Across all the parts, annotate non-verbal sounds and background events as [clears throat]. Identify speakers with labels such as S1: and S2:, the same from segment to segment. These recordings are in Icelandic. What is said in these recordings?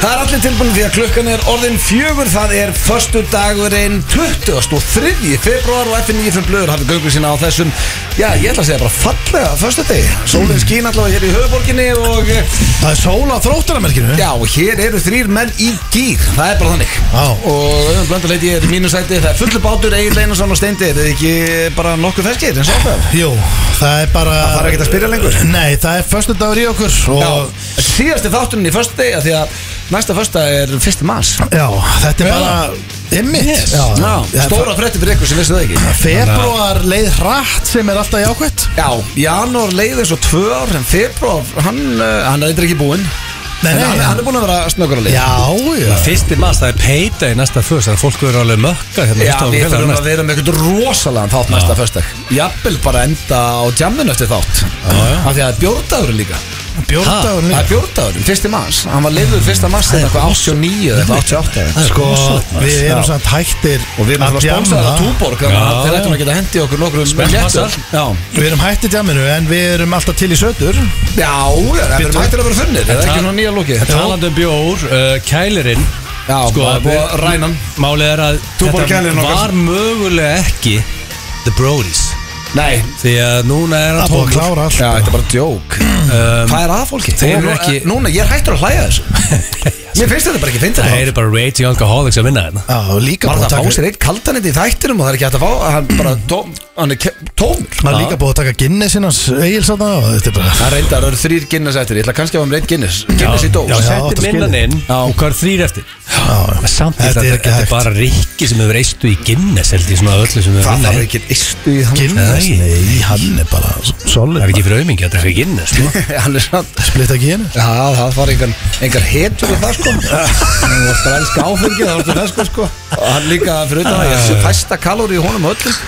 S1: Það er allir tilbúin því að klukkan er orðin fjögur Það er förstu dagurinn 23. februar og FN 95 blöður hafið göngu sína á þessum Já, ég ætla að segja bara fallega förstu deg Sólinn skín allavega hér í höfuborginni og eh,
S2: Það er sól á þróttaramerkinu
S1: Já, hér eru þrýr menn í gýr Það er bara þannig
S2: Já.
S1: Og öðrum blönduleit ég er í mínu sæti Það er fullu bátur, Egil Einarsson og Steindi Er þið ekki bara nokkuð ferskir eins og það?
S2: Jú, það er bara
S1: Það þarf ekkert að spyrja lengur.
S2: Nei, það er förstu dagur í okkur
S1: Já,
S2: og...
S1: síðasti þátturinn í förstu deg Því að næsta första er fyrsti mars
S2: Já, þetta er
S3: Já.
S2: bara Ymmit
S3: Yes.
S2: Já,
S1: Já,
S2: það er
S1: stóra frétti fyrir ykkur sem vissu það ekki
S2: Februar leið hratt sem er alltaf jákvætt
S1: Já, janúar leið eins og tvö ár en februar, hann, uh, hann er eitthvað ekki búinn
S2: Nei,
S1: En
S2: nei,
S1: hann,
S2: nei.
S1: hann er búinn að vera snöggur að leið
S2: Já, já
S3: Fyrsti maður, það er peita í næsta fyrst Þannig að fólk verður alveg mökka hérna
S1: Já,
S3: fyrsta og
S1: við
S3: félagar
S1: þurfum
S3: næst.
S1: að vera með eitthvað rosalega þátt næsta föstak Jafnvel bara enda á jamminu eftir þátt Af því að það er bjórdagurinn líka
S2: Bjórdagur
S1: Það
S2: líka
S1: er bjórdagurinn, fyrsti mars Hann var leiður fyrsta mars en eitthvað 89 eða eitthvað 88 eða eitthvað.
S2: Sko, við erum
S1: Já.
S2: samt hættir
S1: Og við erum alltaf spónsaðar að
S2: djamma.
S1: túborg Þannig að
S3: Já,
S1: þeir
S3: já.
S1: ættum að geta hendi okkur nokkrum
S3: Spennt
S1: léttum.
S3: massar.
S1: Já,
S2: Við erum hættir djamminu en við erum alltaf til í sötur
S1: já, já, það er mættir að vera funnir Það er ekki svona nýja lóki
S3: Talandi um bjór, uh, kælirinn
S1: Já, bara búið að ræna hann.
S3: Málið er að
S1: Túborg kælirinn
S3: þetta
S1: okkar.
S3: var mögulega ekki The Brodies
S1: Nei,
S3: Því að núna er
S2: Það
S3: hann
S2: er búið að
S3: tómur
S2: klára allt
S1: Já, þetta er bara djók Hvað er að fólki?
S3: Þeir eru
S1: Og nú-
S3: ekki-
S1: Núna, ég er hættur að hlæja þessu Mér finnst þetta bara ekki fyndið
S3: Það
S1: þá.
S3: eru bara raging alcoholics að vinna hérna
S2: Já, og líka
S1: Var það
S2: búið að
S1: að fá
S2: taka
S1: sér eitt kaldanit í þættinum og það er ekki hægt að fá Hann bara tóm, hann er ke- tómur
S2: Maður er líka búið að taka Guinness innans Egil satna og þetta er bara
S1: Það reyndar, það eru þrýr Guinness eftir Ég ætla kannski að hafa um reitt Guinness Guinness í dós
S3: Já,
S2: já,
S3: settir
S2: þetta skil
S3: minnan
S2: ég.
S3: inn og hvað er þrýr eftir
S2: Já, já.
S3: Samt
S2: Þetta
S3: er þetta,
S2: er ekki
S3: þetta er
S2: hægt.
S3: bara rikki sem hefur eistu í Guinness held ég svona af öllu sem hefur
S1: Það
S3: vinna
S1: þarf
S3: hérna.
S1: ekki istu í hann
S2: Guinness,
S3: Nei.
S2: nei, hann er bara solid
S3: Það er ekki fyrir aumingi, þetta er fyrir Guinness sko.
S1: [laughs] Hann er sann
S2: Splitt ekki henni
S1: Já, það var engar, engar hetur og það sko Hann var bara að elska áfengi, það var þetta sko sko Og hann líka fyrir utan það, ég sé fæsta kalóri í honum öllum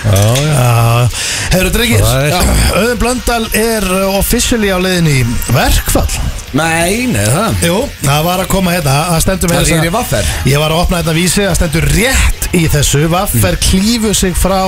S2: Hefur þetta ekki
S3: Það er-
S2: Öðum Blöndal er uh, officially á leiðin í verkfall
S1: Nei, nei, það
S2: Jú, það var að koma hérna Það stendur með
S1: Það
S2: þessa-
S1: er í vaffer
S2: Ég var að opna þetta vísi að stendur rétt í þessu Vaffer mm. klífu sig frá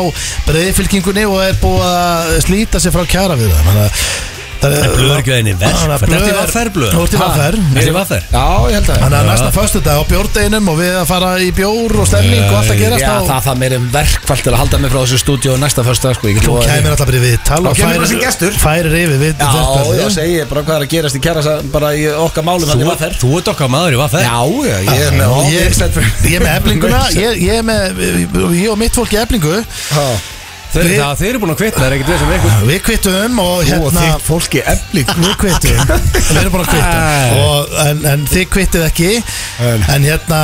S2: breyðfylkingunni og er búið að slíta sig frá kjara við það Þannig að- þannig
S3: En
S2: að
S3: blöður ekki að henni verk
S2: Þannig að
S3: Þetta er
S2: blöð
S3: til vaffer blöð
S2: Nú ertu í vaffer
S3: Þetta er vaffer
S1: Já, ég held að
S2: Þannig að næsta föstu dag á bjórdeginum og við að fara í bjór og stemning og allt að
S1: Eh,
S2: gerast
S1: Já,
S2: þá
S1: það, það meir um verkfall til að halda mig frá þessu stúdíu næsta fyrsta, sko, ég get
S2: Þú
S1: lofað því.
S2: kæmir alltaf bara í viðtal
S1: Þá
S2: og
S1: kemur bara sem gestur.
S2: færir, færir yfir við
S1: Já, já,
S2: verkfallið.
S1: segi ég bara hvað er að gerast í kæra bara í okkar málum hann í
S3: Þú-
S1: vaffer
S3: Þú ert okkar maður í vaffer
S1: Já, já, Ah, ég er með
S2: Og
S1: all
S2: ég,
S1: inside for-
S2: [laughs] ég er með
S1: [laughs]
S2: eflinguna ég, ég, er með, ég og mitt fólk í eflingu
S1: Já.
S3: Þeir,
S2: Við-
S3: það, þeir eru búin að kvitna, það er ekkert við sem eitthvað
S2: Við kvittum og
S1: Þú og
S2: hérna
S1: þitt fólk í efli
S2: Við kvittum Við erum bara að
S3: Æ.
S2: kvitta og, en, en þið kvittið ekki En hérna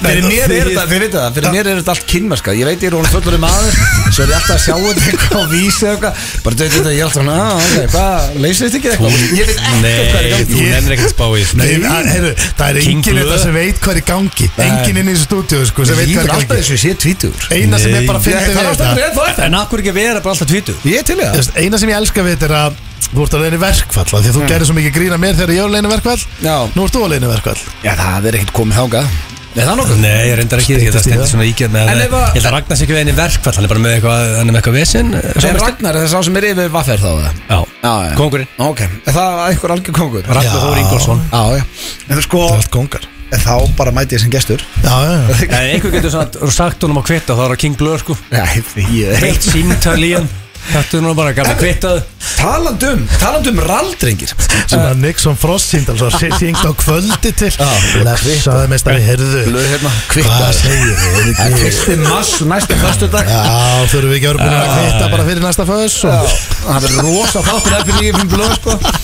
S1: Fyrir mér er þetta, þið veitu það, fyrir mér er þetta allt kynmerska Ég veit ég er hún fullur um aður Svo er ég alltaf að sjá þetta eitthvað og vísi eitthvað Bara þetta, þetta, ég er alltaf svona, "Ah, ok, hvað, leysir þetta ekki eitthvað? Ég veit ekkert hvað er í
S3: Nei,
S1: gangi
S3: þú
S2: Ég-
S3: nennir ekkert spá í þessu.
S2: Nei, að, heyru, það er
S3: King
S2: enginn
S3: Blöð.
S2: þetta sem veit hvað er í gangi Enginn inn í þessu stúdíu sko, sem
S1: Ég
S2: veit
S1: lítur
S2: hvað er í
S1: alltaf
S2: gangi
S1: eins og ég sé tvítugur
S2: Eina sem
S3: Nei.
S2: ég bara
S1: Ég-
S2: fyndi
S1: það er
S2: við
S1: alltaf
S2: þetta
S1: rétt þú ert það.
S3: En akkur ekki að vera bara alltaf tvítu
S1: Ég er til í
S2: Þú
S1: það
S2: veist, Eina sem ég elska við þetta er að Þú ert að leina í verkfall af Því að þú gerir svo mikið grína mér þegar ég er að leina í verkfall
S1: Já.
S2: Nú ert þú að leina í verkfall
S1: Já, það er ekkert komið þáka Nei, það er nokkuð
S3: Nei, ég reyndar ekki, ég- það
S2: Styttist í
S3: stendur
S2: það.
S3: svona ígjörð með
S1: En
S3: að-
S1: ef að-
S3: Ég held að Ragnar sé ekki við henni verkfall, hann er bara með eitthvað, hann er með eitthvað vesinn
S1: En Ragnar er það sá sem er yfir vaffer þá eða?
S3: Já,
S1: já.
S3: kongurinn
S1: Ok, er það er einhver algjör kongur
S3: Ragnar
S2: Já.
S3: Þór Ingólfsson
S1: Já, já En það sko,
S2: Það er allt kongar
S1: þá bara mæti ég sem gestur
S2: Já, já, já
S3: En einhver getur svona sagt honum að kvita, þá er það King Blur sko
S1: Nei, því ég
S3: [laughs] Eitt símtal í hann Þetta er nú bara gamla kvitað
S1: Talandum, talandum raldrengir
S2: [laughs] sem að Nixon Frost [laughs] síndal svo syngt á kvöldi til blessaði mest að við heyrðu
S1: Blöð hérna,
S2: hvað
S1: kvittaður
S2: segir við
S1: Það er fyrsti mass næstu fyrstu dag
S2: já, þurfum við ekki að vera búin að kvitta bara fyrir næsta föðs og
S1: Það verður rosa þáttur eftir nýjum fyrir blöð sko.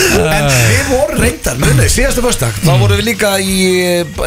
S1: Eh. En við vorum reyndar Munið, síðasta föstudag Þá vorum við líka í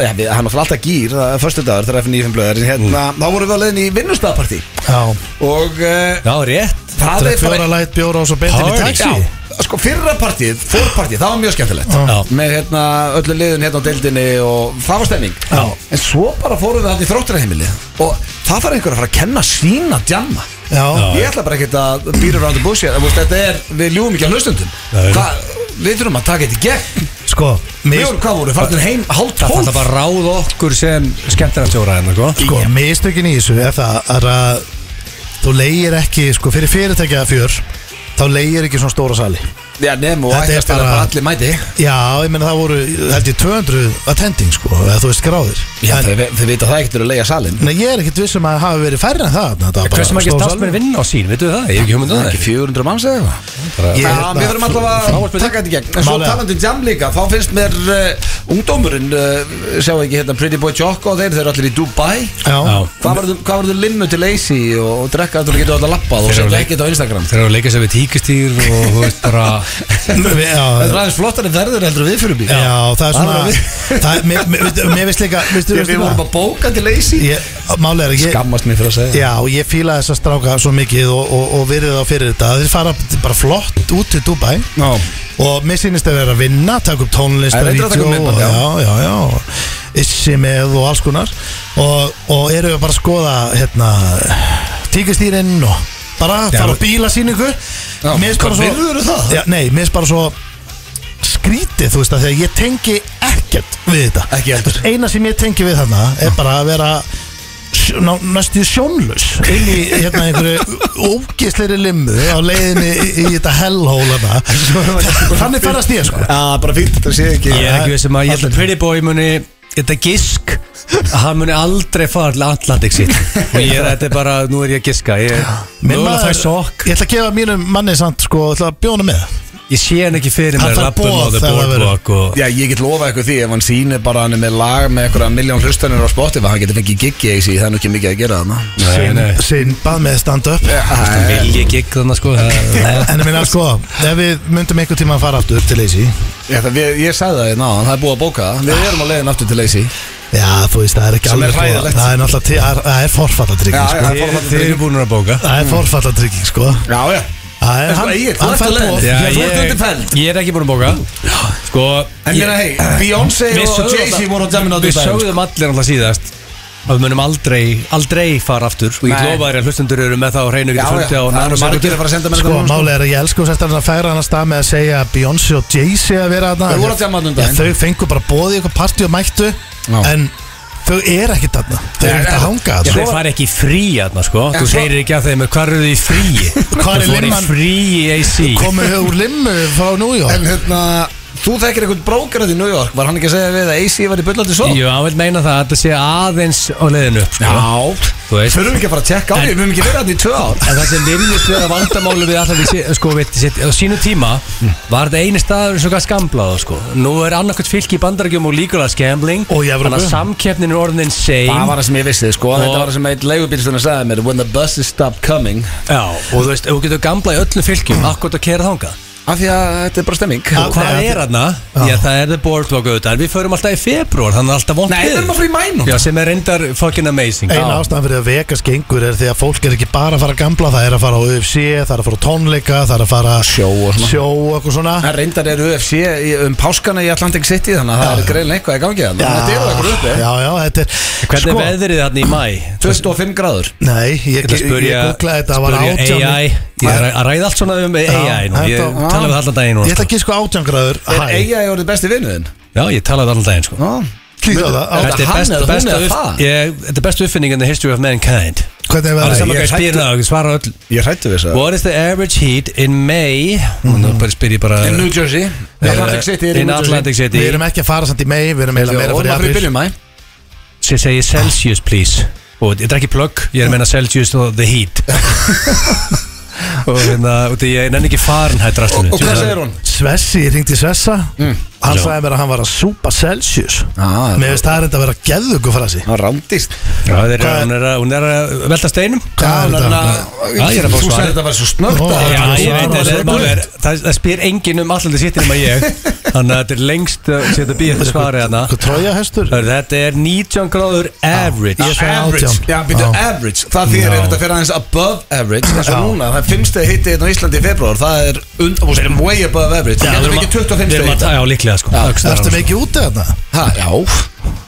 S1: ja, við, Hann var alltaf gýr, það er föstudagur Þegar eftir nýjum fyrir blöð hérna, Þá vorum við á leiðin í vinnustaðpartí
S2: já,
S1: Og uh,
S3: Já, rétt
S1: það er
S2: þetta
S1: bara
S2: fjóra læt bjóra og svo beintin í
S3: Party.
S2: taxi
S1: Já, sko fyrra partíð, fórpartíð, það var mjög skemmtilegt
S2: Já.
S1: Með hérna öllu liðun hérna á deildinni og það var stemming
S2: Já.
S1: En svo bara fórum við hann í þróttaraheimili Og það þarf einhver að fara að kenna sína djamma
S2: já,
S1: Ég ætla bara ekkert að býra around the bush hér en þú veist, Þetta er, við ljúum ekki að hlustundum
S3: Nei.
S1: Hva, Við þurfum að taka þetta í gegn
S2: sko
S1: Við
S2: mis,
S1: vorum hvað voru, farnir heim hálf
S3: Það þarf
S1: tólf
S3: bara að ráða okkur sem skemmtarnatjóra hennar sko
S2: sko, mistökin í þessu er það er að þú leigir ekki, sko, fyrir fyrirtækja fjör þá leigir ekki svona stóra sali
S1: Já, nefnum og
S2: Þetta
S1: ætti
S2: er
S1: að spila
S2: bara-
S1: bara allir mæti
S2: Já, ég meina það voru, held ég, 200 attending sko, eða þú veist gráðir
S1: Já,
S2: en,
S1: þeir, þeir vita það ekkert eru að leiða salin
S2: Nei, ég er ekkert vissum að hafa verið færri en það þetta var bara
S3: Hversu margir
S2: stór
S3: starfsmenn
S2: salur.
S3: vinna á sín, veitum við það? Ég hef ekki hugmynd um það
S1: Ekki 400 manns eða eitthvað
S3: Bara-
S2: Ég-
S1: Já,
S2: hérna,
S1: við verðum alltaf að
S3: frábært.
S1: taka þetta í gegn En svo
S2: Málega.
S1: talandi um jam líka, þá finnst mér uh, ungdómurinn, uh, sjáu ekki hérna Pretty Boy Choco, þeir, þeir eru allir í Dubai
S2: Já,
S3: Já.
S1: Hvað verður- hvað verður limmu til leysi og, og drekka þetta og getur alltaf lappað og
S3: Þeir eru
S1: setja
S3: leik-
S1: ekkert á Instagram
S3: Þeir eru að leika sér við tíkistýr og þú veist bara
S2: Við-
S3: [laughs]
S1: Þetta
S2: já,
S1: er aðeins flottar en verður heldur en við fyrir bíl
S2: já, það er
S1: Það er
S2: svona
S1: við-
S2: það er- Mér mér- veistu- mér veist líka veistu-
S1: Við
S2: veistu
S1: vorum
S2: hvað?
S1: að bóka til leysi
S2: Ég- Málið er að ég
S1: Gammast mér fyrir að segja
S2: Já, og ég fíla þess að stráka svo mikið og, og, og virði þá fyrir þetta Þeir fara bara flott út til Dubai
S1: Já.
S2: Og mér sýnist að vera að vinna, taka upp tónlist
S1: Það er reyndar að taka upp myndband, já.
S2: já, já, já Issi með og alls konar Og, og eru bara að skoða hérna, tíkastýrin og bara
S3: Já.
S2: fara á bílasýningu
S1: Já,
S2: Mér finnst bara
S1: hvað
S2: svo-
S1: virður eru það?
S2: Já, nei, mér finnst bara svo skrítið, þú veist að þegar ég tengi ekkert við þetta
S1: Ekki heldur.
S2: Eina sem ég tengi við þarna er bara að vera sj- ná- næstu því sjónlaus inn í hérna einhverju ógisleiri limmu á leiðinni í, í þetta hellhólana Þannig farast ég sko
S1: Já, bara fínt, þetta sé ekki
S3: Ég er ekki veist sem að ég held að Pretty Boy muni Þetta gisk að hann muni aldrei fara til Atlantik sitt og ég er þetta er bara, nú er ég að giska ég
S2: Minn
S3: mögulega
S2: maður-
S3: fæ sokk,
S2: Ég ætla að gefa mínum manni samt sko, ætla að bjóna með
S3: ég sé hann ekki fyrir
S2: Hann
S3: mér
S2: fær
S3: lappum á
S2: boð
S3: the
S2: þegar það verður.
S3: boardwalk og
S1: Já, ég get lofað ykkur því ef hann sýnir bara hann er með lag með einhverja miljón hlustanir á Spotify hann getur fengið giggi eða það er nú ekki mikið að gera þarna
S3: Nei, nei.
S2: Sinbad með stand-up
S3: Hann vil ég gigg þannig sko það-
S1: [laughs]
S3: það-
S2: En ég minna sko, ef við myndum einhver tíma að fara aftur til Leysi
S1: Já, það, við, ég sagði það í náðan, það er búið að bóka það Við erum á leiðin aftur til Leysi
S2: Já, þú veist, það er ekki
S1: Sem er
S2: alveg sko-
S1: hræðilegt.
S2: Það er náttúrulega, til- það er- það er forfallatrygg sko.
S1: það er fórfætt
S3: Þið eru búin að bóka
S2: Það er forfallatrygg sko
S1: Já, já
S2: Það er
S1: En sko,
S2: hann,
S1: Egill, þú
S2: hann
S1: ert
S2: fær
S1: á leiðinni.
S2: bóð
S1: Já,
S3: ég,
S1: þú ert undir feld.
S3: ég er ekki búin að bóka Sko
S1: En
S3: ég-
S1: minna, hei, Beyoncé
S3: Við
S1: og
S3: sögðum
S1: Jay-Z
S3: alltaf-
S1: voru á jamminu á
S3: Við
S1: Dubai,
S3: sögðum allir alltaf síðast að við munum aldrei, aldrei fara aftur og ég
S1: Nei.
S3: lofa þér að hlustundur eru með það á hreinu
S1: Já,
S3: getur
S1: já,
S3: fundið
S1: það
S3: á
S1: eru margir að
S3: nanosekundur
S1: fara að senda mér
S2: Sko,
S1: þetta núna,
S2: málið er að ég elsku þess að hérna færa hann að stað með að segja að Beyoncé og Jay-Z að vera þarna
S1: Þau voru að djamma þarna um
S2: Já,
S1: daginn.
S2: Þau fengu bara bóð í eitthvað partí og mættu
S1: Já.
S2: En þau eru ekkert þarna Þau eru
S1: Nei,
S2: ekkert að
S1: nei.
S2: hanga
S3: Já, þeir
S2: þarna
S3: fara ekki í frí aðna sko
S1: En
S3: Þú
S1: svo-
S3: segir ekki að þeim hvað eru þið í frí
S2: Hvar er
S3: Þú fór í
S2: limman?
S3: frí í AC
S2: Komu þau úr limmu frá New York
S1: En hérna, þú þekkir einhvern brókarað í New York Var hann ekki að segja við að AC var í bullandi svo?
S3: Jú, hann vil meina það að þetta sé aðeins á leiðinu upp sko Þú veist.
S1: Þurfum ekki að fara að tjekka á því, við höfum ekki verið hann í tvö ár
S3: En það sem virðist vera vandamáli við alltaf því, sko, við, sitt, á sínu tíma
S2: Mm.
S3: var þetta eini staður sem gæði skamblað á, sko. Nú er annarkvæmt fylki í bandarækjum og líkulega skambling
S2: Og í Evrópu.
S3: að samkeppnin er orðin
S1: Það
S3: insane
S1: var það sem ég vissi, sko
S3: Og-
S1: Þetta var það sem eitt leigubílstunni sagði mér When the buses stop coming
S3: Já, og þú veist, ef þú getur gamblað í öllum fylkjum akkur að kera þangað
S1: Af því að þetta er bara stemming
S2: Já,
S3: Og hvað
S2: Nei,
S3: er þarna?
S2: Já.
S3: Já, það er the boardwalk auðvitað En Við förum alltaf í februar, þannig að alltaf vont
S1: Nei, við erum að fara í maí núna.
S3: Já, sem er reyndar fucking amazing
S2: Einn ástæðan fyrir að Vegas gengur er því að fólk er ekki bara að fara að gamla Það er að fara á UFC, það er að fara á tónleika, það er að fara
S1: Sjó og svona.
S2: sjó og eitthvað svona
S1: Það reyndar er UFC í- um páskana í Atlantic City þannig að það er greinlega eitthvað í gangi þannig að þetta eru eitthvað uppi
S2: Já, já, þetta er
S3: Hvernig
S2: Sko,
S3: er veðrið þarna í mæ?
S1: 25 gráður
S2: Nei, ég,
S3: Þetta
S2: ég, ég,
S3: spurja,
S2: googlaði þetta, það var átján
S3: spurja AI Ég er að ræða allt svona um AI nú. Ég
S2: þetta-
S3: talaði við allan
S2: Ég
S3: daginn
S2: ætla
S3: núna,
S2: að gíska átjangræður
S1: Er eiga ég orðið besti vinnuðinn?
S3: sko. Já, ég talaði við allan daginn sko.
S2: Kíkja á það á-
S1: Þetta
S3: Þetta er
S1: hann
S3: besta-
S1: eða hún
S3: besta
S1: eða
S3: upp-
S1: það?
S3: Ég- þetta er bestu uppfinning in the history of mankind
S2: Hvernig er
S3: Það er
S2: veðrið?
S1: ég
S3: saman hvað ég spyr það og ég svara öll
S1: Ég hrættu við þess
S3: What is the average heat in May? Og nú bara spyr ég bara
S1: In New Jersey Eh, Atlantic City er í
S3: Eh, In
S1: New Jersey
S3: Atlantic City
S2: Við erum ekki að fara samt í mei Við erum
S1: Og
S2: eiginlega meira
S1: maður fyrir
S2: fyrir apríl
S1: byrjum mæ
S3: Sér segi Celsius please Og þetta er ekki plug, ég er að meina Celsius og the heat Og hérna, og því ég nenni ekki Fahrenheit rastinu
S1: Og hvað segir hún?
S2: Svessi, ég ringdi Svessa Hann
S3: Já.
S2: sagði mér að hann var að súpa Celsius
S1: Mm. Já,
S2: Mér veist það er þetta að vera geðugu frasi
S1: Ah, Það rándist
S3: Já, þeir,
S2: Hvað-
S3: hún, er að, hún er að velta steinum
S2: Hvað er þetta?
S3: Já, Ah, ég er að fá
S1: Þú
S3: svarið.
S1: sagði þetta var svo snögt
S2: Ó,
S1: að-
S3: Já,
S2: það var svo
S3: ég veit að það er
S2: gott.
S3: málið er Það, það spyr enginn um allandi sittin um að [laughs] ég Þannig að þetta er lengst uh, sétt að býja þetta svarið hana
S2: Hvað trója hestur?
S3: Þetta er 19 gráður average
S2: Ég sagði
S1: Average,
S2: átján.
S1: já, býtu
S2: Já.
S1: average Það þýðir
S2: Já.
S1: ef þetta fyrir aðeins above average eins og
S2: Já.
S1: núna, það er fimmstegi hitti hérna á Íslandi í februar það er und, way above average
S3: Já,
S1: Það getur ekki
S3: við erum að- við
S1: 25
S3: erum að-
S1: hitti
S3: Já, líklega sko
S2: Ertu mikið út af þetta?
S1: Ha, Já,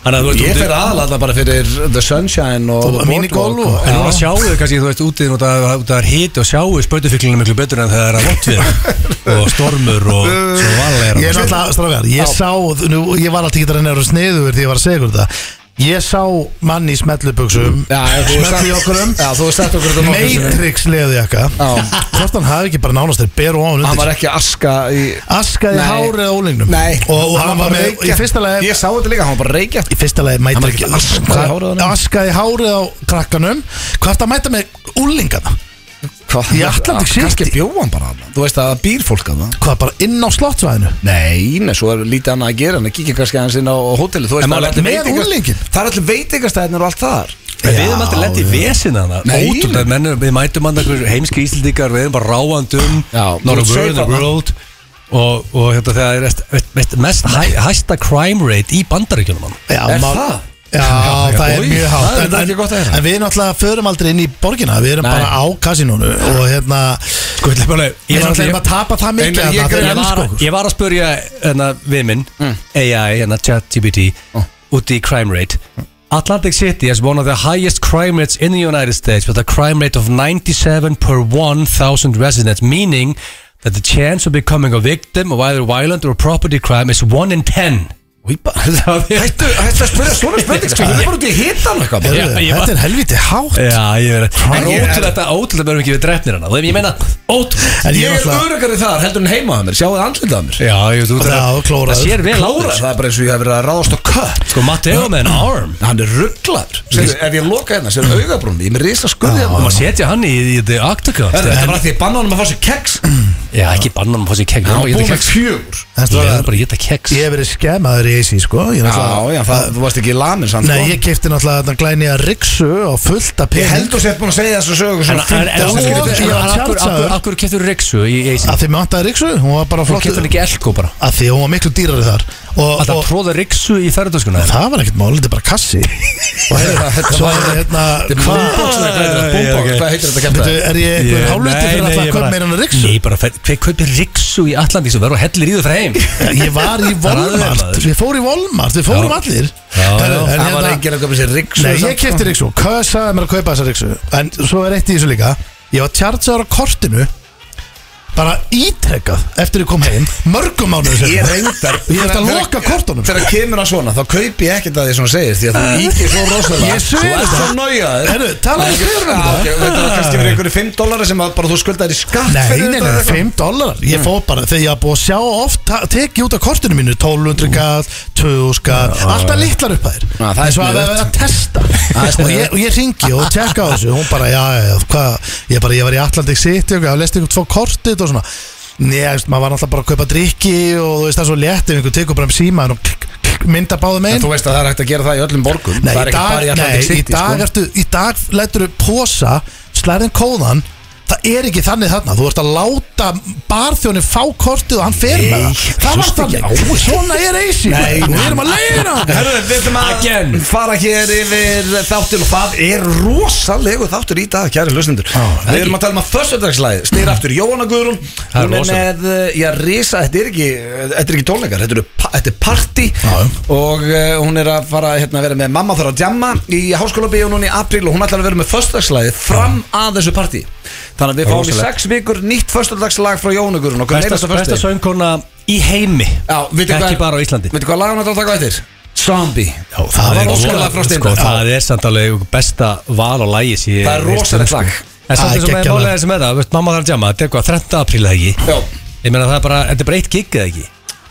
S3: Þannig að þú
S1: Ég
S3: veist
S1: fyrir aðalega bara fyrir The Sunshine og
S2: Og
S1: The
S2: mínigolf
S1: Boardwalk.
S2: og-
S3: En núna sjáu þau kannski, þú veist, útið út að það er hiti og sjáu spöytufíklina miklu betur en það er að vott við [laughs] og stormur og svo varlega sko.
S2: Ég er náttúrulega, strafgar, ég sá, nú, ég var alltaf ekki að reyna að vera sniður því ég var að segja ykkur þetta Ég sá mann í smetlubuxum
S1: Já, þú hefur sagt-
S2: Smetlujokkurum
S1: Já, þú hefur sett okkur þetta nokkrum sinnum.
S2: Matrix leðjaka
S1: Já.
S2: Hvort hann hafi ekki bara nánast þeir beru á hann
S1: Hann
S2: undir
S1: var
S2: sig.
S1: ekki að aska í
S2: Askaði
S1: Nei.
S2: hárið á ólingnum
S1: Nei
S2: Og, og hann var
S1: bara
S2: með
S1: reykja.
S2: Í fyrsta lagi
S1: Ég sá þetta líka, hann var bara reykja
S2: Í fyrsta lagi
S1: Hann
S2: mætir
S1: var ekki askaði hárið á honum.
S2: Askaði hárið á krakkanum Hvað ertu að mæta með úlingana?
S1: Hvað?
S2: Í Atlantic City.
S1: Kannski bjóð hann bara hann Þú veist að það býr fólk að það
S2: Hvað bara inn á slottsvæðinu?
S1: Nei, nei, svo er lítið annað að gera Hann kíkja kannski aðeins inn á hóteli Þú veist
S3: En
S1: það
S3: maður
S1: er allir
S2: með
S1: veitinga-
S2: unglinginn.
S1: Það er allir veitingastæðnir og allt þar
S3: En Við hefum alltaf lett í
S2: Já, já.
S3: vesina hana
S1: Nei,
S3: Ótrúlega,
S1: nei.
S3: menn, við mætum hann einhverjum heimski íslendingar Við erum bara ráandum
S1: Já, þú
S3: Not a word in the
S1: segir það.
S3: world Og, og hérna, það er mest, mest, mest hæ, hæsta crime rate í bandaríkjunum hann
S2: Já,
S1: Er
S2: mál-
S1: það?
S2: Já, það er
S1: oj,
S2: mjög hátt
S1: það er
S2: en,
S1: þetta
S2: en,
S1: ekki gott að heyra.
S2: en við náttúrulega förum aldrei inn í borgina Við erum
S1: Nei.
S2: bara á kasinónu Og hérna Sko,
S3: Ég var alltaf-
S2: Við náttúrulega erum að tapa það
S1: Nei,
S2: mikið
S1: nei,
S2: að
S1: ég
S2: það
S1: grein-
S2: er sko.
S3: ég var,
S2: elskokkur
S3: ég var að spurja hérna, við minn
S2: Mm.
S3: AI, hérna ChatGPT
S2: Oh.
S3: úti í crime rate Atlantic City has one of the highest crime rates in the United States with a crime rate of 97 per 1,000 residents meaning that the chance of becoming a victim of either violent or property crime is 1 in 10 [laughs] Það er-
S1: Hættu, hættu að spyrja svona spurning sko, Ég er bara út í hitan eitthvað bara.
S2: Heyrðu,
S3: Já, ég var-
S2: Þetta er helviti hátt
S3: Já, ég verið En
S1: Ég-
S3: ótrúlega, ótrúlega verðum ekki við drefnir hana Ég meina, ótrúlega
S2: En
S1: Ég er
S2: náttúrulega-
S1: örugari þar heldur en heima að mér Sjáðu andlitað að mér
S3: Já, ég veit,
S2: Já, klóraður.
S3: Það sér vel á
S1: Klárað,
S3: þér
S1: Það er bara eins og ég hef verið að ráðast á kött
S3: Sko, Matteo með en arm
S1: Hann er rugglaður Ef ég loka hérna, sér augabrún Ég er með risa skurði
S3: Og maður setja hann í, í The Octagon
S1: Þetta er bara því að banna honum að fá sér keks Hann
S3: Já, ekki banna hann að fá sér kegg
S1: var búið með fjögur
S2: En
S3: Ég
S2: strákar,
S3: er bara að geta kegg
S2: Ég hef verið skemaður í AC, sko Ég náttúrulega-
S1: Já, já, það, þú varst ekki sko. í lamin sann
S2: Nei, ég kefti náttúrulega þarna glænýja riksu og fullt af
S1: Ég
S2: pening
S1: held þú sett búin að segja þessu sögur
S3: En
S1: svona
S3: en- en-
S1: 15 ára,
S2: ára, skilur
S3: en-
S2: við.
S1: skilur
S3: en- akkur- akkur- Akkur keftur Rexu í Eisin
S2: Að því mig vantaði riksu, hún var bara
S3: Þú
S2: flott
S3: keftur hann
S2: Að
S3: ekki Elko bara
S2: því hún var miklu dýrari þar og,
S3: Alltaf
S2: og,
S3: að tróða Rexu í ferðartöskuna
S2: Það var ekkert mál, þetta er bara kassi Og hérna, [laughs] svo er hérna
S1: Þetta er boombox,
S2: Hvað
S1: eða hvað heitir þetta? Boombox,
S3: Já, já, ok.
S1: hvað heitir þetta
S2: Veitu,
S1: kemta?
S2: er ég einhver hálfviti fyrir alltaf að kaupa meira en riksu?
S3: Nei, bara, fer- hver kaupir Rexu í Atlantík sem verður og hellir í þau frá heim
S2: Ég var í
S3: [laughs] Það er aðeins,
S2: Volmart,
S3: maður.
S2: við fórum í Volmart, við fórum
S3: Já.
S2: allir
S3: Já, já.
S2: Herru, en
S1: Það var
S2: hérna-
S1: enginn að köpa sér riggs
S2: Nei, ég kefti riksu, kösaði mér að kaupa þessa riksu En svo er eitt í þessu líka Ég var tjartsaður á kortinu Bara ítrekkað eftir ég kom heim Mörgum mánuðu
S1: Ég
S2: sem
S1: reyndar
S2: Ég ætla að loka kortunum.
S1: Þegar kemur að svona, þá kaupi ég ekkert að því svona segir Því að þú íkir svo rosalega
S2: Ég sver
S1: Þú ert
S2: það.
S1: svo nájaður
S2: Herru, talaðu friður um það.
S1: Þetta var kannski verið einhverju 5 dólari sem að bara þú skuldaðir í skatt
S2: Nei,
S1: fyrir
S2: nei,
S1: þetta
S2: nei,
S1: eitthvað.
S2: 5 dólarar Ég fór bara, þegar ég hafði búið að sjá oft ta- Tekið út af kortinu mínu, 1200 gall 2000 gall, alltaf litlar upphæðir
S1: Já, það er
S2: En svo að
S1: sniðugt.
S2: það verið að testa
S1: Það er
S2: Og
S1: sniðugt.
S2: ég, og ég ringi og tekka á þessu Hún bara, já, já, já, hvað Ég bara, ég var í Atlantic City og ég lesti ykkur tvo kortið og svona Nei, þú veist, maður var náttúrulega bara að kaupa drikki Og þú veist, það er svo létt ef einhver tekur bara um síma Og klik, klik, mynda báðum
S1: En
S2: einn
S1: þú veist að það er hægt að gera það í öllum borgum
S2: Nei,
S1: Það er ekki
S2: í dag,
S1: bara í
S2: nei,
S1: Atlantic
S2: í
S1: City
S2: dag,
S1: sko.
S2: ertu, í dag lætur þú posa, slærið kóðan Það er ekki þannig þarna Þú ert að láta barþjóni fá kortið og hann fer með það Það var
S1: hlust ekki á
S2: þannig, svona er eisi
S1: Nei,
S2: Við
S1: nei.
S2: erum að leiðina
S1: Herru, við ætlum að
S3: Again.
S1: fara hér yfir þáttin og það er rosalegu þáttur í dag, kæri hlustendur Við erum að tala um að föstudagslæði, snýr aftur Jóhanna Guðrún
S3: Það er
S1: Hún er
S3: rosalegt.
S1: með, uh, já, risa, þetta er ekki, þetta er ekki tónleikar, þetta, eru, pa- þetta er party
S2: Já.
S1: Og uh, hún er að fara hérna, að vera með mamma þar að djamma í háskóla núna í apríl Og hún ætlar að vera með föstudagslæði fram að þessu party Þannig að við fáum í
S3: Rosalegt.
S1: sex vikur nýtt föstudagslag frá Jóhanna Guðrún okkur
S3: Besta,
S1: einasta
S3: besta
S1: föstudegi.
S3: söngkona í heimi
S1: Já, veitu
S3: Ekki
S1: hvað-
S3: bara á Íslandi
S1: Veitu hvað lagun að taka á eftir? Zombie Já,
S2: það var
S3: er-
S1: óskalag frá Steindór.
S3: sko, Það er samt alveg besta val og lægi sem ég
S1: Það er
S3: hef heyrt,
S1: rosalegt
S3: sko.
S1: lag.
S3: En samt
S2: Það er
S3: þess að
S2: geggjað
S3: með
S2: lag.
S3: málega sem er það veist, Mamma þarf að jamma, þetta er hvað, 30. apríl eða ekki
S1: Já,
S3: Ég meina það er bara, þetta er bara eitt gig eða ekki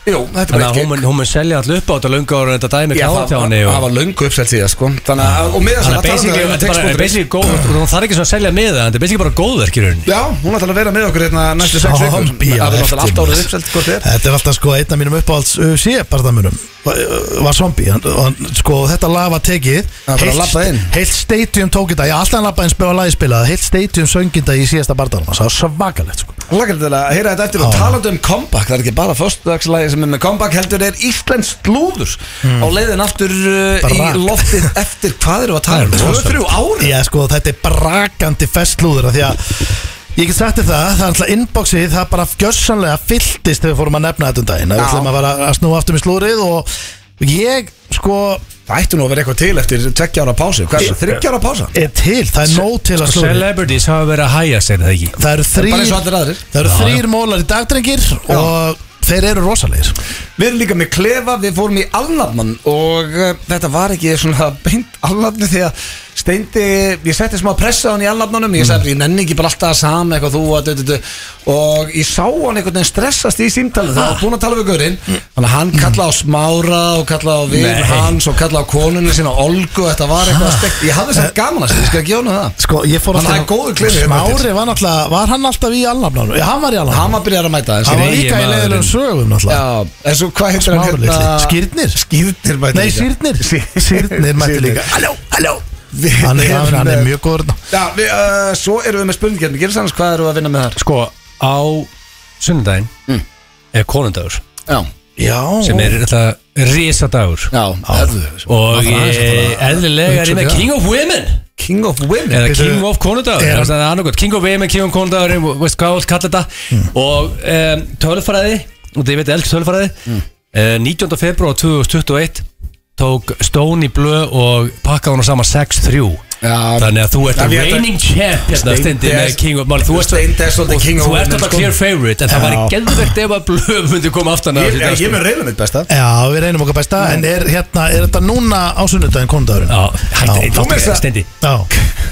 S1: jú, þetta er
S3: Þannig
S1: bara
S3: að hún mun- hún mun selja all upp á þetta löngu ára en þetta dæmi
S1: Já,
S3: klára
S1: það
S3: hjá henni
S1: það
S3: og
S1: var löngu uppsett síðan sko Þannig að, um og miða
S3: Þannig að basically, þetta er bara er basically góð og hún þarf ekki svona að selja með það, þetta er basically bara góðverk í rauninni
S1: Já, hún ætlar að vera með okkur hérna næstu sex vikum
S2: Zombie á
S1: Það er
S2: eftir,
S1: náttúrulega allt árið
S2: maður.
S1: uppsett hvort þér
S2: Þetta var alltaf sko einn af mínum uppáhalds UFC-barðamunum var zombie hann, hann, sko, þetta lag var tekið
S1: Það var bara að labba inn.
S2: heilt stadium tók þetta ég alltaf labbaði inn spila lagi spilað heilt stadium sönginda í síðasta barðanum það var svakalegt sko.
S1: Lakar til að heyra þetta eftir og
S3: Ah.
S2: Já.
S1: talandi um comeback Það er ekki bara föstudagslægi sem er með comeback heldur er Íslensk lúður
S3: Hmm.
S1: Á leiðin aftur uh, í
S2: Brak.
S1: loftið eftir hvað eru að tala um?
S3: Það er
S1: Tvö,
S3: rosalegt.
S1: þrjú ári
S2: Já sko þetta er brakandi festlúður af Því að ég get sagt þér það Það er alltaf inboxið það bara gjössanlega fylltist Þegar við fórum að nefna þetta um daginn
S1: Já.
S2: Það ætlum að fara að snúa aftur með slúrið Og ég sko
S1: Það ættu nú að vera eitthvað til eftir tveggja ára pási Hvað er það? Þryggja ára pása?
S2: er til Það er nóg til að
S1: sko,
S2: slúrið
S3: Celebrities hafa verið að hæja sér það ekki
S2: Það eru
S1: Bara eins og
S2: þrýr
S1: allir aðrir
S2: Það eru þrýr mólar í dagdrengir Og þeir eru rosalegir
S1: Við erum líka með klefa, við fórum í alnafnan og uh, þetta var ekki svona beint alnafni því að steindi, ég setti smá pressa á hann í alnafnanum, ég sagði, ég nenni ekki bara alltaf saman eitthvað þú að dödu dödu og ég sá hann einhvern veginn stressast í símtalið það var búin að tala við gaurinn, þannig að hann kallaði á smára og kallaði á
S3: Nei.
S1: við hans og kallaði á konunni sína Olgu, þetta var eitthvað stekt, ég hafði þess gaman að sér, ég skal ekki hjóna það
S2: Sko, ég fór
S1: Hann
S2: alltaf-
S1: hafði góður klifi, hérna,
S2: Smári var náttúrulega, var hann alltaf í alnafnanum? Já, hann var í alnafnanum
S1: hann var byrjar að mæta
S2: Hann
S1: þess
S2: var líka í
S3: Greyið
S2: leiðilegum sögum náttúrulega
S1: Já, en svo hvað heitir
S2: Smári litli. Skírnir?
S1: Skýrnir mætti
S2: Nei,
S1: líka.
S2: sírnir
S1: Sí-
S2: Sírnir mætti
S1: Sírnir.
S2: líka Halló, halló
S1: Við
S2: Hann er,
S1: erum-
S2: hann er mjög góður þarna.
S1: Já, við, uh, svo erum við með spurningjarni Gerist annars hvað erum við að vinna með þar?
S3: Sko, á sunnudaginn
S1: Mm.
S3: er konundagur
S1: Já,
S2: Já
S3: sem er þetta risadagur
S1: já,
S3: og
S2: Það er aðeins að
S3: ég- eðlilega er ég með King of Women
S1: King of Women
S3: eða
S2: Bíddu,
S3: King of Konundagur
S2: er-
S3: það er það annarkot King of Women, King of Konundagur veist hvað allt kalla þetta
S1: Hmm.
S3: og um, tölfræði og þið veit elsk tölfræði
S1: Hmm.
S3: mm. 19. februar 2021 tók Stóni Blö og pakkaði hún á sama 6-3
S1: Já.
S3: þannig að þú ert
S1: Já,
S3: að
S1: ég ætla-
S3: reigning champ hérna
S1: Steindi
S3: stundi með
S1: er-
S3: King of Mál þú ert
S1: Steindi er svolítið
S3: og
S1: King of
S3: þú ert
S1: Women,
S3: alltaf
S1: sko.
S3: clear favorite en það væri
S1: Já.
S3: geðvegt ef að Blö [laughs] myndi koma aftan að
S1: Ég,
S3: þessu í dag,
S1: ég,
S3: sko.
S1: ég með reyla mitt besta
S2: Já, við reynum okkar besta En er, hérna, er þetta núna á sunnudaginn konundagurinn?
S3: Já, hætti,
S2: Já,
S1: þú með þess að-
S3: Steindi
S2: já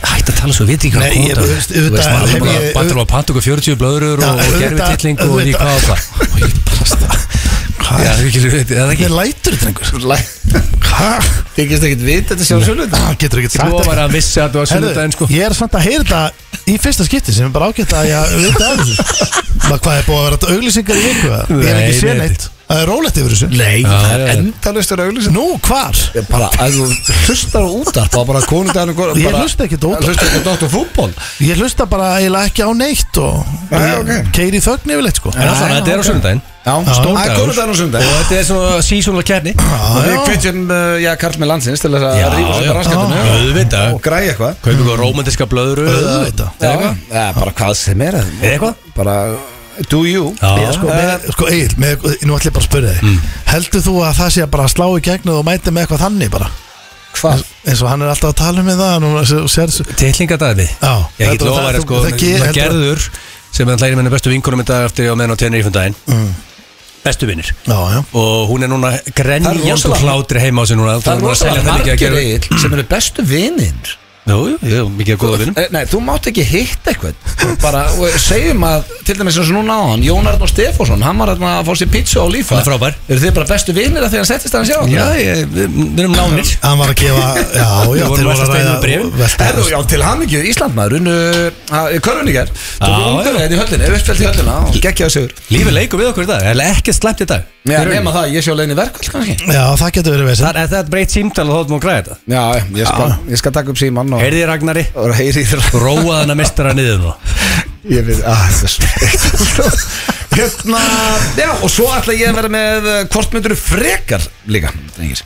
S3: Hætt að tala svo, við ekki hvað
S2: Nei, ég- þú
S3: konundagur er.
S2: veist,
S3: Þú veist,
S2: auðvitað
S3: maður
S2: hef
S3: bara
S2: ég-
S3: bandur á patuk og 40 blöður
S2: Já,
S3: og, og
S2: auðvitað-
S3: gerfi tilling og því
S2: auðvitað.
S3: hvað á hvað
S2: Hvað
S3: Já,
S2: er
S3: það er ekki ljóðið, er það ekki?
S2: Hvernig lætur þetta einhver?
S1: Hvað? Þykist ekkert vit, þetta sjálf sjálf
S2: Hann getur ekki sagt
S3: Þú var að vissi að þú var
S2: Herðu,
S3: sunnudaginn sko
S2: Ég er samt að heyra þetta í fyrsta skipti sem er bara ágætt að ég veit af þessu Maður hvað er búið að vera auglýsingar í viku eða? Ég er
S3: Nei,
S2: ekki séð
S3: nei.
S2: neitt Það er rólegt yfir þessu Nei
S3: það er
S1: Endalust er auglýsing
S2: Nú, hvar?
S1: Bara, ef þú hlustar á útarp og bara konundaginu
S2: Ég hlusta ekkert á útvarp.
S1: Hlusta ekki á Dr. Fútbol
S2: Ég hlusta bara eiginlega ekki á neitt og
S1: Nei, ok.
S2: keiri í þögn yfirleitt sko
S3: En alltaf, þetta er á sunnudaginn
S1: Já,
S3: Stórdagur.
S1: Að konundaginu sundag
S3: Og þetta er svona seasonal kefni
S1: Og við
S2: já.
S1: kveitjum, já, Karl með landsins til þess að
S3: Já,
S1: rífa
S3: já.
S1: sér raskatinu
S3: Auðvitað
S1: og græja eitthvað
S3: Kaupið eitthvað romantiska blöður
S2: Auðvitað.
S1: Já, ja, bara hvað sem er
S3: Er eitthvað?
S1: Bara, do you
S3: Já. Mm.
S2: Sko, með, sko Egil, með, nú ætlum ég bara að spyrja þig Heldur þú að það sé að bara slá í gegnu og mæti með eitthvað þannig bara?
S1: Hvað?
S2: Eins og hann er alltaf að tala með það nú, sér, sér,
S3: Tillingadæði
S2: Já.
S3: Ég get
S2: Þetta-
S3: lofa þér
S2: það-
S3: sko
S2: það- það- heldur-
S3: það Gerður sem er hlæri minni bestu vinkunum í dag eftir og meðan á tennir í fundaginn
S2: Mm.
S3: Bestu vinnir
S2: Já, já
S3: Og hún er núna
S1: Það er
S3: grenjand og
S1: rosalega-
S3: hlátri heima á sig núna
S1: Það er rosalega
S3: margir
S1: margir Egill sem eru bestu vinir
S3: Jú, jú, jú, mikið að góða vinnum
S1: Eh, Nei, þú mátt ekki hitta eitthvað Bara, og segjum að, til dæmis eins og núna á hann Jón Arnór Stefánsson, hann var þarna að fá sér pizza og lífa
S3: Hann er frábær.
S1: Eru þið bara bestu vinir að því hann settist að hann sjá
S3: Já, ég, við, við erum nánir
S2: Hann var að gefa, já, já,
S3: Við
S2: þeir
S3: vorum
S2: voru
S3: velta
S2: að
S3: steinum
S2: ræða
S3: með bréfin.
S2: velta-
S1: Erðu, já, til hann ekki, Íslandmaður unnu, uh, körfuníkjar
S3: Já, já.
S1: Tók ungarveginn hérna í höllinu, uppfælt í höllina og geggjaði sigur
S3: Lífið leikur við okkur í dag, eða ekkert slæmt í dag
S1: Já, nema það, ég sjá leiðin í verkvall kannski
S2: Já, það getur verið veist
S3: Það er þetta breytt símtal og þá erum við að græða þetta
S1: Já, ég skal, ég skal taka upp símann og,
S3: Heyrði Ragnari,
S1: og heyri þér
S3: róaði hann að mistara niður þá
S1: Ég veit, að það er svo [laughs] Hérna, já, og svo ætla ég að vera með eh, hvort myndur frekar líka, drengir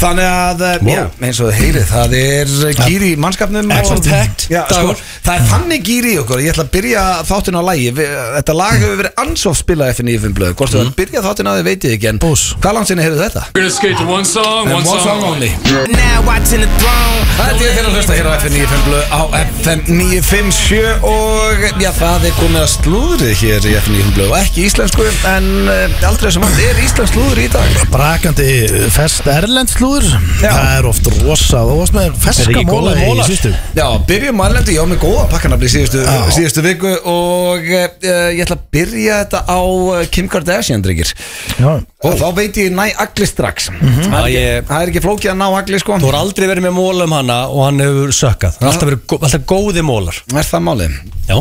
S1: Þannig að, eh,
S3: Wow.
S1: já, eins og þið heyrið, það er gýri í mannskapnum og-
S3: Excellent hacked,
S1: Já, sko,
S3: dagur.
S1: það er þannig gýri í okkur, ég ætla að byrja þáttin á lægi Þetta lag hefur verið ansóf spilað eftir nýjum blöð Hvort þú mm. að byrja þáttin á því veit ég ekki, en
S2: Búss.
S1: hvað langt sinni heyrðu þetta?
S4: We're gonna skate to one song, one,
S1: One
S4: song,
S1: song only.
S5: Now watching the throne.
S1: Það er því að þeirra hlusta hér á FM 95 blöð á FM 957 og já, það er komið að slúðrið hér í FM 95 blöð og ekki íslensku en uh, aldrei sem hann er íslensk slúður í dag
S2: Brakandi eh, fest erlend slúður
S1: Já.
S2: Það er oft rosa Þú varst með
S3: Er
S2: ferska
S3: ekki
S2: móla
S3: góðir
S2: í
S3: molar?
S2: sístu
S1: Já, byrjum mælendi, ég á mig góða pakkanabli síðustu, síðustu viku og uh, ég ætla að byrja þetta á eh, Kim Kardashian, drengir
S2: Já,
S1: og þá veit ég næ agli strax það,
S3: Já,
S1: er
S3: ég-
S1: ekki, það er ekki flókið að ná agli sko
S3: Mhm. Þú har aldrei verið með móla um hana og hann hefur sökkað Hann er alltaf, verið, gó- alltaf góði mólar
S1: Er það málið?
S3: Já,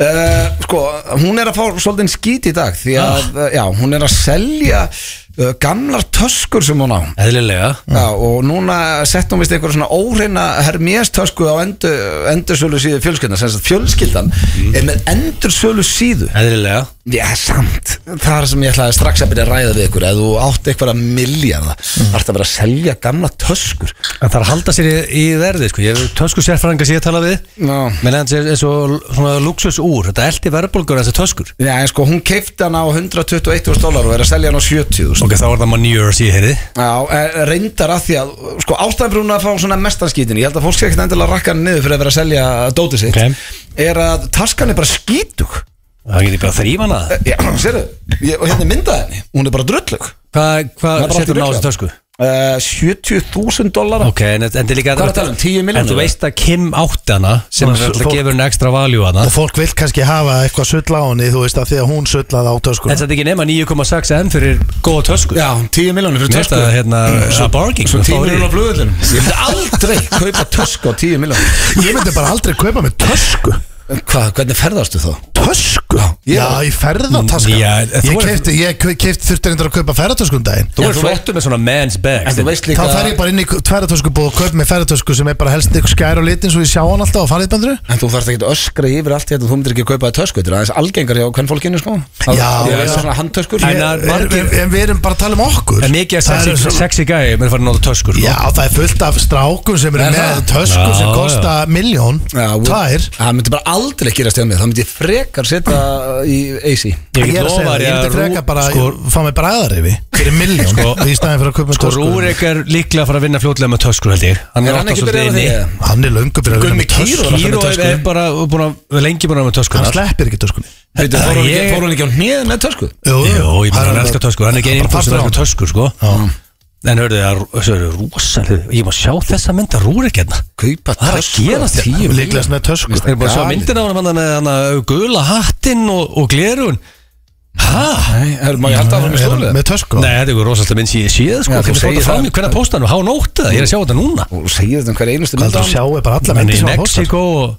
S1: Uh, sko, hún er að fá svolítið skít í dag því að, ah. já, hún er að selja uh, gamlar töskur sem hún á
S3: eðlilega
S1: Já, og núna sett hún vist einhverja svona óhreina herméstösku á endu, endursölu síðu fjölskyldan sem sagt fjölskyldan er með endursölu síðu
S3: Eðlilega
S1: Já, samt Það er sem ég ætlaði strax að byrja að ræða við ykkur eða þú átt einhverja milljarða mm. ætti að vera að selja gamla töskur
S3: En það er að halda sér í, í verði sko. Ég hef tösku sérfræðinga sem ég tala við
S1: Já.
S3: Menn hans er, er svo svona luxus úr Þetta eldi verðbólgur þessi töskur
S1: Já, en sko, hún keipti hana á 121.000 dólar og er að selja hana á 70.000
S3: Ok, þá er það manjur sem ég heyri
S1: Já, eh, reyndar að því að sko ástæðanbrúna að fá svona mestanskítin ég held að fólk sé ekkert endilega rakka hann niður fyrir að vera að selja dótið sitt,
S3: Ok.
S1: er að taskan er bara skítug Eh,
S3: Það getur bara að þrýfa hana
S1: [clears throat] Já, sérðu, ég, og hérna er myndað henni hún er bara drullug
S3: Hvað
S1: Það er
S3: hva
S1: bara allt í
S3: setur hann á
S1: ruglið.
S3: þessu tösku?
S1: Uh, 70.000 dollara
S3: Ok, en, en þetta er líka
S1: Hvað er að tala um, 10 milljónir?
S3: En þú veist að Kim átti hana sem
S2: Og
S3: er alltaf
S2: fólk-
S3: gefur henni ekstra valjú hana
S2: Og fólk vil kannski hafa eitthvað sull á henni Þú veist að því að hún sullaði á töskuna
S3: Þetta er ekki nema 9,6 M fyrir góða tösku
S1: Já, 10 miljónir fyrir tösku
S3: Mér finnst
S1: Mm.
S3: það hérna a bargain
S1: Svo
S3: að
S1: 10
S3: fá í.
S1: miljónir á flugvöldunum [laughs] Ég myndi aldrei kaupa tösku á 10 miljónir
S2: Ég myndi bara aldrei kaupa með tösku
S1: Hvað, hvernig ferðastu þá?
S2: Tösku? Já, ég ferðataska
S3: Já, þú
S2: Ég
S3: er-
S2: kefti, ég kefti þurfti reyndar að kaupa ferðatöskum daginn
S3: Þú
S1: Já,
S3: er
S1: þú
S3: flottur með svona man's bag sko.
S1: En þú veist
S2: Þá
S1: líka
S2: fer ég bara inn í ferðatösku búið og kaup með ferðatösku sem er bara helst ykkur skær og litin svo ég sjá hann alltaf á farliðbandru
S1: En þú þarfst ekki að öskra yfir allt þetta Þú myndir ekki að kaupa það tösku Þetta er aðeins algengar hjá hvern fólkinu sko Það-
S2: Já,
S1: Það er
S2: já.
S1: svona handtöskur
S3: En að-
S1: Ég-
S2: En
S3: margir-
S2: en við erum bara að tala um okkur
S3: En mikið
S2: Það
S3: sexy,
S2: eru svo-
S3: sexy gæi Mér farið að nota töskur sko.
S2: Já, það er fullt af strákum sem eru
S1: Er
S2: með
S1: það?
S2: tösku
S3: Já,
S2: sem
S3: já.
S2: kosta miljón,
S1: Já, og-
S2: tvær
S1: Það myndi bara aldrei gerast hjá mér Það myndi ég frekar setja í AC
S3: Ég
S2: Ég
S3: get
S2: er að segja
S3: lofa
S2: það,
S3: þér
S2: ég myndi
S3: að
S2: freka
S3: Rú-
S2: bara
S3: Sko,
S2: fá mig bræðar yfir fyrir miljón í staðin fyrir að kaupa með
S3: sko
S2: tösku
S3: Rúrik er líklega að fara að vinna fljótlega með töskur held ég Hann
S1: Er
S3: er
S1: hann
S3: alltaf
S1: ekki
S3: svolítið
S1: byrjað á
S3: inni
S1: því?
S2: Hann er löngu byrjað að
S1: Gummi
S2: vinna með
S1: Kýró
S2: tösku
S1: er alltaf
S3: Hero
S1: með tösku.
S3: er bara búin að vera lengi búin að vera með töskur
S2: Hann sleppir ekki töskunni
S1: Veitu, fór hann ekki-
S3: Ég-
S1: fór hann ekki á hnið með tösku?
S2: Jú,
S3: Jó, ég meina hann
S2: er-
S3: elskar töskur, hann er ekki
S2: hann
S3: einn
S2: bara
S3: fórstur
S2: partur á
S3: að elskar töskur sko En hörðu það, þessu eru rosalega Ég má sjá þessa mynda rúrik hérna
S1: Kaupa
S3: Hvað er að
S1: tösku á
S3: gerast hérna?
S1: 10 milljónir?
S2: Líklegast með tösku
S3: Ég er bara að sjá myndina á hann hann hann að gula hattinn og, og glerun Hæ?
S1: Nei, herru, má ég halda áfram í
S2: Er hann
S1: stólið?
S2: Með tösku
S3: Nei, þetta er rosalega mynd sem ég séð sko
S1: Já, þú
S3: Þú
S1: segir
S3: segir
S1: það.
S3: fram í hvernig postan og há nótið það, ég er að sjá þetta núna
S1: og segir þetta um hverja einustu
S2: Það er að sjá er bara alla
S3: Hann
S2: myndi
S3: er í
S2: sem hann postar
S1: sko.
S3: Mexiko og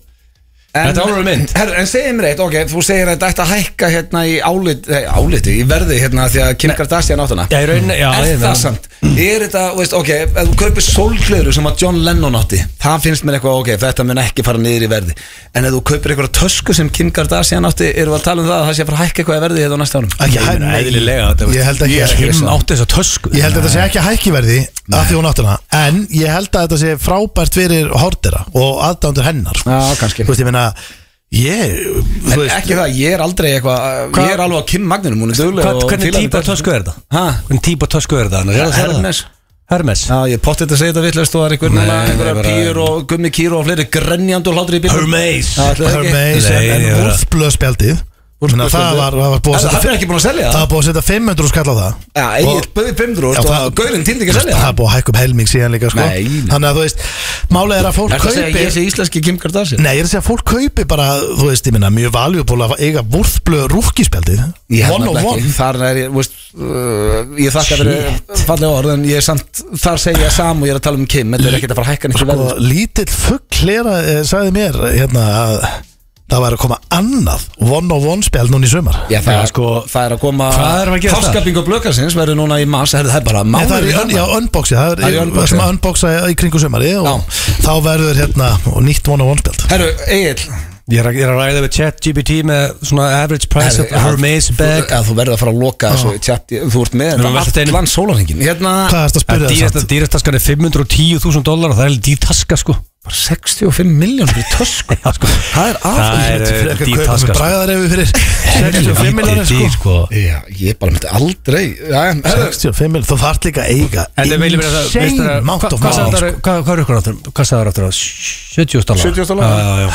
S3: Þetta er alveg mynd.
S1: Herru, en segjum mér eitt, ok, þú segir að þetta ætti að hækka hérna í álit, nei, áliti, í verði hérna því að Kim Kardashian átt hana
S3: Já, í rauninni, já,
S1: Er
S3: ég
S1: það
S3: meina-
S1: samt? Er þetta, þú veist, ok, ef þú kaupir sólgleru sem að John Lennon átti Það finnst mér eitthvað, ok, þetta mun ekki fara niður í verði En ef þú kaupir eitthvað tösku sem Kim Kardashian átti Erum við að tala um það að það sé að fara að hækka eitthvað í verði hérna á næsta árum?
S2: Ekki,
S3: Ég meina,
S2: nei,
S3: eðlilega, þetta var-
S2: Ég held ekki að
S3: Kim átti þessa tösku
S2: Ég held að þetta sé ekki að hækkiverði af því hún áttuna En ég held að þetta sé frábært fyrir hordera og aðdándur hennar sko.
S1: Já, kannski.
S2: Þú veist, ég meina Ég, þú
S1: En
S2: veist
S1: ekki það, ég er aldrei eitthvað
S3: Hvað-
S1: Ég er alveg á Kim Magnum, hún er dugleg
S3: Hvað-
S1: og
S3: Hvernig
S1: fílar
S3: típa
S1: þetta.
S3: tösku er þetta?
S1: Ha?
S3: Hvernig típa tösku er þetta? annars? Er það það?
S1: Hermes.
S3: Hermes
S1: Já, ég potti þetta að segja þetta vittlust og það er einhver núna,
S3: Nei,
S1: einhverjar
S3: bara-
S1: pýr og gummi kýr og fleiri grenjandi og hlátri í bílum
S3: Hermes
S1: Já, ætli það ekki?
S2: Hermes
S3: Nei,
S2: en
S3: ég verð að-
S2: úlfblöð spjaldið Þannig að það var, það var búið
S1: En
S2: að
S1: Það er
S2: setja
S1: ekki búin að selja
S2: Það
S1: það
S2: var búið að setja 500 skall á það
S1: Já,
S2: Og-
S1: Egil bauði 500
S2: Já,
S1: og
S2: það-
S1: gaurinn týndi ekki að selja
S2: Það
S1: það
S2: er búið að hækka upp helming síðan líka sko.
S1: Nei, nei.
S2: Þannig að þú veist, málega er að fólk
S1: Er það að segja að
S2: kaupi
S1: ég sé íslenski Kim Kardashian?
S2: Nei, ég er að segja að fólk kaupi bara, þú veist, ég minna, mjög valjúból að eiga vúrfblöð rúkispjaldið
S1: Ég held
S2: One on
S1: nefnilega
S2: one
S1: ekki, þar er ég, veist, uh, ég þakka fyrir fallega orð en ég er samt, þar segja ég sam og ég er að tala um Kim þetta er ekkert að fara að hækka nýtt í
S2: sko,
S1: verðin
S2: lítill fugglera eh, sagði mér hérna að það væri að koma annað one on one spjald núna í sumar
S1: Já, það,
S3: Já,
S1: er, sko,
S3: sko,
S1: það er að koma
S3: hvað erum við að gera þar?
S1: Háskaping og blökarsins verður núna í mars herri, Það er bara
S2: Nei, það er
S1: mánuður
S2: í
S1: í
S2: un, já,
S1: þarna.
S2: unboxi, það er,
S1: Það er í unboxi.
S2: sem að unboxa í kringu sumari og þá verður hérna og nýtt one on one spjald
S1: Herru, Egil
S3: Ég er, að- ég er að ræða við chat GPT með svona average price
S1: Herri,
S3: of Hermes
S1: þú-
S3: bag
S1: að Þú verður að fara að loka þessu tjatti Þú ert með
S3: Við erum alltaf
S1: þetta
S3: einum-
S1: allan sólarhingin Hérna
S2: Hvað er þetta að
S3: Það
S2: spyrja
S3: dýrasta,
S2: það?
S3: dýrasta taskan er 510.000 dólar og það er dýr taska sko
S1: bara 65 miljón fyrir tösku
S3: Já sko
S1: Það er
S3: Það
S1: aðeins
S2: Þetta
S3: er-
S2: er
S3: dýr
S2: fyrir að kaupa með
S3: taska, sko.
S2: bræðarefi
S3: [laughs]
S2: fyrir 65 miljonir
S3: Lítið dýr
S2: sko
S3: sko
S1: Já, ég bara myndi aldrei Já, herru,
S2: 65 miljonir, þú þarf líka að eiga
S3: En það veilum við að
S2: insane amount
S3: Hvað
S2: of
S3: hvað
S2: money,
S3: sagði
S2: sko.
S3: það- hvað- hvað er ykkur áttur? Hvað sagði það áttur á? 70 dólar
S1: 70 dollara?
S3: Já, já, já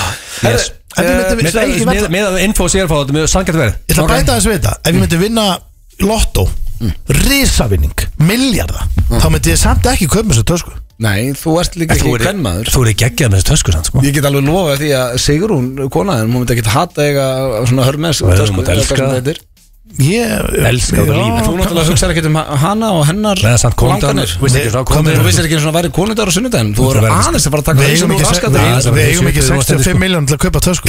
S1: Herru,
S3: Yes Eh,
S2: En við myndum- Nei, ég
S3: Með það-
S2: verð-
S3: með- Með að info sér fá þetta með sangjart verð
S2: Ég ætla að bæta þess við þetta
S3: Mm.
S2: Ef ég myndi vinna lottó Risavinning, miljardar
S3: Mm.
S2: Þá myndi ég samt ekki kaupa þessu tösku
S1: Nei, þú ert líka ekki kvennmaður
S3: Þú eru geggjað með þessu tösku sann sko
S1: Ég get alveg lofað því að Sigrún konaðin Hún myndi ekki hata eiga svona hörmes
S3: Nei, hún
S1: tösku,
S3: myndi
S1: eða
S3: elska
S1: hvað sem
S3: það.
S1: þetta er.
S2: Ég
S3: Elska
S2: Já,
S3: þetta líf.
S1: Þú náttúrulega hugsaði ekkert um hana og hennar
S3: Nei, það er samt konundan
S1: langanir.
S3: Þú veist ekki frá
S2: Kom
S1: Þú
S3: konundan
S1: vissir ekki einu svona að væri konundar og sunnudaginn Þú
S3: Það
S1: voru
S3: verður-
S1: aðeins að fara að taka
S2: Við eigum
S1: og
S2: ekki,
S1: raskandi
S3: Nei,
S2: við,
S3: það
S2: við
S3: var
S2: eigum ekki
S3: 70
S2: 65 miljónir til að kaupa
S3: [laughs]
S2: tösku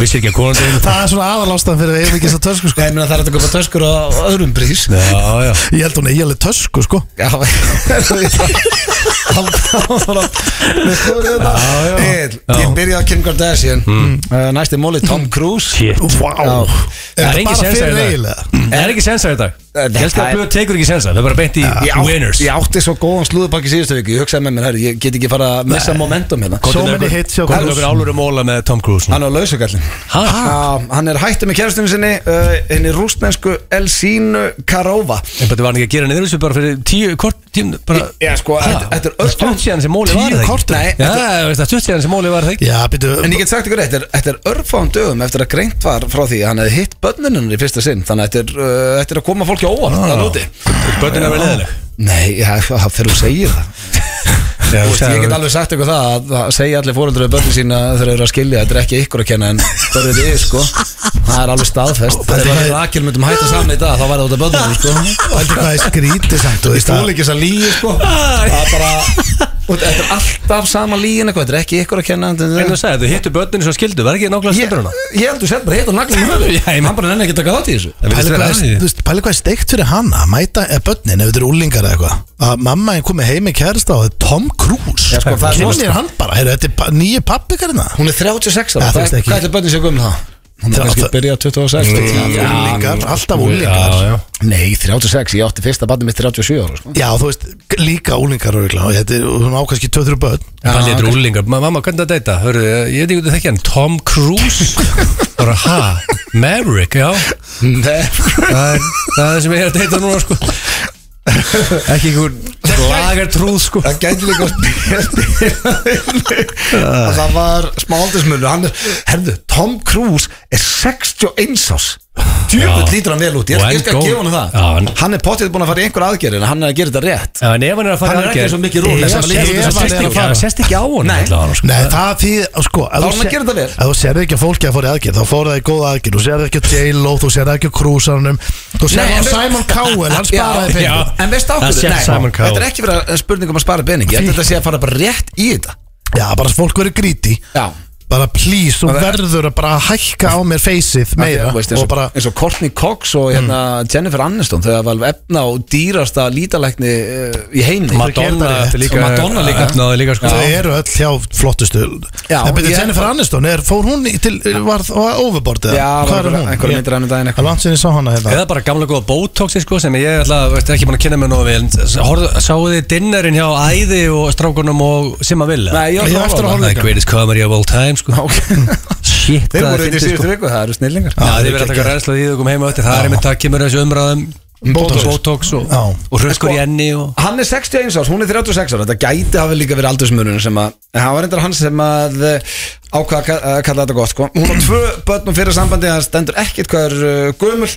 S3: Vissi Eh, ekki að konundan
S2: Það er svona aðalástan fyrir að við eigum ekki þessa tösku sko.
S1: Ég meina það er hægt að köpa töskur á á öðrum brís
S3: Já, já
S2: Ég held hún er íhjalið tösku sko
S1: Já, já, já Ég byrjaði á Kim Kardashian Eh, Næsti móli Tom Cruise
S3: Shit
S2: Vá
S3: Það
S2: Er þetta
S3: er engin
S2: bara
S3: sens
S2: fyrir
S3: að
S2: eiginlega?
S3: þetta Það er ekki sens að þetta
S1: Mm. Eh, Þetta
S3: Ég held að
S1: er-
S3: blöð tekur ekki sens að Það er bara beint í
S1: Ég, átt,
S3: winners
S1: ég átti svo góðan slúðupakki síðustu viku Ég hugsaði með mér, herri, ég get ekki fara að missa momentum hérna
S2: So many hits hjá
S3: Hvað er
S2: Cruise.
S3: okkur álur um óla með Tom Cruise?
S1: Hann er á lausugallin
S3: Hæ?
S1: Hann er hættu með kærastunum sinni uh, Henni rústnensku Elsínu Karova
S3: En betur var hann ekki að gera niður þessu bara fyrir tíu, kort tíum bara,
S1: Já, sko, þetta- þetta er öll-
S3: Stutt síðan sem móli var
S2: Tíu
S3: það
S2: korter?
S3: ekki
S1: Nei,
S3: Já, veist það, stutt síðan sem móli var það ekki
S2: Já, býtu
S1: En ég get sagt ykkur eitt, þetta er- þetta er örfáum dögum eftir að greint var frá því að hann hefði hitt börnunum í fyrsta sinn Þannig að þetta er, uh, þetta er að koma fólk fólki á óvart
S3: Ah.
S1: Það er úti
S3: Börnin er verið leðileg
S1: Nei, já, það fyrir þú segir það Þú veist, ég get alveg sagt eitthvað það að- að segja allir fóreldur við börnin sína þegar þeir eru að skilja þetta er ekki ykkur að kenna en börnir þið, sko það er alveg staðfest þegar við rakil myndum hætta saman í dag þá væri þetta börnum, sko
S2: Þetta er hvað ég skríti samt þú
S1: Ég
S2: veist,
S1: stúl ekki þess að líi, sko það er bara
S3: [laughs]
S1: og þetta er alltaf sama líin eitthvað þetta er ekki ykkur að kenna
S3: En þú sagði, þú hittu börnin svo skildu, var ekki nákvæmlega
S1: Ég,
S3: skildur hana?
S1: ég held þú sett bara hitt og naglið í höfuð Hann bara nenni ekki að taka þátt í þessu
S3: Það
S2: Pæli
S3: virðist vera
S2: hvað,
S3: aðeins
S2: er-
S3: í því.
S2: þú veist, pæli hvað er steikt fyrir hana að mæta eða börnin ef þetta eru úlingar eða eitthvað að mamma einn komið heim í kærasta og það er Tom Cruise
S1: Já, sko, það er
S2: kynni
S1: rosa-
S2: er hann bara, heyrðu, þetta er ba- nýju pappi karna
S1: Hún er 36 ára,
S2: Ja, þú
S1: hvað
S2: veist ekki.
S1: hvað ætlir bönni sér gömul það? Hún er
S2: Það-
S1: kannski
S2: það-
S1: að byrja 26 Já,
S2: úlingar, alltaf úlingar
S3: Já, já.
S1: Nei, 36, ég átti fyrsta bannum mitt 37 ára sko.
S2: já, þú veist, líka úlingar og og þetta er, hún á kannski 2-3 börn
S1: Já,
S3: Palli þetta
S1: ok.
S3: er úlingar, Ma- mamma hvernig það deyta? Hörru, ég veit ekki hvað það ekki hann, Tom [laughs] Cruise Bara ha, Maverick, já
S1: [laughs] Nei,
S3: Það er það er það sem ég er að deyta núna sko Ekki einhver lagar trúð sko
S1: það gæti líka að spila að það var smáldismunur hann er, herðu, Tom Cruise er 61 ás djöfull
S3: Já.
S1: lítur hann vel út, ég,
S3: Og
S1: ég
S3: enn
S1: skal
S3: góð.
S1: gefa hann það
S3: Já, hann-
S1: hann er pottið búin að fara í einhver aðgerðin hann er að gera þetta rétt
S3: Já, en ef hann er að fara
S1: Hann er ekki eins og Mickey Rourke,
S3: Ég-
S1: sem að líka út
S3: sést-
S1: eins og Mickey
S3: það sést ekki-
S1: Rourke.
S3: það sést ekki á hann
S1: Nei.
S3: allavega, sko.
S2: Nei, það því, sko
S1: Þá
S2: ef þú
S1: er hann að
S2: sér-
S1: gera þetta vel.
S2: Ef þú serði ekki að fólki að fóra í aðgerð, þá fóra það í góða aðgerð Þú serði ekki að J-Lo, þú serði ekki að Krúsanum Þú
S1: Nei,
S2: serði
S1: en
S2: að
S1: veist-
S2: Simon Cowell, hann
S1: [laughs] Já,
S2: sparaði
S1: já.
S2: pening
S1: En veist
S3: Það
S1: ákveður,
S3: sé Simon Cowell.
S1: þetta er ekki verið að spurning um að spara pening, ég held að þetta sé að fara bara rétt í þetta
S2: Já, bara fólk verið gríti
S1: Já,
S2: bara please, þú
S1: Það er-
S2: verður að bara hækka á mér feysið meira
S1: Þú veist, eins, og,
S2: og bara,
S1: eins og Courtney Cox og hérna, Jennifer Aniston þegar var efna og dýrasta lítalækni uh, í heimni
S3: Madonna
S2: Þeir gera þetta
S3: átti líka
S1: Og Madonna líka.
S3: Náði líka sko
S2: þau eru öll hjá flottustu
S1: Já,
S2: en byrja
S1: ég-
S2: Jennifer Aniston, er, fór hún í til, var það overboard eða?
S1: Já,
S2: Hvar er
S1: einhver-
S2: hún?
S1: einhverja myndir af henni um daginn eitthvað.
S2: Það er langt sinni sá hana hérna
S3: Eða bara gamla góða botoxi sko sem ég ætla, veist, ekki búin að kynna mér nógu vel en s- horfðu- Sáu þið dinnerinn hjá Æði og strákunum og Simma Villa?
S1: Nei, ég
S2: Ég
S1: var
S2: á eftir að horfa
S3: The
S2: líka.
S3: greatest comedy of all time sko
S1: [laughs]
S3: Shit,
S1: Þeir
S3: hvað
S1: voru
S3: fyndið,
S1: þetta í
S3: sko.
S1: síðustu viku, það eru snillingar
S3: Já, þið
S2: þeir
S3: verður að
S2: geggja.
S3: taka ræðslu því þau kom heima öttir Það er einmitt að kemur þessu umræðum
S2: Botox.
S3: Botox og,
S2: Já.
S3: og hröskur í enni og
S1: Hann er 61 árs, hún er 36 árs Þetta gæti hafi líka verið aldursmunurinn sem að en Hann var reyndar hann sem að eh, ákvað að ka- að kalla þetta gott sko. Hún var tvö börnum fyrir sambandi Það stendur ekkit hvað er uh, gömul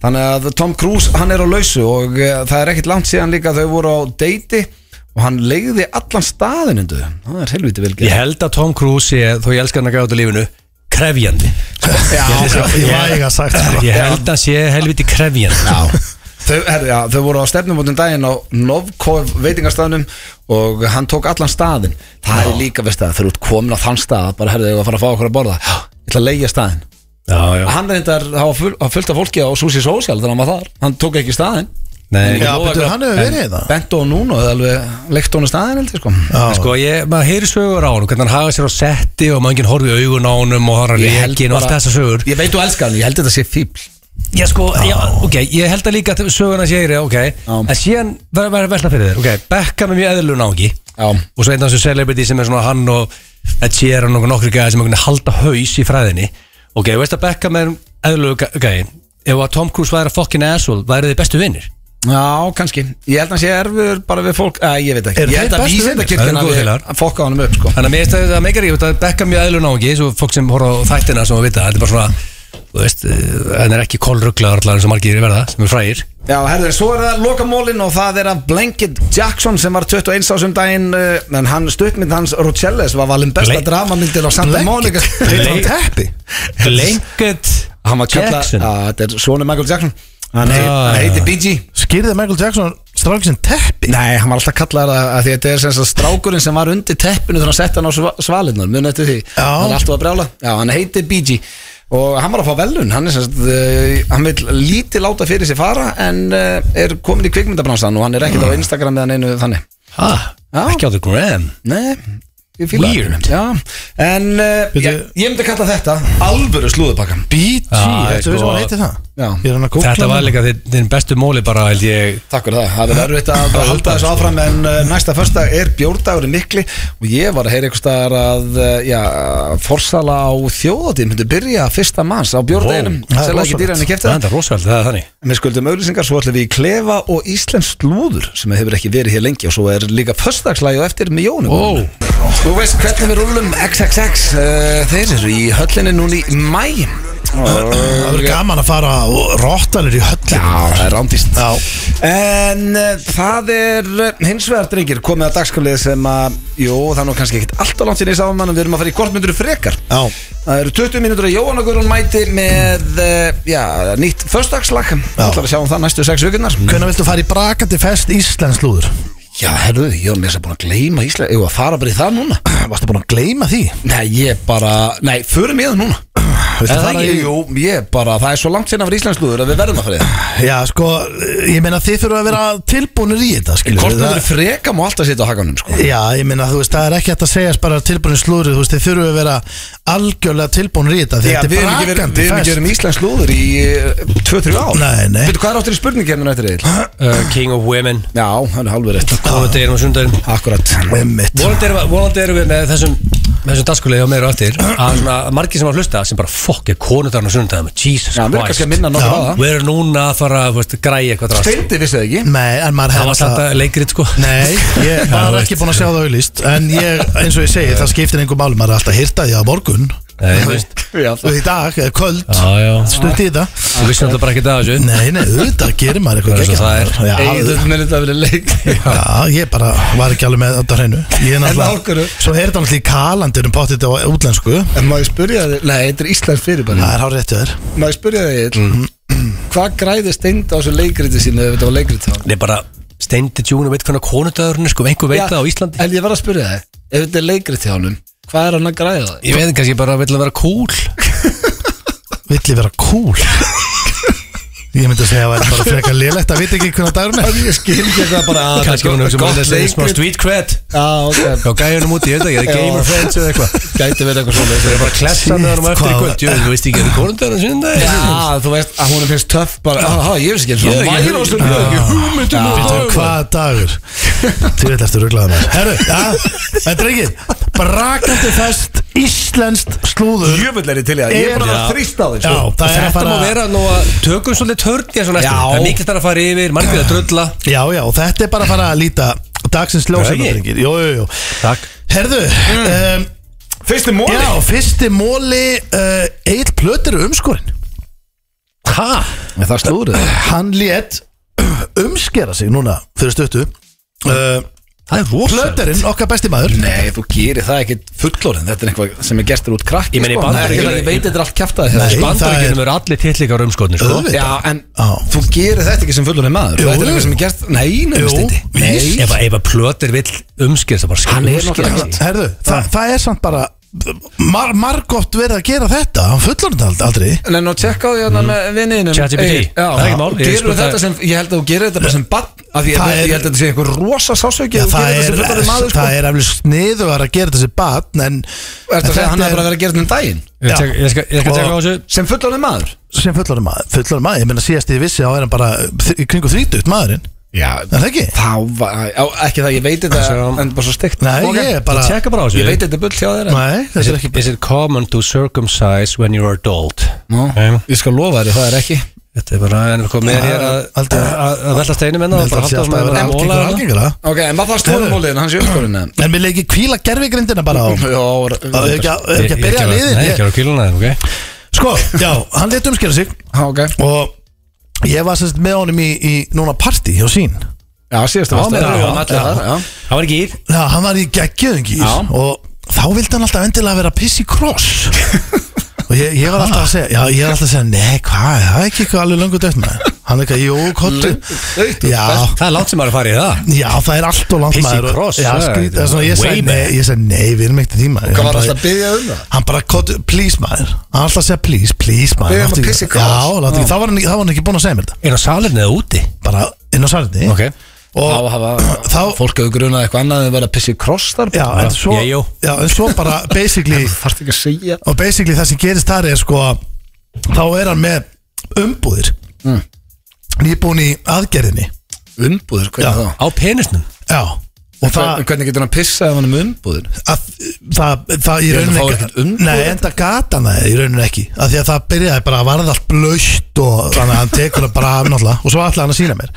S1: Þannig að Tom Cruise, hann er á lausu Og uh, það er ekkit langt síðan líka að Þau voru á deiti og hann legði allan staðin undir þau. Það er helviti vel
S3: Ég held að Tom Cruise sé, þó ég elskar hann að gæða út í lífinu Krefjandi
S1: Já,
S2: ég væg að sagt sko.
S3: Ég held að sé helviti krefjandi
S1: Já Þau, herri, já, þau voru á stefnumótum daginn á Novkov veitingastæðnum og hann tók allan staðin Það er líka veist að þau eru komin á þann stað bara herðu þau að fara að fá okkur að borða Já, ég ætla að leigja staðin
S3: Já, já
S1: Hann reyndar að hafa full, að fullta fólki á Susi Social þegar hann var þar Hann tók ekki staðin
S3: Nei,
S2: Já,
S3: ég lofa
S2: betur,
S3: hvað-
S2: hann hefur verið í það
S1: Bento og Nuno, það er alveg leikt honum staðin heldur sko
S3: En
S2: Já,
S3: Sko, ég, maður heyri sögur á hann hvernig hann haga sér á setti og maður enginn horfi í augun á honum og hann
S1: Ég
S3: er
S1: held
S3: leikin og allt
S1: bara-
S3: þessar sögur
S1: Ég veit þú elskar hann, ég held þetta sé fíbl
S3: Já, sko, já, ok, ég held að líka sögurna séri, ok, en síðan verður verður velta fyrir þér, ok, Beckham er mjög eðlun ági
S1: Já,
S3: og svo einn af þessu celebrity sem er svona hann og Ed Sheeran og nokkru gæði sem er halda haus í fræðinni ok, þú veist að Beckham er eðlögu gæði ef að Tom Cruise væri að fucking asshole væri þið bestu vinnir
S1: Já, kannski. Ég held að hann sé erfur bara við fólk, að ég veit ekki.
S2: Eru
S1: ég
S2: þeir
S1: held að
S2: bestu vinir?
S3: Það
S1: vísindakirkjan
S3: eru góðir félagar.
S1: að fokka honum upp, sko.
S3: þannig að mér finnst að það meikar ég veit að Beckham er eðlögu náungi svo fólk sem horfa á þættina sem að vita þetta er bara svona þú veist, eh, hann er ekki kolruglaður allar eins og margir verða sem er frægir
S1: Já, herðu, en svo er það lokamólin og það er að Blanket Jackson sem var 21 ásum daginn uh, en hann stuttmynd hans Rochelles var valin besta
S3: Blank-
S1: dramamyndin á Santa
S2: Blanket-
S1: Monica
S3: Blank-
S1: Heitir hann teppi
S3: Blanket
S1: Hann var kallað,
S3: Jackson
S1: að þetta er svona Michael Jackson Hann, heit,
S3: Ah.
S1: hann heiti BG
S2: skýrði Michael Jackson strákin sem teppi
S1: Nei, hann var alltaf kallað að, að því þetta er sem sagt strákurinn sem var undir teppinu þegar hann setti hann á sva- svalirnar mun eftir því,
S2: Já.
S1: hann er alltaf að brjála Já, hann heiti BG og hann var að fá velun hann er sem sagt, uh, hann vil lítið láta fyrir sér fara en uh, er komin í kvikmyndabransan og hann er ekkert á Instagram með hann einu þannig
S3: ha,
S1: Já.
S3: Ah. ekki á The Gram
S1: Nei, ég fíla
S3: Weird.
S1: það. Já, en uh,
S2: Bíddu.
S1: ég, ég myndi kalla þetta alvöru slúðupakka
S2: BG,
S3: Já,
S1: Ah,
S2: þetta er
S3: sko.
S2: hvað um hann heiti það
S1: Já.
S2: Ég er hann að googla
S3: þetta var
S2: hann.
S3: líka þinn þinn bestu móli bara held ég
S1: Takk fyrir það, það verður erfitt að að halda þessu áfram en uh, næsta förstak er bjórdagurinn mikli og ég var að heyra einhvers staðar að uh, já, forsala á þjóðatíð myndi byrja fyrsta manns á bjórdaginum
S2: það er
S1: selja ekki
S2: rosalegt.
S1: dýrann í kæfti
S3: það er rosalega, það er þannig
S1: Við skuldum auðlýsingar, svo ætlum við í klefa og íslensk slúður sem hefur ekki verið hér lengi og svo er líka föstagslægi og eftir með jónum
S3: Ó.
S1: eh, Þú veist hvernig við rúlum XXX uh, Þeir eru í höllinni núna í mæ
S2: Það verður gaman að fara og rottanir í höllin
S1: Já, það er rándist
S2: Já.
S1: En uh, það er eh, hins vegar drengir komið að dagskamlið sem að Jú, það er nú kannski ekkit alltaf langt inn í saman En við erum að fara í kortmyndur frekar
S2: Já.
S1: Það eru 20 mínútur að Jóhanna Guðrún mæti með uh, já, nýtt föstudagslag Það ætlar að sjá um það næstu sex vikurnar
S2: Hvernig viltu fara í brakandi fest Íslensk lúður?
S1: Já, herru, ég var með þess að búin að gleyma Ísland Ég var að fara bara í það núna
S2: [clears throat] Varstu búin að gleyma því?
S1: Nei, ég bara, nei, förum ég það núna
S2: [clears throat] Viltu
S1: Er
S2: fara
S1: það
S2: í-
S1: Jú, ég bara, það er svo langt sinna fyrir Íslandsluður að við verðum að fara í það
S2: Já, sko, ég meina þið þurfa að vera tilbúinir í þetta, skilur
S1: Kortmyndur freka má alltaf sitja á hakanum, sko
S2: Já, ég meina, þú veist, það er ekki hægt að segja bara tilbúinir slúður, þú veist, þið þurfa að vera algjörlega tilbúinir í þetta, því
S1: Já,
S2: þetta
S1: við
S2: er
S1: erum ekki verið,
S2: brakandi
S1: við erum ekki
S2: fest
S1: verið íslensk lúður í 2-3 ár
S2: Nei, nei.
S1: Veitu hvað er áttur í spurningkemnun eftir þig?
S3: uh, King of Women
S1: Já, hann er halvur rétt
S3: Góða deginum og sundaginn
S1: Akkurat
S2: Einmitt.
S3: Vonandi erum, vonandi erum við með þessum þessum dagskulegi á meira á eftir að svona margir sem var að hlusta sem bara fokk er konudarinn og sunnudagum Jesus
S1: Já, við erum kannski að
S3: Christ
S1: minna nokkuð á það
S3: Við erum núna að fara að veist, græja eitthvað drast
S1: Steindi vissi það ekki
S2: Nei, en maður
S3: Það
S2: hefði
S3: var samt að leikrit sko
S2: Nei,
S3: [laughs]
S2: ég
S3: þú
S2: var
S3: veist.
S2: ekki búin að sjá það auðlýst En ég, eins og ég segi, það skiptir einhver málum Maður er alltaf að hýrta því á morgun
S3: Nei, þú veist
S1: Já,
S2: Og í dag, eða kvöld,
S3: Já, já
S2: stutt í það
S3: Þú vissum alltaf bara ekki það þessu
S2: Nei, nei, auðvitað gerir maður
S3: Það
S2: eitthvað
S3: er svo það er.
S2: geggjað. Já,
S1: Eður með þetta að vera leik
S2: Já, ég bara var ekki alveg með þetta á hreinu Ég er
S1: af
S2: náttúrulega
S1: hverju?
S2: Svo er þetta náttúrulega í kalandir um pottið á útlensku
S1: En má ég spyrja þig, nei, þetta er íslensk fyrirbæri
S2: Það er hár réttið þér
S1: Má ég spyrja þig,
S3: Mhm.
S1: hvað græði Steindi á þessu leikriti sínu ef þetta var leikriti þá?
S3: Nei, bara steindi tjúnu veit hvernig konudagurinn er, sko einhver veit það á Íslandi
S1: En ég var að spyrja þig, ef þetta er leikriti á hann Hvað er hann að græða það?
S3: Ég veit kannski bara að vilja vera cool
S2: Vill ég vera cool [laughs] Ég myndi að segja að það er bara frekar lélegt Það veit ekki hvernig dagurinn er
S1: Ég skil ekki eitthvað [laughs] bara að
S3: Kannski hún hefur sem að lesa smá street cred
S1: Já, ok
S3: Já, gæjunum úti, ég veit ekki, ég er
S1: Já.
S3: gamer friends eða eitthvað
S1: [laughs] Gæti verið eitthvað svoleiðis.
S3: Það er bara að klessa með honum á eftir í
S2: Hvað-
S3: kvöld Jú, þú veist ekki, er konundagurinn sunnudaginn
S1: Já, þú veist að hún er fyrst töff bara, já, já, ég veist ekki
S3: Ég er ekki-
S1: ég er ekki hugmyndum
S2: Vittu hvað dagur Þú veit eftir rugglaða maður Herru, já, þetta er ekki Brakandi fest, íslenskt slúður
S1: Jöfull er ég til í það, ég er bara að þrýsta á þig
S2: Já,
S1: sko.
S2: það er
S3: Þetta
S2: að
S3: má
S2: fara
S3: vera nú að tökum svolítið törn í þessu næstu
S1: Já.
S3: Það er mikið þar að fara yfir, margir að drölla
S2: Já, já, þetta er bara að fara að líta Dagsins
S3: Já, ég.
S2: ljósefnir Jú, jú, jú
S3: Takk Mm.
S2: Herðu, um,
S1: Fyrsti móli
S2: já, fyrsti móli uh, Eitt plötur umskorinn
S3: Ha?
S1: Það slúður
S2: Hann lét umskera sig núna Fyrir stuttu uh,
S3: Það er rosa
S2: Plöturinn, okkar besti maður
S1: Nei, þú gerir það ekkit fullorinn Þetta er eitthvað sem er gestur út krakk
S3: Ég meina, í Bandaríkjunum-
S1: Ég veit þetta er allt kjaftaði
S2: Nei.
S1: þetta
S3: Bandaríkjunum eru allir tittlikar umskotnir sko
S2: Auðvitað.
S1: Já, en
S2: Já.
S1: þú gerir þetta ekki sem fullorinn maður
S2: Jú,
S1: Þetta er
S2: jú.
S1: eitthvað sem er gert Nei,
S2: Jú,
S1: nefnist þetta
S2: víst.
S1: Nei
S3: Ef að- ef að plötir vill umskera það bara skil
S1: Hann er
S3: umskera
S1: náttúrulega-
S3: sig.
S2: Herðu, þa það er samt bara mar Margótt verið að gera þetta Hann fullorinn aldrei
S1: Nei, nú tjekka á því
S2: Mm.
S1: hérna með vinninum
S3: ChatGPT.
S1: Já,
S3: Það er ekki mál, ég
S1: gerur
S3: sko, það-
S1: þetta sem Ég held að þú gerir þetta bara sem bann Af því
S2: Það
S1: að-
S2: er-
S1: ég held að þetta sé einhver rosa sásauki
S2: Já,
S1: Þú
S2: það
S1: gerir þetta
S2: er,
S1: sem fullorinn maður sko
S2: það er eflið sniðugar að gera þessi batn en
S1: Ertu að segja að hann er bara að vera að gera þetta um daginn
S3: Ég tek- Ég skal ég skal
S2: Og-
S3: tjekka á þessu
S1: Sem fullorðin maður
S2: sem fullorðin maður, fullorðin maður, ég meina síðast ég vissi þá er hann bara þ- í kringu þrítugt maðurinn
S1: Já
S2: er það ekki?
S1: Þá var, á, ekki það, ég veit þetta
S3: Svo-
S1: En bara svo stygt
S2: Nei, ég er bara,
S3: Ég tjekka bara á
S1: Ég veit
S3: þessu
S1: þetta er bull hjá þér en-
S2: nei,
S3: Is
S2: þessi er
S3: it,
S2: ekki
S3: is it common to circumcise when you're adult?
S1: Nú,
S3: Ok.
S1: Ég skal lofa þér, það er ekki
S3: Þetta er bara en við komum með hér að
S2: Aldrei-
S3: að- að velta steinum enna og
S2: Þetta
S3: bara
S2: sé
S3: halda þessum
S2: alltaf að
S3: hérna. að vera
S2: vera
S3: að móla
S2: algengur og
S3: þarna.
S2: algengur það.
S1: Ok, en var það stóra
S2: Heyrðu.
S1: móliðin, hans í öllskólinu
S2: en mér leikir kvíla gerfigrindina bara á
S1: Já, var-
S2: Það er ekki að- er ekki að
S3: Ég- ég
S2: byrja að
S3: gera- Nei, ég
S2: liðin
S3: gerur kýluna þeim, ok?
S2: sko, já, hann leti umskera sig
S1: Já, ok
S2: og ég var sérst með honum í, í núna partí hjá sín
S1: Já, síðastu
S3: Já,
S1: varstu.
S3: með
S1: Já,
S3: rauðan allir
S1: já,
S3: þar.
S1: já.
S3: Það var ekki ír
S2: já, hann var í geggjöðingi
S1: Já.
S2: og þá vildi hann alltaf endilega vera piss í kross og ég, ég var alltaf að segja já, ég var alltaf að segja, nei, hvað, það er ekki eitthvað alveg löngu dött maður, hann er eitthvað, jú,
S1: dautt,
S2: kottu já,
S3: Ah, Það er langt sem maður að fara í það
S2: Já, það er allt og langt
S3: Pissi
S2: maður og-
S3: kross,
S2: Já,
S3: það er-
S2: skrýt, það er svona, ég
S3: way
S2: segi
S3: back.
S2: nei, ég segi nei, við erum ekkert í tíma
S1: Hvað var alltaf að byggja um það?
S2: Hann bara, "Kottu, please maður Hann alltaf að segja please, please maður
S1: Biðja um
S2: láttu
S1: að
S2: ekki-
S1: pissi kross.
S2: Já, láttu ekki, þá var hann- þá var hann ekki búin að segja mér þetta
S3: Er það salirni eða úti?
S2: Bara inn á sarni
S1: Þá
S2: Og
S1: hafa
S2: þá-
S1: Fólk hefur grunað eitthvað annað en verið að pissi í kross þar
S2: Já, en svo,
S3: ég, jú.
S2: já, en svo bara basically
S1: Þarftu ekki að segja
S2: og basically það sem gerist þar er sko að þá er hann með umbúðir nýbúin í aðgerðinni
S1: Umbúður,
S2: Já.
S1: hvernig þá?
S3: Á penisnum
S2: Já, og það
S1: Hver- Hvernig getur hann að pissa ef hann er með umbúður?
S2: að það, það í
S1: Ég held að
S2: rauninni
S1: fá ekkert hérna. umbúðir.
S2: Nei, enda gata hann það í rauninni ekki af því að það byrjaði bara að varða allt blöitt og þannig að hann tekur það bara af náttúrulega og svo ætlaði hann að sína mér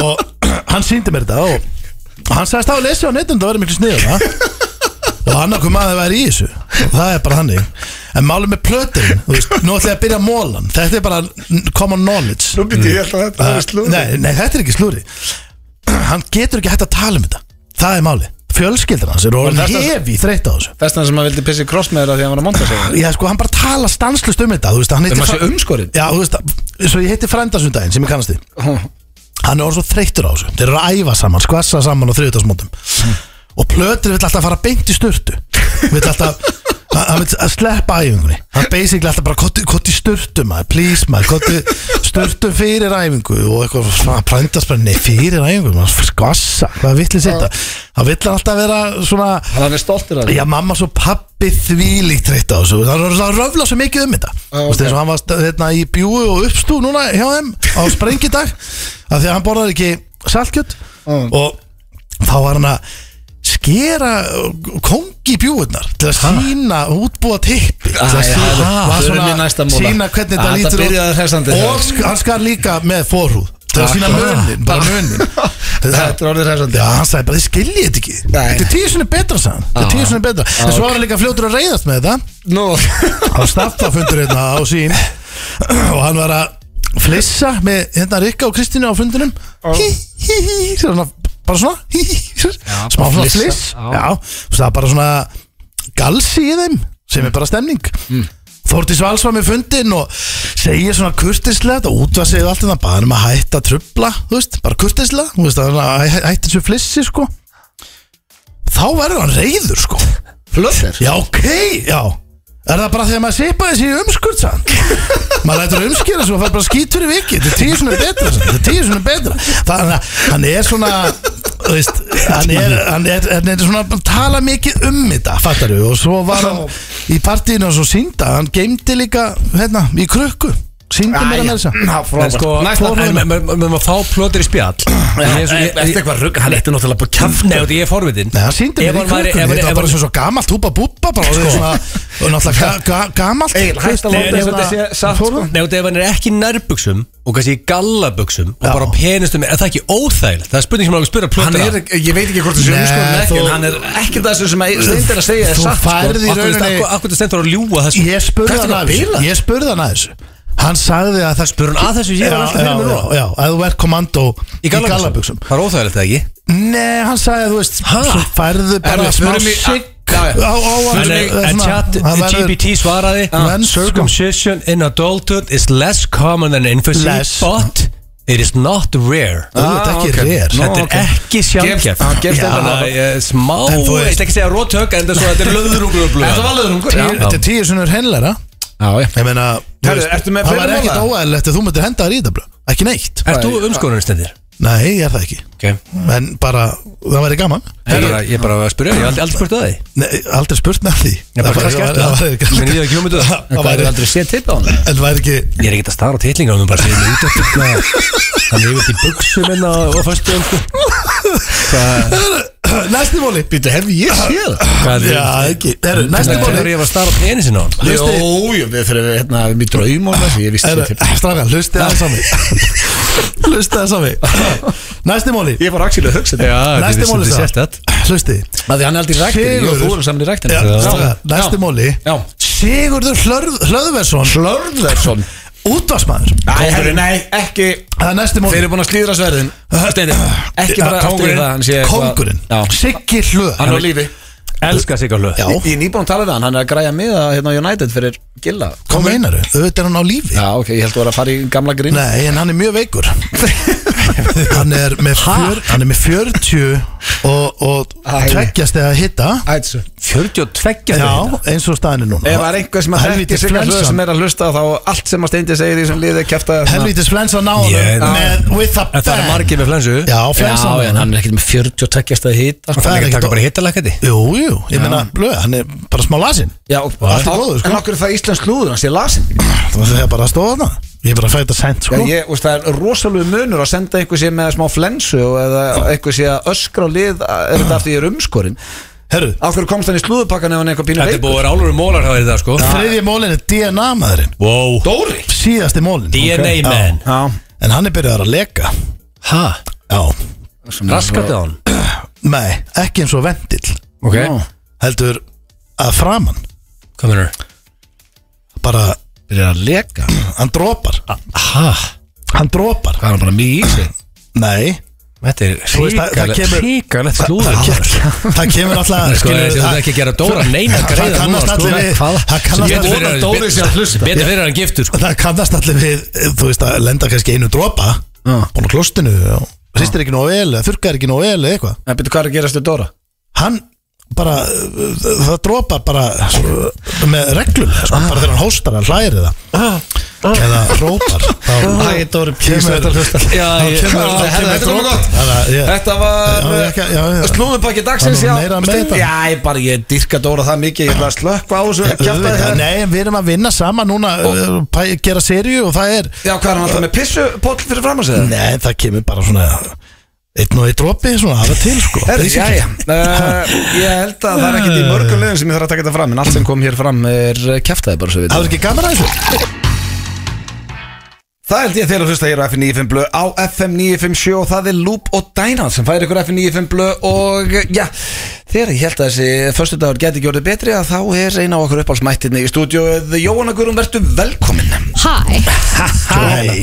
S2: [clears throat] og hann síndi mér þetta og hann sagðist að lesa á netinu það verið miklu sniður það og annarkur maður væri í þessu og það er bara hannig en málið með plötin, þú veist, nú ætla ég að byrja mólan þetta er bara n- common knowledge
S1: Nú býtti ég alltaf þetta
S2: Uh, nei, nei, þetta er ekki slúri [clears throat] hann getur ekki hægt að tala um þetta það er málið, fjölskyldan hans er orðin
S1: þetta-
S2: hefi þreytt á þessu
S1: Þessna sem að vildi pissi kross með þér að því að hann var að monta sig
S2: Já, sko, hann bara tala stanslust um þetta Þú veist, hann heitir
S1: Um að sé
S2: fræ-
S1: umskorinn?
S2: Já, þú veist, svo ég heiti frændasundaginn sem ég kannast þið Hann er orðið svo þreyttur á þessu Þeir eru að æfa saman, skvassa saman á þriðutagsmótum Og plötur vill alltaf fara beint í sturtu Vill alltaf hann- Hann vill að sleppa æfingunni Hann basically alltaf bara Kottu, kottu í sturtu maður, please maður Kottu sturtu fyrir æfingu Og eitthvað svona frændast bara Nei, fyrir æfingu, maður skvassa Hvað vill ég setja Hann vill alltaf vera svona
S1: Hann er stoltur að því
S2: Já, mamma svo pappi þvílíkt reyta á þessu Það það röfla svo mikið um þetta Þú veist, eins og hann var st- hérna, í bjúu og uppstú núna hjá þeim á sprengidag af því að hann borðar ekki saltkjöt og þá var hann að skera kongi bjúurnar til að sína útbúa tippi til
S1: Æ,
S2: að
S1: hæ,
S2: sína, var
S1: förum í
S2: svona,
S1: næsta móla.
S2: sína hvernig
S1: Æ,
S2: þetta
S1: þetta
S2: lítur
S1: byrjaði hressandi
S2: út
S1: þegar.
S2: og sk- hann skar líka með forhúð til að sína
S1: Akkurat.
S2: munin bara munin
S1: [laughs] Þetta er orðið hressandi
S2: Já, hann sagði bara, þið skiljið þetta ekki
S1: Nei.
S2: Þetta er tíu sinni betra, sagði hann Þetta er tíu sinni betra En svo var hann líka fljótur að reyðast með þetta
S1: Nú
S2: Á staftafundur hérna á sín Og hann var að flissa með hérna Rikka og Kristínu á fundinum Hí, hí, hí, svona, bara svona hí, hí, hí, Smá
S3: bara
S2: svona
S3: flissa,
S2: fliss
S3: já.
S2: Já, þú veist, það er bara svona galsi í þeim Sem er bara stemning
S3: Mm.
S2: Þórdís Vals var með fundin og segir svona kurtislega og útvað segir allt þetta bara um að hætta að trubla, þú veist, bara kurtislega, þú veist, að hæ- hætta þessu flissi, sko þá verður hann reyður sko
S1: Flöður
S2: Já, ok, já Er það bara þegar maður sipa þessi í umskurt sann?
S3: [laughs]
S2: maður lætur umskýra svo og fær bara skítur í viki Þetta er tíu svona betra sann Þetta er tíu svona betra Þannig að hann er svona þú veist, hann, er, hann, er, hann er svona að tala mikið um þetta Fattar við Og svo var hann í partíinu og svo sínda Hann geimdi líka hérna í krukku Sýndi mér að með þessa
S3: En sko,
S1: Næsta
S3: en
S1: fórum
S3: með- með- með maður fá plötur í spjall Ég er svo- ég-
S1: Eftir eitthvað rugg Hann eittu náttúrulega bara sko.
S3: Nei, og því ég er forvitin
S2: Nei, hann sýndi mér
S3: Ef
S2: í
S3: hann væri-
S2: krukkunni
S3: ef hann-
S2: Þetta
S3: ef
S2: var bara
S3: hann- Sko.
S2: svo, svo gamalt húpa búpa Bara orðið svona Og náttúrulega ga- ga- gamalt
S1: Egil, hætt að láta
S2: Nei, nei,
S1: þess að þetta
S2: þetta
S1: sé
S2: sé-
S1: satt sko
S2: Fórum.
S3: Nei, og ef hann er ekki í nærbuxum og kannski í gallabuxum
S2: Já.
S3: og bara á penustum, er það ekki óþægilegt? Það er spurning sem hann á að spyrra
S1: Hann
S3: plötur
S1: er,
S3: að
S1: ég veit ekki hvort það sé umskorinn
S2: Nei,
S1: eða ekki
S2: þú-
S1: En hann er ekki það sem að steindir að segja er
S2: Þú
S1: satt sko.
S2: færð í rauninni
S3: Akkur það stendur að ljúa þessu
S2: Ég spurði
S3: Ertu
S2: hann
S3: eitthvað
S2: að þessu
S3: bilað?
S2: Ég spurði hann að þessu Hann sagði að það
S3: Spurði hann að þessu? Ég
S2: Já,
S3: var alltaf fyrir
S2: já,
S3: mér núna.
S2: já, Já, að þú ert kommando
S3: Í gallabuxum Það er óþægilegt það ekki?
S2: Nei, hann sagði að þú veist
S3: Ha?
S2: Svo færðu bara
S1: Erðu,
S2: smá
S1: förum í-
S2: sigg
S1: Já, já.
S2: Á, á,
S3: En,
S2: á
S3: en chat GPT svaraði
S2: Menn, sko.
S3: Circumcision in adulthood is less common than infancy
S2: Less.
S3: But it is not rare
S2: Þú ert ekki
S1: Ah, ok.
S2: rér
S1: Nó,
S3: Þetta
S1: ok.
S3: er ekki sjálfkjæft
S1: Gefst- já, gefst
S3: Þannig
S1: eitthvað.
S3: að ég smá
S2: En þú
S3: Ég
S2: veist-
S3: ætla ekki að segja rótök En þetta er svo- þetta er löðrungur og blöð
S1: Þetta var löðrungur,
S2: Tíu- Þetta er tíu sunnur henlæra
S1: Já, já
S2: Ég meina þú
S1: Herru,
S2: veist,
S1: ertu með
S2: Það
S1: fleiri
S2: var ekkert
S1: mála?
S2: óæðilegt að þú myndir henda þér í þetta blöð. Ekki neitt
S3: Ert þú umskorunir stendir?
S2: Nei, ég er það ekki
S3: Okay.
S2: En bara, það væri gaman
S3: Ég, bara- ég bara var að spyrja, ég hef aldrei, aldrei spurt að því
S2: Nei, aldrei spurt með því
S3: Ég bara kannski
S2: var-
S3: eftir það
S2: var-
S3: Ég meina, ég hef ekki hugmynd um það.
S2: Það
S1: Hvað
S2: væri-
S1: er aldrei séð tipp á hann?
S2: [laughs] En það væri ekki
S3: Ég er ekkert að stara á titlinga um bara að segja mig út eftir hvað Hann hefur því buksum en að fyrstu um
S2: Næsti móli Býtu, hef ég séð
S3: Hvað er-
S2: Já, ekki Heru, Næsti
S3: Þetta er
S2: móli
S3: ég var að stara á penisin á hann
S1: Jó, jú, við fyrir við hérna Við draum og þessi, ég vissi tipp
S2: Straka, hlusti það
S1: [laughs]
S2: sami Hlusti það sami Næsti móli
S1: Ég var axil að hugsa þetta
S3: Já,
S2: Næsti móli
S3: er
S2: sagði.
S3: sérstætt
S2: Hlusti
S1: Það því hann er aldrei ræktir Ég og þú
S2: Sigurður.
S1: erum saman í ræktin
S2: Já, strákar, Næsti móli
S1: Já.
S2: Sigurður Hlörð- Hlöðversson
S1: Hlörðlersson
S2: Útvarsmaður
S1: Nei, nei, ekki
S2: Það er næsti móli
S1: Þeir eru búin að slíðra sverðin Steini, Ekki bara aftur í
S2: Uh, Kóngurinn,
S1: það hann sé eitthvað-
S2: Kóngurinn
S1: Já.
S2: Siggi
S1: Hann er á
S2: Hlöð
S1: lífi
S3: Elskar sig á hlöð
S2: Já.
S1: Ég ég er nýbúin að tala við hann Hann er að græja miða hérna á United fyrir Gilla
S2: Hvað meinaru? Auðvitað er hann á lífi
S1: Já, ok, ég held að vera að fara í gamla grín
S2: Nei, en hann er mjög
S1: [laughs]
S2: veikur Hann er með, fjör, hann er með 40 og, og
S1: Æ.
S2: tveggjast eða hitta
S1: Ætsu
S3: 42
S2: Já, eins og staðinu núna
S1: Ef það er einhver sem að þekki
S2: Helvítis
S1: sig að hlöð
S2: flensan.
S1: sem er að hlusta þá allt sem að Steindi segir í sem liði Hérna. kæfta
S2: Helvítis flensa náður
S3: Ég-
S2: með with a
S3: En það er
S2: bang
S3: margir með flensu
S2: Já, flensa
S1: Já, en hann er ekkert með 42 stað hýta
S3: Það
S2: það
S3: er
S2: er
S3: ekki
S2: ekkert
S3: taka
S2: á-
S3: bara hittalækati
S2: Jú, jú, ég meina, blöð, hann er bara smá lasin
S1: Já,
S2: Allt í góðu, sko.
S1: En okkur er það íslensk lúður, hann sé lasin
S2: Það er bara að stóða það Ég er bara að fæta sent,
S1: Já,
S2: sko
S1: ég, veist, það er rosalega munur að senda einhver sé með smá flensu og eða einhver sé að öskra og lið er þetta aftur ég er umskorinn
S2: Herru,
S1: Af hverju komst hann í slúðupakkan ef hann er eitthvað pínu
S3: Þetta er
S1: veikur?
S3: búið að vera álur mólar hjá þér í dag sko
S2: þriðji mólin er DNA maðurinn
S3: Wow
S1: Dóri
S2: Síðasti mólin
S3: DNA man
S1: Já,
S2: En hann er byrjaður að leka
S3: Ha?
S2: Já,
S3: Raskat á hann
S2: nei, ekki eins og vendill
S3: Ok
S1: Já.
S2: heldur að framann
S3: Hvað mennur?
S2: bara,
S4: Byrjar að leka
S2: hann dropar
S3: Ah. Aha
S2: hann dropar,
S4: Það er hann bara mikið í sig
S2: nei
S3: Þetta er
S2: Þú veist, það- það kemur-
S3: hríkalegt
S2: það,
S3: slúður
S2: það, ke- [laughs] það kemur alltaf
S3: Sko,
S2: skilur,
S3: þú ert ekki að gera Dóra neina
S2: það-
S3: greiða
S2: það
S3: núna,
S2: kannast
S3: sko.
S2: allir við
S3: Hvað?
S2: það kannast
S3: Betur
S2: allir-
S3: fyrir að-
S4: Dóri sé að hlusta.
S3: Betur fyrir að hann giftur sko.
S2: það kannast allir við eh, þú veist að lenda kannski einu dropa
S3: Ah.
S2: búin á klostinu og hristir ekki nóg vel eða þurkar ekki nóg vel eða eitthvað
S1: En betur hvað er að gerast við Dóra?
S2: hann bara uh, það dropa bara svo, með reglum sko, bara þegar hann hóstar hann hlæri það eða hrópar þá
S4: Æ, Dóri,
S2: kemur
S4: please,
S2: hlusta
S3: Já,
S2: þá
S3: ég-
S2: kemur þá
S1: Þetta
S2: kemur
S1: þetta kom
S2: dropa.
S1: gott.
S3: Hérna,
S2: Þannig að ég-
S1: Þetta
S2: Já,
S1: var eh,
S2: ég ekki- já, já.
S1: slúðumpakki dagsins
S2: Það
S1: já,
S2: var meira með
S1: Stund-
S2: þetta.
S1: já, ég bara, ég dyrka Dóra það mikið Ég ætla að slökka á þessu kjaftaði
S2: Auðvitað,
S1: hérna.
S2: Nei, en við erum að vinna saman núna uh, pæ- gera serju og það er
S1: Já, hvað er hann alltaf með pissupoll fyrir fram að segja?
S2: Nei, það kemur bara svona einn og einn dropi svona aða til sko
S1: Herri, já,
S2: basically.
S1: já, ég held að það er ekkert í mörgum liðum sem ég þarf að taka þetta fram En allt sem kom hér fram er kjæftæði bara svo við
S2: Það er ekki gaman að þessu
S1: Það held ég þegar að hlusta hér á FM 95 blö á FM 957 og það er Loop og Dynan sem færir ykkur FM 95 blö og já, þegar ég held að þessi förstu dagur geti gjörðið betri að þá er eina á okkur uppálsmættinni í stúdíu Jóhanna Guðrún, verður velkomin
S6: Hæ,
S1: Hæ,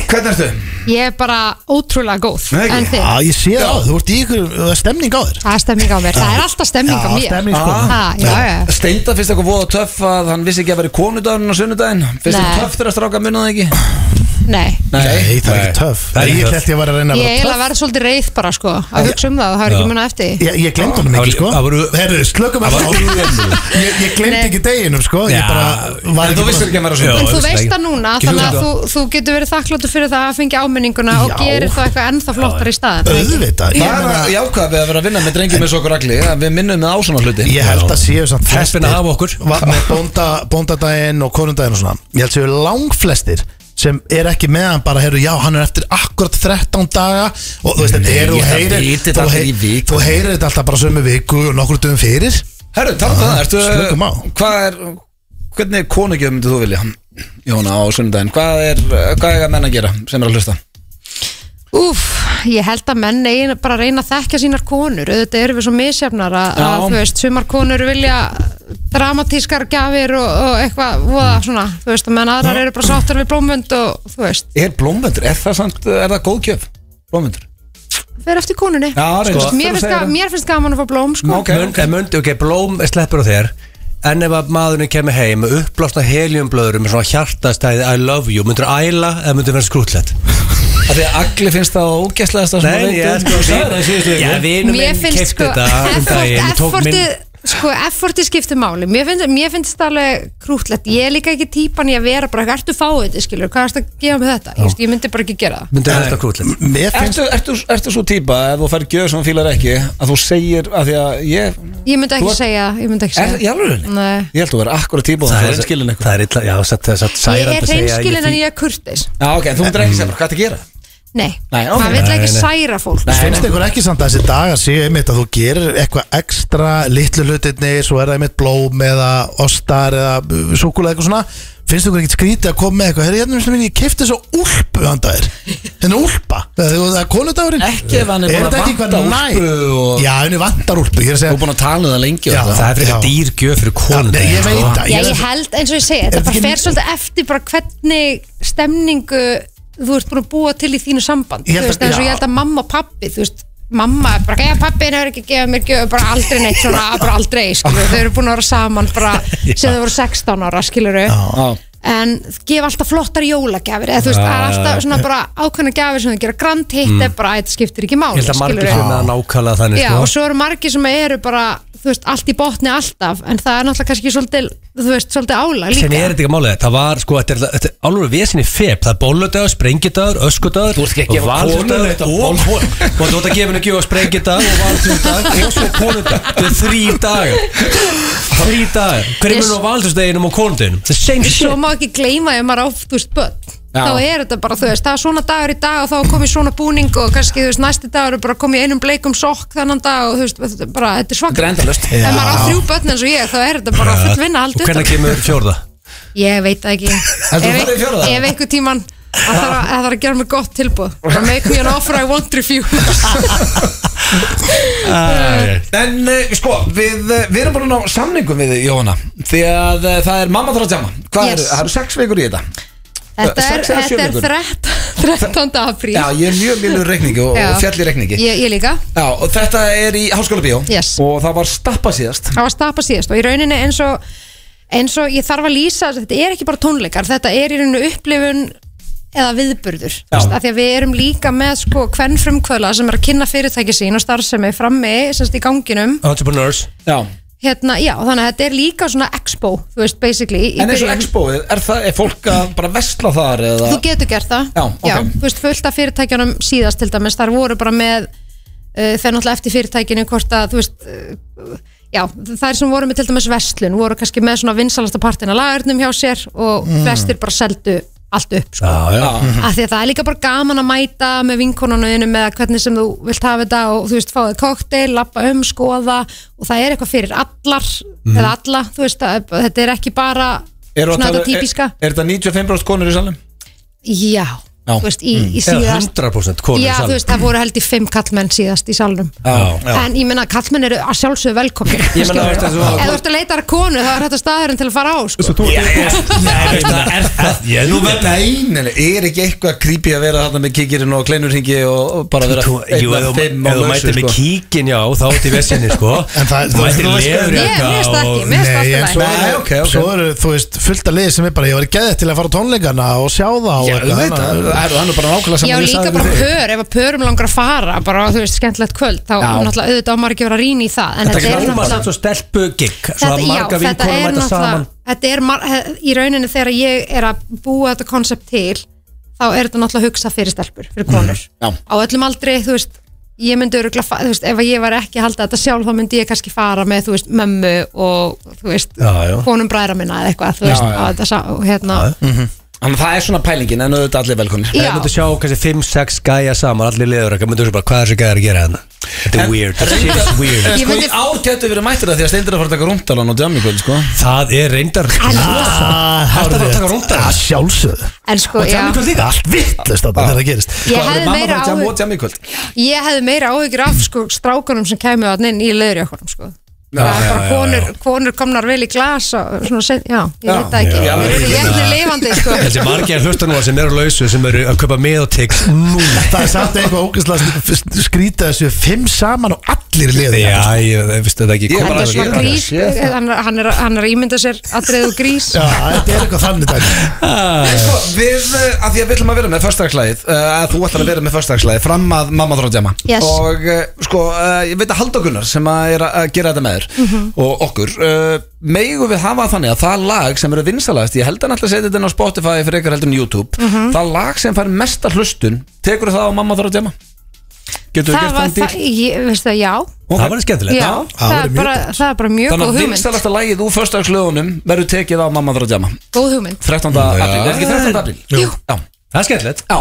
S1: hvernig ertu?
S6: ég er bara ótrúlega góð
S1: Nei, ekki.
S6: En þið,
S2: Já, ég sé það, þú ert í ykkur það er stemning á þér
S6: það er stemning á mér Það er alltaf stemning á
S2: Já,
S6: mér
S2: stemning, sko.
S6: Ha,
S1: Ah.
S6: Já, já, já
S1: Steinda finnst eitthvað voða töff að hann vissi ekki að vera í konudagurinn á sunnudaginn Finnst
S6: Nei.
S1: þetta töff þegar að stráka munna það ekki?
S6: Nei,
S2: Nei, það er ekki
S3: Nei.
S2: töff
S3: Það er ekki
S2: Ég
S3: töff.
S2: held ég var að reyna að
S6: ég
S2: vera
S6: er eiginlega að vera svolítið reið bara sko að hugsa um það og það er ekki munna eftir því.
S2: Ég, ég glemd honum
S3: Það
S2: ekki
S3: var-
S2: sko
S3: það voru-
S2: Herru, slökum að Ég, ég glemd
S6: Nei.
S2: ekki deginum sko Ég
S3: Já.
S2: bara var
S1: En þú vissir ekki að vera á
S3: Já.
S1: sunnudaginn?
S6: En þú
S3: veist
S6: veist
S3: ekki.
S6: það núna,
S3: Ekki
S6: þannig að
S3: hugmynd.
S6: þú, þú getur verið þakkláttur fyrir það að fengi áminningun og
S2: Já.
S6: gerir það eitthvað ennþá flottar í staðan
S2: Öðvitað Ég,
S1: Það er að
S2: meina,
S1: jákvæða við að vera að vinna með drengjum eins og okkur allir að Við minnum með ásana hluti
S2: ég held að séu samt
S3: Heppin að hafa okkur.
S2: va- Með bónda, bóndadaginn og konundaginn og svona Ég held séu langflestir sem er ekki með hann bara, heyrðu, já, hann er eftir akkurat 13 daga og þú veist, þetta er, þú
S1: það
S2: heyrir
S1: vitið
S2: þú
S1: allir í
S2: heyrir-
S1: viku.
S2: þú heyrir þetta alltaf bara sömu viku og nokkur dögum fyrir
S1: Herru, talaðu það, ertu eh,
S2: slökum á.
S1: Hvað er, hvernig konugjöf myndið þú vilja? Jóna á sunnudaginn, hvað er, hvað er að menna að gera sem er að hlusta?
S6: Úf, ég held að menn eigin bara að reyna að þekka sínar konur auðvitað eru við svo misjafnar að, að
S1: Já.
S6: þú veist, sumar konur vilja dramatískar gjafir og, og eitthvað voða svona, þú veist, að menn aðrar eru bara sáttar við blómvönd og þú veist,
S1: Er blómvendur, er það samt, eh, er það góð gjöf? Blómvendur
S6: fer eftir konunni
S1: Já,
S6: Þú
S1: reyndist
S6: veist, mér,
S1: þú
S6: finnst
S1: segir
S6: gaman,
S1: það.
S6: mér finnst gaman að fá blóm sko.
S1: Ok,
S3: Mund- En mundi, ok, blóm sleppur á þér En ef að maðurinn kemur heim með uppblásna heliumblöður með svona hjartastæði I love you, myndur æla eða myndur vera skrútlegt?
S1: af því að allir finnst það ógæslega það sko
S3: sko- Já, vinur
S6: mér
S3: minn
S6: finnst
S3: kefti
S6: sko
S3: þetta um daginn
S6: effort-
S3: tók minn,
S6: effortið sko, effortið skiptir máli mér finnst, mér finnst það alveg krútlegt ég er líka ekki típan í að vera bara ertu fáið þetta skilur, hvað ertu að gefa með þetta ég, veist, ég myndi bara ekki gera það
S3: myndur vera skrútlegt
S2: Mér finnst
S1: Ertu, ertu, ertu svo típa ef þú fær gjöf sem þú fílar ekki að þú segir að því að ég
S6: Ég myndi
S1: Þú
S6: ekki
S1: ert-
S6: segja, ég myndi ekki
S1: Er
S6: segja
S1: í alvörunni?
S6: Nei.
S1: Ég held að þú er akkurat típa og þú er sko. skilin eitthvað
S3: Það er illa, já, satt, satt,
S6: Ég
S3: særandi
S6: er
S3: að segja
S6: reynskilin en ég er kurtis
S1: Já ok, þú myndir ekki segja bara, hvað það gera
S6: Nei,
S1: Nei, ok.
S6: maður vill
S3: Nei,
S6: ekki
S3: nei.
S6: særa fólk
S2: Finnst ykkur ekki samt að þessi dagar séu einmitt að þú gerir eitthvað ekstra litlu hlutinni, svo er það einmitt blóm eða ostar eða súkulega eitthvað svona Finnst ykkur ekkert skrítið að koma með eitthvað Herri, hérna finnst mér ég kefti þessa úlpu handa þér Hérna úlpa, það er- það er konudagurinn
S1: Ekki ef hann er búinn að
S2: þetta ekki
S1: vanta úlpu
S2: eitthvað næ?
S1: og-
S2: Já, henni vantar úlpu, ég er að
S1: Þú er
S2: segja
S1: búin að tala um það lengi og
S2: Já.
S1: það.
S3: Það er frekar
S2: Já.
S3: dýrgjöf fyrir
S2: Já,
S3: konun
S2: nei, Ég veit það,
S6: Já,
S2: ég
S6: ég
S2: er-
S6: held eins og ég segi
S2: Er
S6: Þetta
S2: þetta
S6: bara
S2: ekki-
S6: fer svolítið eftir bara hvernig stemningu þú ert búin að búa til í þínu samband
S2: Ég
S6: Þú
S2: held
S6: veist,
S2: að-
S6: eins og
S2: já.
S6: ég held að mamma og pappi Þú veist, mamma er bara, já pappi hefur ekki gefið mér gjöf bara aldrei neitt svona, bara aldrei skilur. Þau eru búin að vera saman bara sem þau voru 16 ára, skilur
S1: Já.
S6: en gef alltaf flottar jólagjafir eða þú veist, það er alltaf svona bara ákveðna gjafir sem þau gera grand hitt mm. bara að þetta skiptir ekki máli
S3: Ég held að margir
S6: skilurðu.
S3: sem að nákvæmlega þannig
S6: Já,
S3: sko.
S6: og svo eru margir sem eru bara þú veist, allt í botni alltaf en það er náttúrulega kannski svolítið þú veist, svolítið álag
S3: Sen
S6: líka
S3: er þetta ekki málið, það var sko, þetta er, þetta er alveg vesinni feb, það er bolludöður, sprengidagur, öskudagur
S1: Þú ert ekki að gefa konunni þetta
S3: og
S1: boll-
S3: valdagur og þú ert að gefa henni gjöf sprengidag og valdagur og svo konundag, þetta er þrý dagar þrý dagar, hverju
S6: Yes.
S3: munur á valdagsdeginum og konundaginum, það er same
S6: svo
S3: shit
S6: má ekki gleyma ef maður á, þú veist, börn
S1: Já.
S6: þá er þetta bara, þú veist, það er svona dagur í dag og þá komið svona búning og kannski, þú veist, næsti dagur er bara komið einum bleikum sokk þannan dag og þú veist, þetta er bara, þetta er
S1: Þetta er
S6: svakar
S1: endalaust.
S6: ef maður á þrjú börn eins og ég, þá er þetta bara full vinna
S3: og
S6: haldið
S3: hvernig kemur fjórða
S6: Ég veit það ekki
S1: Heldur þú
S6: Ef-
S1: farið í fjórða?
S6: Ef einhver tíman
S1: [laughs]
S6: að það er að, að, að gera mig gott tilbúð Bara Make me an offer I won't refuse
S1: En uh, sko, við, eh, við erum búin að ná samningum við þig, Jóhanna Því að uh, það er mamma þarf að djama Hvað
S6: Yes.
S1: eru, það eru sex vikur í þetta
S6: Þetta er,
S1: Sex eða sjö
S6: þetta er
S1: vikur?
S6: 13, 13. apríl
S1: Já, ég er mjög mjög reikningi og, og fjall í reikningi
S6: Ég, ég líka
S1: Já, og þetta er í Háskóla Bíó
S6: Yes.
S1: Og það var stappa síðast
S6: Það var stapa síðast og í rauninni eins og eins og ég þarf að lýsa þessu, þetta er ekki bara tónleikar, þetta er í rauninni upplifun eða viðburður þú veist, af því að við erum líka með sko hvern frumkvöla sem er að kynna fyrirtæki sín og starfsemi frammi, semst í ganginum
S3: Entrepreneurs
S1: Já
S6: hérna, já, þannig að þetta er líka svona expo, þú veist, basically í
S1: En eins og
S6: byrjun.
S1: expoið, er, það, er fólk að bara vesla þar eða
S6: Þú getur gert það
S1: Já, ok.
S6: þú veist, fullt af fyrirtækjunum síðast til dæmis, þar voru bara með uh, þeir náttúrulega eftir fyrirtækinu hvort að, þú veist uh, já, þær sem voru með til dæmis vestlun voru kannski með svona vinsalasta partina lagarinnum hjá sér og
S1: Mm.
S6: vestir bara seldu allt upp, sko,
S3: Já, já
S6: af því að það er líka bara gaman að mæta með vinkonunum með hvernig sem þú vilt hafa þetta og þú veist, fáið kokteil, lappa um, skoða og það er eitthvað fyrir allar eða alla, þú veist, að, þetta er ekki bara
S1: Mhm. Eru að
S6: svona
S1: tala-
S6: þetta típiska
S1: Er, er þetta 95% konur í salnum?
S6: Já,
S1: Já.
S6: þú veist, í, í
S3: Eða
S6: síðast
S3: 100% konur
S6: Já, þú veist, það voru held í fimm kallmenn síðast í salnum
S1: Já,
S6: En ég meina, kallmenn eru að sjálfsögðu velkomnir
S1: Ég meina,
S6: skilurðu.
S1: þú veist, þessu var-
S6: Ef þú ert að leita að konu, þá er þetta staðurinn til að fara á sko.
S1: Ég er nú með beinileg Er ekki eitthvað creepy að vera þarna með kikirinn og kleinurhingi og og bara vera
S3: Þú- Jú,
S1: einn af
S3: ef
S1: fimm
S3: þú-
S1: á
S3: ef þú
S1: lausu,
S3: mætir með
S1: sko.
S3: kíkin, já, þá ert í vesinni, sko
S2: En það-
S3: Þú
S2: þú-
S3: mætir
S2: þú-
S3: leður
S6: Ég, mér finnst það ekki, mér finnst
S2: Nei,
S6: það
S2: en
S6: alltaf
S2: svo
S6: læg
S1: Nei,
S2: eru,
S1: ok, ok.
S2: svo eru, þú veist, fullt að liði sem er bara, ég var geðið til að fara á tónleikana og sjá það og
S1: Já,
S2: eitthvað,
S1: auðvitað,
S2: þannig að-
S1: það er hann er bara nákvæmlega
S6: Já,
S1: saman
S6: líka bara pör, ef að pörum langar að fara bara, þú veist, skemmtilegt kvöld þá
S1: Já.
S6: náttúrulega auðvitað á maður ekki að vera rýn í það
S3: Þetta
S6: en þetta
S3: er
S6: er
S3: hljómar
S6: náttúrulega
S3: samt svo stelpu gig Svona
S6: þetta, já,
S3: marga
S6: þetta
S3: vinkonum
S6: er
S3: mæta
S6: náttúrulega
S3: saman
S6: þetta er mar- he- í rauninni þegar ég er að búa þetta konsept til þá er þetta náttúrulega hugsa fyrir stelpur, fyrir konur
S3: Mhm,
S1: Já.
S6: á öllum aldri, þú veist ég myndi örugla, þú veist, ef að ég var ekki að halda þetta sjálf þá myndi ég kannski fara með, þú veist, mömmu og, þú veist,
S3: Já, já.
S6: konum bræðra minna eða eitthvað, þú veist,
S1: já.
S6: á þetta sá, hérna,
S1: Þannig að það er svona pælingin en auðvitað allir velkonir
S3: Ef
S6: já,
S3: þú myndir sjá kannski 5-6 gæja saman, allir leður ekki myndir þú bara, hvað er þessi gæjar að gera hérna? Þetta er weird, þetta shit is weird
S1: En
S6: Ég
S1: sko í
S6: myndi-
S1: ár getur verið mættir það því að Steindir er að fara að taka rúndalan og djami kvöld sko
S3: Það er reyndar
S2: Ah,
S3: Hættu að fara að taka
S2: hárrétt.
S3: rúndar.
S2: Ah, sjálfsögðu
S6: en sko, já
S3: Djammi kvöld líka
S2: Allt vittlust þarna þegar það gerist
S6: ég
S3: Sko,
S6: hefði
S1: Mamma
S6: meira
S1: fara að djama og
S6: áhyggjur
S1: djami kvöld
S6: ég hefði meira áhyggjur af sko, strákunum sem kemur að inn í leðurjökunum sko. það er
S3: já,
S6: bara
S3: já,
S6: konur, konur komnar vel í glas og svona, sen- já, ég veit það ekki
S1: Já,
S6: ég er
S1: ég
S6: ekki lifandi sko.
S3: Þessi margir hlustanúar sem eru lausu sem eru að kaupa með og tix nú
S2: Það er samt eitthvað ógæslega skrýta þessu Fimm saman og allir liði
S3: Já, ég veist þetta ekki
S1: Ég er
S6: Þetta
S1: bara-
S6: er svona
S1: ég-
S6: grís,
S1: ég- ég- ég-
S6: hann, er- hann, er, hann er að ímynda sér atriðu grís
S2: Já, þetta er eitthvað þannig dæmi
S1: En sko við uh, að því að við ætlum að vera með förstagslæðið uh, að þú ætlar að vera með förstagslæðið fram að mamma þarf að djama
S6: Yes.
S1: og uh, sko uh, ég veit að Halldór Gunnar sem að er að gera þetta með þér
S6: Mhm.
S1: og okkur uh, megum við hafa þannig að það lag sem eru vinsalagast ég held að hann ætla að setja þetta inn á Spotify fyrir ykkur heldur en YouTube
S6: Mhm.
S1: það lag sem fær mesta hlustun tekur það á mamma þarf að djama getur við
S6: það
S1: gert
S6: var
S1: þann
S6: það,
S1: dýr
S6: ég veist það, já,
S3: Það var skemmtilegt
S6: já
S2: það
S6: það,
S2: væri
S6: er
S2: mjög
S6: bara, það er bara mjög
S1: þannig
S6: góð
S1: að
S6: hugmynd
S1: vinsalasta lagið úr förstagslæðunum verður tekið á mamma þarf að djama
S6: góð hugmynd,
S1: 13. apríl, er ekki 13. apríl?
S6: Jú.
S1: Já.
S3: Það er skemmtilegt
S1: Já,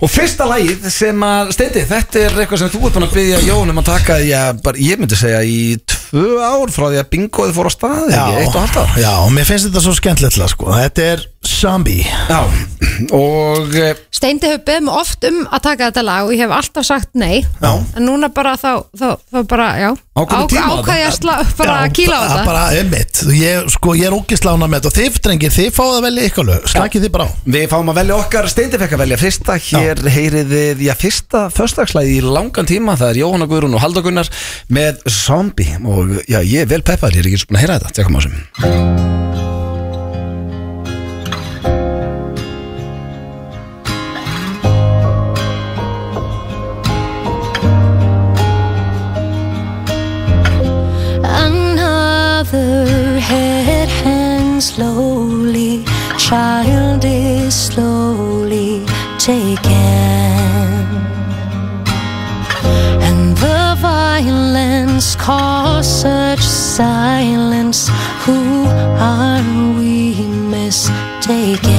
S1: og fyrsta lagið sem að Steindi, þetta er eitthvað sem þú ert búin að byggja Jón um að taka, já, bara, ég myndi segja í tvö ár frá því að bingoði fór á staði
S2: Já,
S1: ekki, eitt og halvt ár
S2: já, mér finnst þetta svo skemmtilegt lag, sko. Þetta er zombie
S1: Já, [clears throat] og eh,
S6: Steindi hefur beðið mig oft um að taka þetta lag og ég hef alltaf sagt nei
S2: Já.
S6: en núna bara þá, þá, þá bara, já
S1: Ákveðum tíma á
S6: ákvæði að slá, bara
S2: Já,
S6: að kíla á
S2: það-
S6: þetta
S2: Bara einmitt, ég, sko, ég er ógislána með þetta og þið drengir, þið fáið að velja ykkur lög Slakið þið bara á
S1: við fáum að velja okkar Steindi fekk að velja fyrsta, hér heyrið þið já, fyrsta förstagslægi í langan tíma það er Jóhanna Guðrún og Halldór Gunnar með Zombie, og já, ég er vel peppar ég er ekki eins og búin að heyra þetta, tekum á sem
S7: Another head hang slowly, child is slowly taken. And the violence caused such silence. Who are we mistaken?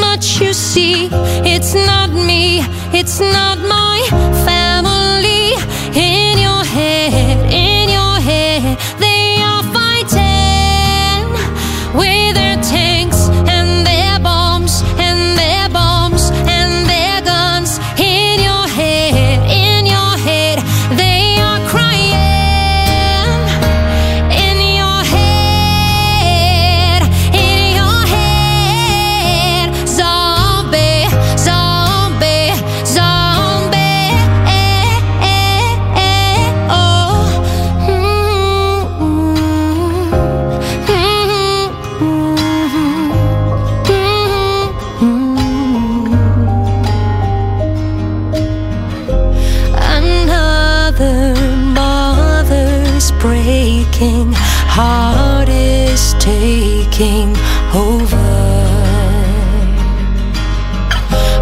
S7: Much you see, it's not me, it's not my family. In your head, in your head, they are fighting with their tanks and their bombs and their bombs and their guns in your head, in your head. eh, oh. Mm-hmm, mm-hmm, breaking, heart is taking over.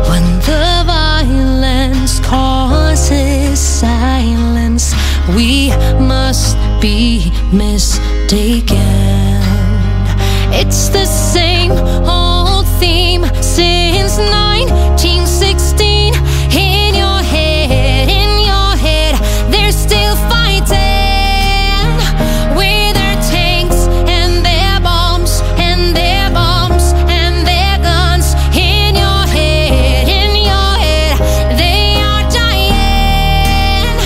S7: When the violence causes silence, we must be mistaken. It's the same old theme since 1916. In your head, in your head, they're still fighting with their tanks and their bombs and their bombs and their guns in your head, in your head. They are dying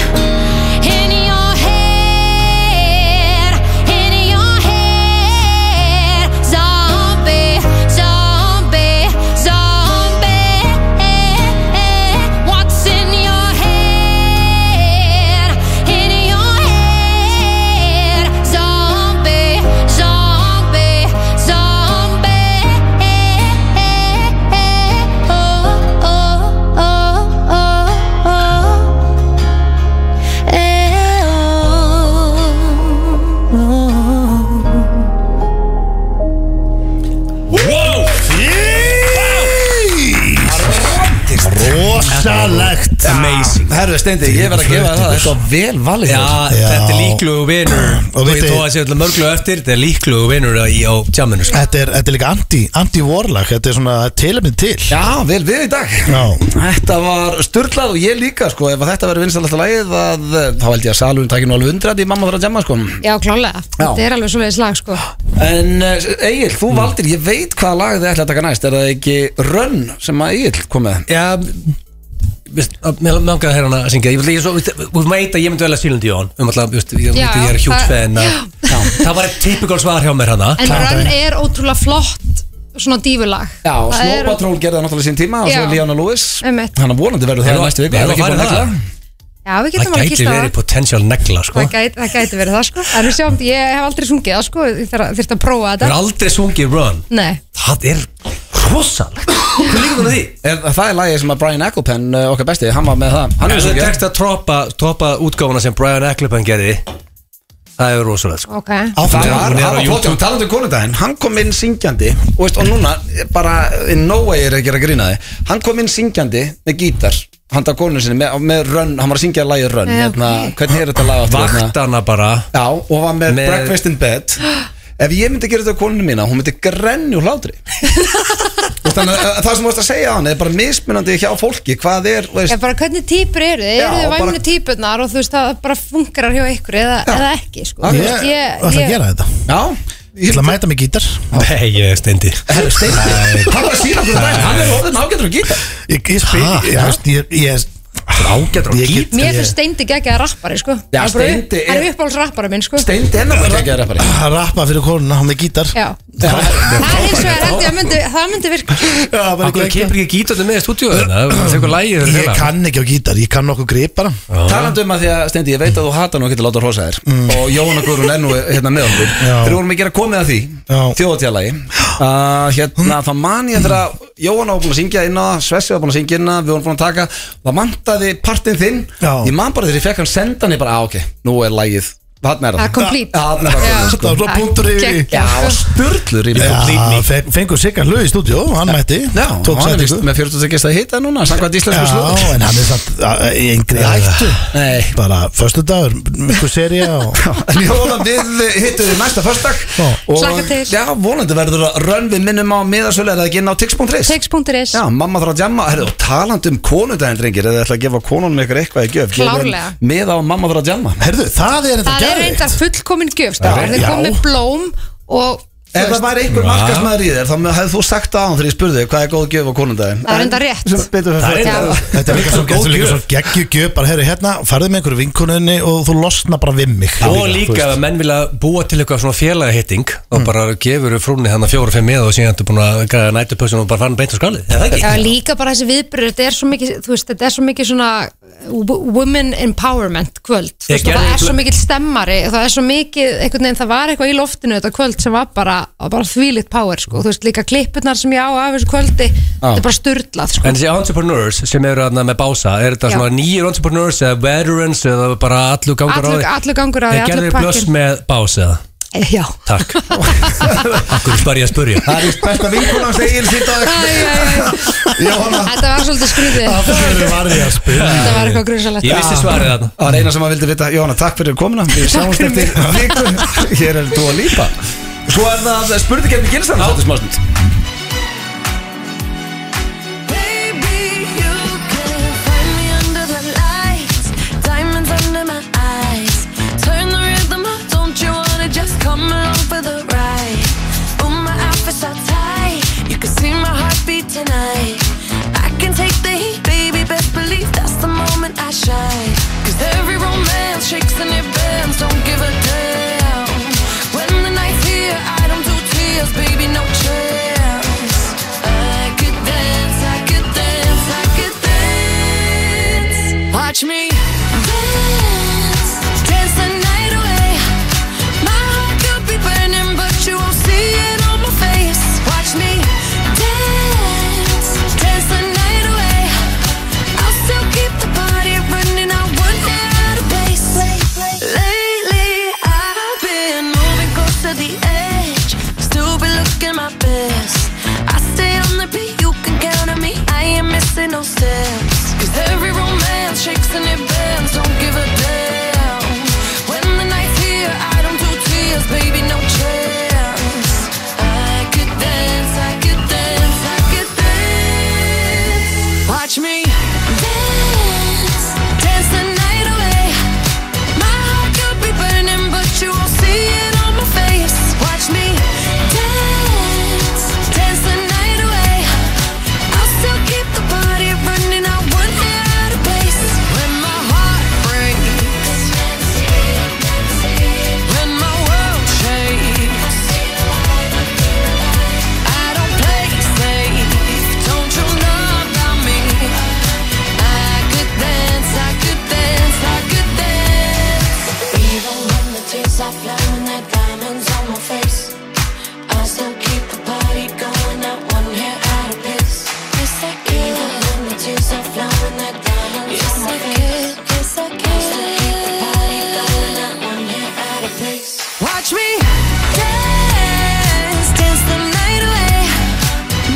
S7: in your head, in your head. Zombie, zombie, zombie. What's in your head? In your head. Zombie, zombie, zombie. Oh, oh, oh, oh, oh. Eh, oh, oh.
S2: Rosalegt
S3: Amazing
S1: Herru, Ah, Steindi, ég verð að gefa þér það Þetta var vel valið
S3: Já,
S1: þér.
S2: Já.
S3: þetta er líklugu vinur
S2: Og
S3: Og
S2: veit
S3: ég
S2: þið-
S3: tóa þessi öllu mörglu eftir Þetta er líklugu vinur á, á tjáminu sko.
S2: Þetta er, þetta er líka anti, anti-warlag Þetta er svona tilefni til
S1: Já, vel við í dag
S2: Já.
S1: Þetta var styrlað og ég líka sko Ef að þetta verður vinstalasta lagið að, eh, Þá held ég að salurinn takir nú alveg undrað í mamma þarf að jamma sko
S6: Já, klálega, þetta er alveg svoleiðis lag sko
S1: En uh, Egil,
S3: Mm.
S1: þú valdir, ég veit hvaða lag þið ætla að taka næst Er það ekki Rönn sem að Egil kom með?
S3: Já veist, að- Mér langaði að heyra hana að syngja Ég vil- ég svo- Þú veit að ég myndi vel að sílundi í hon um alltaf, just, ég,
S6: Já,
S3: já, ég er hjúts
S6: það-
S3: fenn Það var eitt typical svar hjá mér hana
S6: En Rönn er ótrúlega flott svona dífulag
S1: Já,
S6: Það er-
S1: Snowpatrol gerði það náttúrulega sín tíma Og svo
S6: Já.
S1: Leona Lewis
S6: Einmitt.
S1: Hann að vonandi verður það
S3: Við
S1: í næstu
S3: erum-
S1: viku
S3: við
S1: ef
S3: erum
S1: ekki
S3: að
S1: búin að
S3: fara í
S1: negla.
S6: Já, við
S3: Það
S6: getum alveg
S3: gæti
S6: kýst á
S3: verið
S6: það
S3: potential negla sko.
S6: Það gæti, það gæti verið það sko En við sjáum, ég hef aldrei sungið það sko Ég þarf að- þyrfti að prófa
S3: Það er
S6: þetta
S3: aldrei sungið run
S6: Nei,
S3: Það er rosalegt Hvað líka þannig því?
S1: Er- Það er lagið sem að Brian Ecclepen, uh, okkar besti, hann var með það Hann
S3: Hann
S1: hefur
S3: er svo
S1: sungið.
S3: tekst að troppa, troppa útgáfuna sem Brian Ecclepan gerði Það er rosalegt sko.
S6: ok
S1: Það
S2: Áfram
S1: var,
S3: hún er
S1: það
S3: á
S1: var flott,
S3: YouTube.
S1: hún talandi um konundaginn Hann kom inn syngjandi og, veist, og núna, eh, bara in no way er ekki að grína þið Hann kom inn syngjandi með gítar Handa konu sinni, með, með rönn, hann var að syngja lagið rönn
S6: Já,
S1: hérna,
S6: ok.
S1: Hvernig er þetta lag aftur? hérna?
S3: Vaktana bara
S1: Já, og var með,
S3: Með-
S1: breakfast in bed Ef ég myndi gera þetta á konunum mína, hún myndi grenni úr
S6: [laughs]
S1: hlátri Þú veist, Þannig að það sem þú veist að segja á hann er bara mismunandi hjá fólki Hvað er, þú
S6: Ég
S1: veist,
S6: bara hvernig týpur eru þið?
S1: Já,
S6: Eru þið
S1: bara-
S6: væminu týpurnar og þú veist það bara funkarar hjá ykkur eða, eða ekki sko
S1: Já,
S6: Þú
S2: Ég
S6: veist,
S2: ætla að gera þetta
S1: já
S2: Ég ætla að mæta mig gítar
S3: Nei, ég er steindi
S1: Herru, Steindi, hann var að sína okkur dæn Hann er orðin ágættur að gítar
S2: Ég, ég spil
S3: Ha?
S2: ég, veist, ég, ég,
S3: Ágættur
S2: Ég get-
S6: Mér finnst Steindi geggjaða rappari sko
S1: Já,
S6: Hann er bara upp-
S1: Steindi er-
S6: Hann er uppáhalds rappari minn sko
S1: Steindi hennar var ekki að gera
S2: að rappa fyrir konuna með gítar [laughs]
S6: Já Það er eins og er held ég að myndi, það myndi virka
S2: Já, bara
S3: Akkur
S2: geggjað.
S3: kemur ekki gítarni með í stúdíu Það er eitthvað hérna. lægið
S2: Ég kann ekki á gítar, ég kann nokkuð grip bara
S1: Talandi um að því að, Steindi, ég veit að þú hata nú ekki að láta hrósa þér og Jóhanna Guðrún er nú hérna með okkur
S2: Mm. Já.
S1: þegar við vorum að gera komið að því
S2: Já.
S1: þjóðatjálagi að hérna, það man ég þegar að Jóhanna var búin að syngja inn á það, Svessi var búin að syngja inn á það, við vorum búin að taka það mantaði partinn þinn
S2: Já.
S1: ég man bara þegar ég fekk hann sendan ég bara, að ok, nú er lægið Þarna er
S6: Það
S1: það
S6: er
S1: Já,
S6: complete.
S1: þarna er
S6: Já. sko.
S1: það
S2: Það var
S1: komplít
S2: svona punktur yfir í.
S1: Já, það var störtlur í mig
S2: Já, fe- fengur Sigga hlug í stúdíu, hann mætti
S1: Já,
S2: tók
S1: hann er
S2: sætingu.
S1: vist með 42 gesta hitta núna Samkvæmt íslensku slúður
S2: Já, en hann er samt að- í engri hættu
S1: Nei.
S2: Bara, förstu dagur, miklu serja og
S1: En ég vona við hittum við næsta förstak
S2: Já.
S1: Og
S6: Hlakka til.
S1: já, vonandi verður að rönn við minnum á miðasölu Er það ekki inn á tix.is?
S6: Tex.is
S1: Já, mamma þarf að jamma Herðu, og talandi um konudaginn, drengir Eða ætla að gefa konunum ykkur eitthvað í gjöf gefið þeim
S6: Klárlega.
S1: Miða á mamma þarf að jamma
S2: Herðu, það er þetta
S6: Það er
S2: gæðið
S6: reyndar fullkomin sko. gjöfst Það
S2: Já.
S6: er komið blóm og
S1: Ef það væri einhver markasmaður í þér Þá hefðu þú sagt á hann þegar ég spurði Hvað er góð gjöf á konudaginn?
S6: Það er reyndar rétt.
S1: Það
S6: er reyndar- Já.
S2: Þetta er líka svo, þetta er líka svo geggjugjöf Bara, herru, hérna, farðu með einhverju vinkunni og þú losna bara við mig
S3: Og líka ef menn vilja búa til eitthvað svona félagahitting
S2: Mm.
S3: og bara gefur frúnni hann að fjóra fimm með og síðan ertu búin að gæða nættupössun og bara fara hann beint á skalið Er það ekki?
S6: Já, líka bara þessi viðbyrður, þetta er svo mikið, þú veist, þetta er svo mikið svona, w- women empowerment kvöld Þú
S3: Ég
S6: veist, og það
S3: gerði-
S6: er svo mikill stemmari og það er svo mikið, einhvern veginn, það var eitthvað í loftinu þetta kvöld sem var bara, var bara þvílitt power sko. þú veist, líka klippurnar sem ég á af þessu kvöldi þetta er bara styrlað sko.
S3: En þessi entrepreneurs sem eru aðna með bása Er þetta
S6: Já.
S3: svona nýjir entrepreneurs eða veterans eða bara allur gangur
S6: allur, allur gangur á því,
S3: Gerður
S6: allur
S3: þið blöss
S6: pakkin
S3: með bása eða?
S6: Já,
S3: Takk Akkur spar ég að spurja
S6: [laughs]
S1: Það er víst besta vinkuna hans Egil sítt á
S6: Æ, æ, æ.
S1: Jóhanna.
S6: þetta var svolítið skrýtið
S2: Hverju var ég að spyrja?
S6: þetta var eitthvað grusalegt
S3: Ég vissi svarið þarna
S1: Það var eina sem að vildi vita Jóhanna, takk fyrir komuna Við sjáumst eftir viku Hér er þú að lípa Svo er það spurði kemni gilsan Þetta er smástund
S7: Baby, you can find me under the lights, diamonds under my eyes. Turn the rhythm up, don't you wanna just come along for the ride? Oh, my outfit's all tight, you can see my heartbeat tonight. I can take the heat, baby, best believe that's the moment I shine. Cause every romance shakes and it bends, don't give a damn. When the night's here, I don't do tears, baby, no chance. I could dance, I could dance, I could dance. Watch me dance, dance the night away. My heart could be burning, but you won't see it on my face. Watch me dance, dance the night away. I'll still keep the party running. I wouldn't out of place. Lately, I've been moving close to the edge. Still be looking my best. I stay on the beat, you can count on me. I ain't missing no steps. Cause every romance shakes and it bends. Don't give a damn. When the night's here, I don't do tears, baby, no chance. I could dance, I could dance, I could dance. Watch me dance, dance the night away. My heart could be burning, but you won't see it on my face. Watch me dance, dance the night away. I'll still keep the party running. I won't get out of place when my heart breaks, when my world shakes. I don't play safe. Don't you know about me? I could dance, I could dance, I could dance. Even when the tears are flowing, that diamonds on my face. I still keep the party going. I won't get out of place. Yes I could. Even when the tears are flowing, that diamonds on my face. Yes I could. I still keep the party going. I won't get out of place. Watch me dance, dance the night away.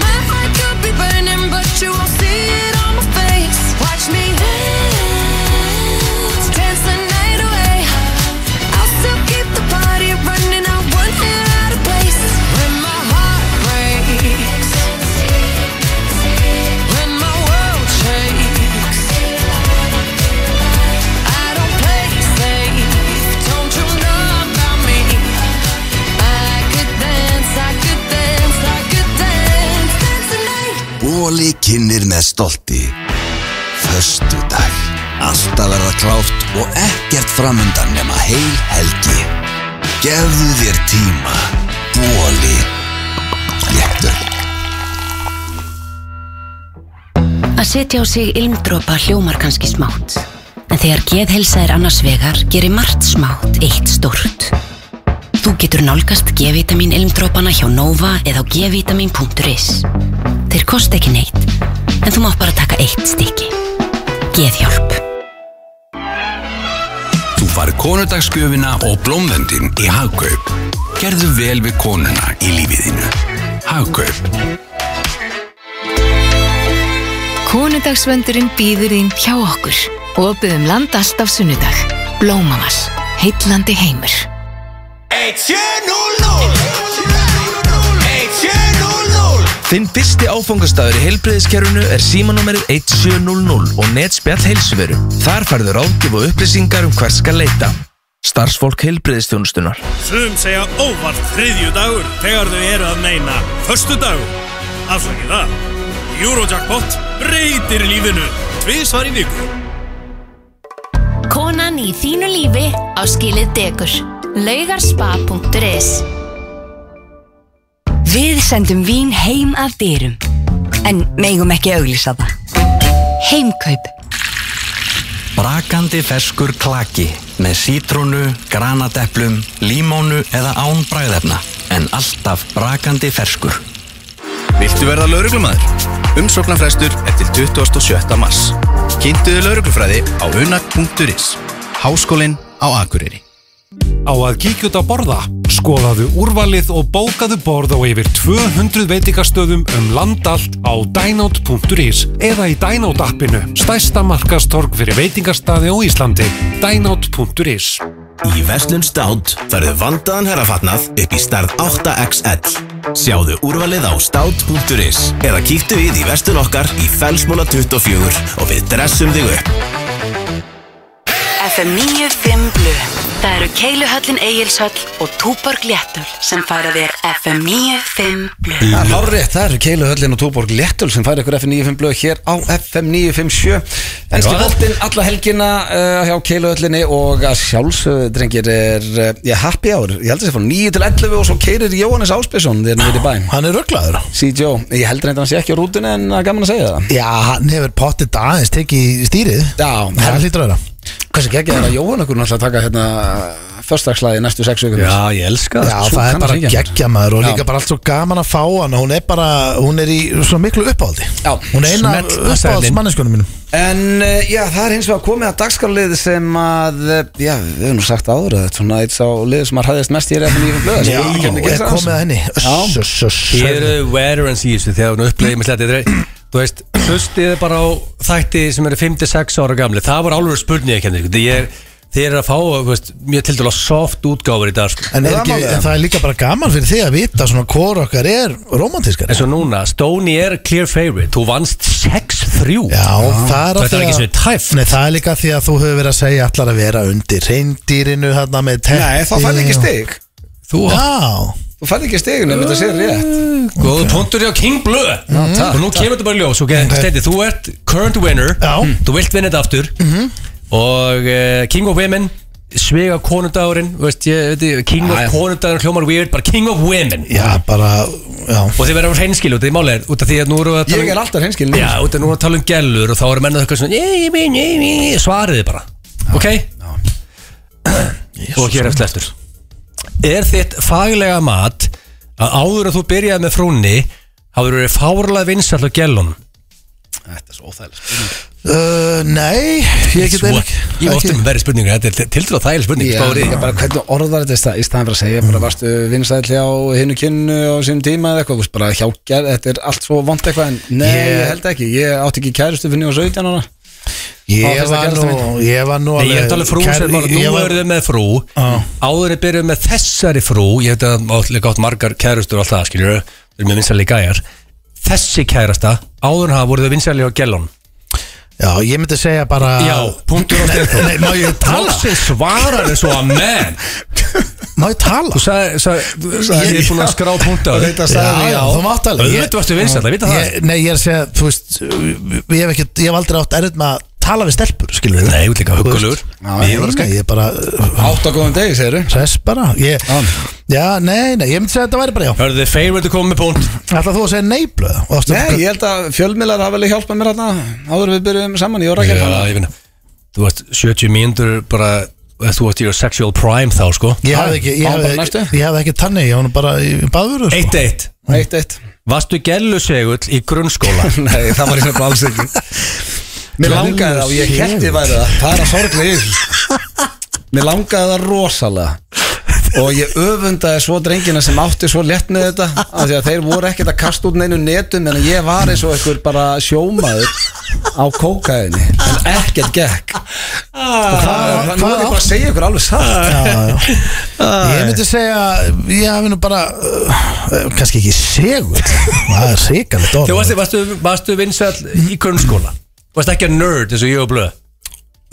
S7: My heart could be burning, but you won't see it on my face. Watch me dance, dance the night away. I'll still keep the party running. I won't get out of place when my heart breaks, when my world shakes. I don't play safe. Don't you know about me? I could dance, I could dance, I could dance, dance tonight.
S8: Bóli kynir með stolti Föstu dag Alltaf verða klárt og ekkert framundan nema heil helgi Gefðu þér tíma Bóli Léttur
S9: Að setja á sig ilmdropa hljómar kannski smátt. En þegar geðhelsa er annars vegar, gerir margt smátt eitt stórt. Þú getur nálgast G-vitamin ilmdropana hjá Nova eða á gvitamin.is. Þeir kost ekki neitt, en þú mátt bara taka eitt stykki. Geðhjálp.
S8: Þú far konudagsgjöfina og blómvendin í Hagkaup Gerðu vel við konuna í lífiðinu Hagkaup
S10: Konudagsvöndurinn býður þín hjá okkur. Opið um land allt af sunnudag. Blómamal. Heitlandi heimur.
S5: Þinn fyrsti áfangastafur í heilbreyðiskerfinu er símanúmerið 1700 og netspjall heilsuveru. Þar færður ráðgjöf og upplýsingar um hvert skal leita. Starfsfólk heilbreyðistjónustunar.
S11: Sum segja óvart þriðju dagur þegar þau eru að meina Föstu dagur Afsakið það Eurojackpot breytir lífinu Tvísvar í viku
S10: Konan í þínu lífi á skilið degur. Laugarspa.is
S9: Við sendum vín heim af dyrum, en megum ekki auglýsa það. Heimkaup.
S12: Brakandi ferskur klaki með sítrónu, granateplum, límónu eða án bræðefna en alltaf brakandi ferskur.
S5: Viltu verða lauruglumæður? Umsóknarfrestur er til 27. mars. Kynntuðu lauruglufræði á unag.is. Háskólinn á Akureyri.
S3: Á að kíkja út að borða, skoðaðu úrvalið og bókaðu borð á yfir 200 veitingastöðum um land allt á dynout.is eða í Dynout appinu, stærsta markastorg fyrir veitingastaði á Íslandi, dynout.is.
S13: Í Vestlun Státt færðu vandaðan herrafatnað upp í stærð 8XL. Sjáðu úrvalið á státt.is eða kíktu við í Vestlun okkar í Fellsmóla 24 og við dressum þig upp.
S9: FM 95 Blu Það eru Keiluhöllin Egilshöll og Túborg Léttul sem færa þér FM 95 Blu
S1: Það er hárrið, það eru Keilu Höllin og Túborg Léttul sem fær ykkur FM 95 blöð hér á FM 957 Ennski boltinn alla helgina uh, hjá Keilu Höllinni og að sjálfsögðu drengir er uh, ég, happy hour, ég held að það fór 9 til 11 og svo keirir Jóhannes Áspesson þegar hann er í bæn
S2: Hann er rugglaður
S1: CJ, ég heldur að hann sé ekki á rútunni en það er gaman að segja það
S2: Já, hann hefur pottið aðeins tekið í stýrið
S1: Já,
S2: Það hlýtur að vera
S1: Hversu geggja er að Jóhann okkur náttúrulega taka hérna förstagslæði næstu sex vikum
S3: Já, ég elska
S2: Já, það er bara geggja maður og líka bara allt svo gaman að fá hann og hún er bara, hún er í svo miklu uppáhaldi
S1: Já,
S2: Hún er eina
S1: Smell-
S2: uppáhaldsmanneskunum mínum
S1: En uh, já, það er hins vegar komið að dagskarlið sem að, uh, já, við höfum nú sagt áður að þetta er svona eitt sá lið sem að hræðist mest hér eftir nýjum blöð
S2: Já, er komið að henni
S3: Ég eru veterans í þessu þegar hún upplegið með hlætti þetta er- Þú veist, hlustið bara á þætti sem eru 5-6 ára gamli Það voru alveg spurning ekki henni Þið er, þið er að fá, þú veist, mjög til dæla soft útgáfur í dag sko.
S2: En, er ekki, en það er líka bara gaman fyrir þig að vita svona hvor okkar er romantískar
S3: En svo núna, Stoney er clear favorite Þú vannst 6-3 Já,
S2: það er, af því
S3: Þetta er ekki
S2: að-
S3: svona tæft
S2: Nei, það er líka því að þú hefur verið að segja allar að vera undir reyndýrinu hérna með teppi
S1: Nei, þá færði ekki stig
S3: Þú
S2: Já
S1: Þú færði ekki stig, nefnir þetta séð rétt
S3: Góðu punktur hjá King Blue
S1: takk,
S3: Og nú kemur þetta bara í ljós okay? Steindi, Þú ert current winner Mm.
S2: Já. Mhm.
S3: Þú vilt vinna þetta aftur Og uh, King of Women Svega konundagurinn veist, ég, veit, ég- King of konundagurinn hljómar weird Bara King of Women
S2: Já, bara, já
S3: Og þið verður hreinskil út í málega Út af því að nú eru að tala um-
S1: Ég er alltaf hreinskil
S3: Já, út af nú eru að tala um gellur Og þá eru mennað eitthvað svona "Ég, ég, ég, ég, ég", Svariði bara Ok Og hér eftir eftir Er þitt faglega mat Að áður að þú byrjaði með frúnni Hafður verið fárlega vinsall á gellunum
S2: Uh, nei, ég get
S3: Svo-
S2: eiginlega ekki
S3: Ég var ofta með verið spurningar, þetta er til dæla þægileg spurning
S1: Já,
S3: spári.
S1: líka bara hvernig orðar þetta í stað- í staðan fyrir að segja bara varstu vinsæðli á hinnu kynnu á sínum tíma eða eitthvað, þú veist, bara hjákjær þetta er allt svo vond eitthvað en nei,
S2: Ég-
S1: ég held ekki, ég átti ekki kærustu fyrir nýjum 17 ára
S2: Ég var nú, ég var nú
S3: Nei, ég er talað frú
S2: kær-
S3: sem bara, nú
S2: ég var-
S3: eruðu með frú Áður er byrjuð með þessari frú Ég hef þetta áttlega átt margar kærustur og allt það, skiljur Þau eru með vinsæli gæjar Þessi kærasta, áður hafa voruð þau vinsæli á Ah. gellon
S2: Já, ég myndi segja bara
S3: Já, punktur og
S2: Nei, Nei, má ég tala?
S3: Lóksins svarar eins og að menn
S2: Má ég tala?
S3: Þú sagði, sagði, þú sagði ég er búin að skrá punktu á þau.
S2: Þetta sagði ég á Þú mátt alveg Ég-
S3: Auðvitað varstu vinsæli, ég veit það
S2: Ég- Nei, ég er að segja, þú veist Ég hef ekki, ég hef aldrei átt erfitt með að tala við stelpur, sko, skilur við
S3: Nei, þú ert líka huggulegur. Ég var að
S2: Nei,
S3: skegg.
S2: ég er bara uh, Ah.
S1: Átt á góðum degi, segir þú
S2: Hress bara ég, Já, nei, nei, ég myndi segja að þetta væri bara já
S3: Hörðu þið favorite að koma með punkt
S2: Ætla þú að segja nei, blöð Og ástu-
S1: Nei, ég held að fjölmiðlar hafa vel hjálpað mér þarna áður en við byrjuðum saman í
S3: Já,
S1: orðakjærfana
S3: ég finna Þú varst 70 mínútur bara eh, Þú varst í your sexual prime þá, sko
S2: Ég hafði ekki, ég
S1: Á, bara
S2: hafði
S1: næstu.
S2: ekki, ég hafði ekki tannig, ég var nú bara í baðvöru sko.
S3: 1-1
S1: Eitt, eitt
S3: Varstu gellusegull í grunnskóla?
S1: [laughs]
S2: [laughs]
S1: Nei, það var eitthvað alls ekki Mér langaði það og ég kerti væri það Það er að sorglega yfir Mér langaði það rosalega Og ég öfundaði svo drengina sem átti svo létt með þetta af því að þeir voru ekkert að kasta út neinu netum en ég var eins og einhver bara sjómaður á kókaðinni en ekkert gekk og það,
S2: Hvað-
S1: nú er ég bara að segja ykkur alveg satt
S2: Já, já.
S3: [laughs]
S2: Ég myndi segja, ég hafi nú bara uh, uh, kannski ekki segur Það er sikalegt
S3: Þú
S2: orð
S3: varstu, varstu, varstu vinsall í grunnskóla Varstu ekki að nerd eins og ég og blöð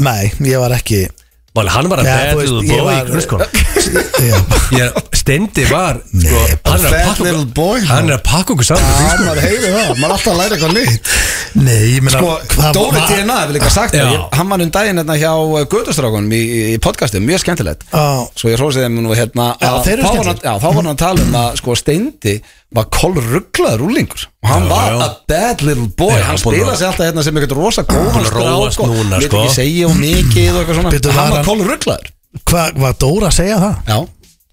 S2: Nei, ég var ekki
S3: Máli, hann var að
S2: Já,
S3: bad
S2: þú veist,
S3: little
S2: ég
S3: boy í
S2: var-
S3: sko. grunnskóla
S2: [laughs] Já,
S3: Ég er Steindi var
S2: [laughs]
S3: sko, hann er
S2: fat
S3: að pakka
S2: little
S3: okkur- Hann er að pakka okkur saman
S1: Já, maður heyri það, maður er alltaf að læra eitthvað nýtt
S2: Nei, ég meina
S1: Sko,
S2: hvað-
S1: Dóri
S2: hvað-
S1: DNA hefur líka sagt
S2: Já.
S1: það Ég- Hann var um daginn hérna hjá Götustrákunum í, í podcastum, mjög skemmtilegt
S2: Já.
S1: Svo ég hrósið þeim nú hérna
S2: Já,
S1: að-
S2: þeir eru
S1: þá var hann-
S2: skemmtilegir.
S1: Já, þá var hann að tala um að sko Steindi var kolrugglaður úlingur og hann
S3: Já,
S1: var
S3: já.
S1: a bad little boy
S3: Já,
S1: hann
S3: búin að-
S1: spilaði sig alltaf hérna sem eitthvað rosa góðan
S3: Búin að róast
S1: strák og
S3: núna,
S1: lét
S3: sko.
S1: ekki segja og mikið og eitthvað svona
S2: Bíddu, var
S1: Hann var
S2: hann-
S1: kolrugglaður
S2: Hvað var Dóra að segja það?
S1: Já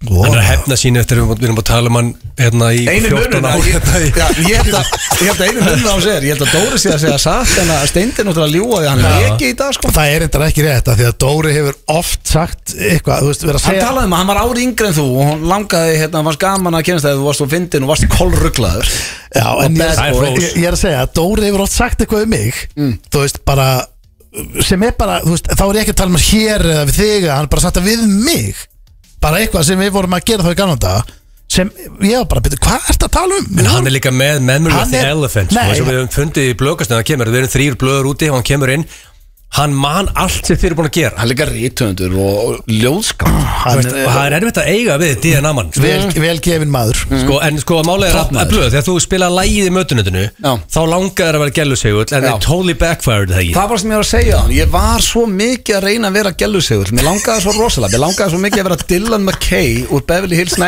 S2: Ó,
S3: Hann er að hefna sín eftir við erum að tala um hann hérna í hérna
S1: Einu
S3: 14
S1: munurinn
S3: ára
S1: að- Já, Ég held að ég held að einu munurinn á hans er Ég held að Dóri sé að segja satt en að Steindi náttúrulega ljúa því að hann
S2: Já.
S1: er ekki í dag sko
S2: Það er eitthvað ekki rétt af Því að Dóri hefur oft sagt eitthvað Þú veist, verið að
S1: Hann
S2: segja
S1: talaði um að hann var ári yngri en þú og hann langaði, hérna, hann varst gaman að kynast þegar þú varst og fyndin og varst kolruglaður
S2: Já, en ég,
S1: bad
S2: ég,
S1: boy.
S2: ég, ég er að segja að Dóri hefur oft sagt eitthvað um mig
S1: Mm.
S2: Þú veist, bara sem er bara, þú veist, þá er ég ekki að tala um hér eða við þig, hann er bara sagt að við mig bara eitthvað sem við vorum að gera þá í ganum dag sem ég var bara að byrja hvað ert að tala um?
S3: En hann er líka með Memory
S2: Hann
S3: of the
S2: er-
S3: Elephant sko,
S2: Nei.
S3: eins og við höfum fundið í blöðkastinu hann kemur, við erum þrýr blöður úti og hann kemur inn hann man allt sem þið eru búin að gera
S1: Hann er líka rítöfundur og ljóðskap
S3: Hann, veist,
S1: eh,
S3: og það er erfitt að eiga við DNA mann sko.
S2: vel, vel gefin maður
S3: sko, en sko málega er að- að blöð þegar þú spila lægið í mötunutinu þá langaði að vera gælu segull en það totally backfired það ekki
S1: Það var sem ég var að segja hann Ég var svo mikið að reyna að vera gælusegur Mér langaði svo rosalega Mér langaði svo mikið að vera Dylan McKay úr Beverly Hills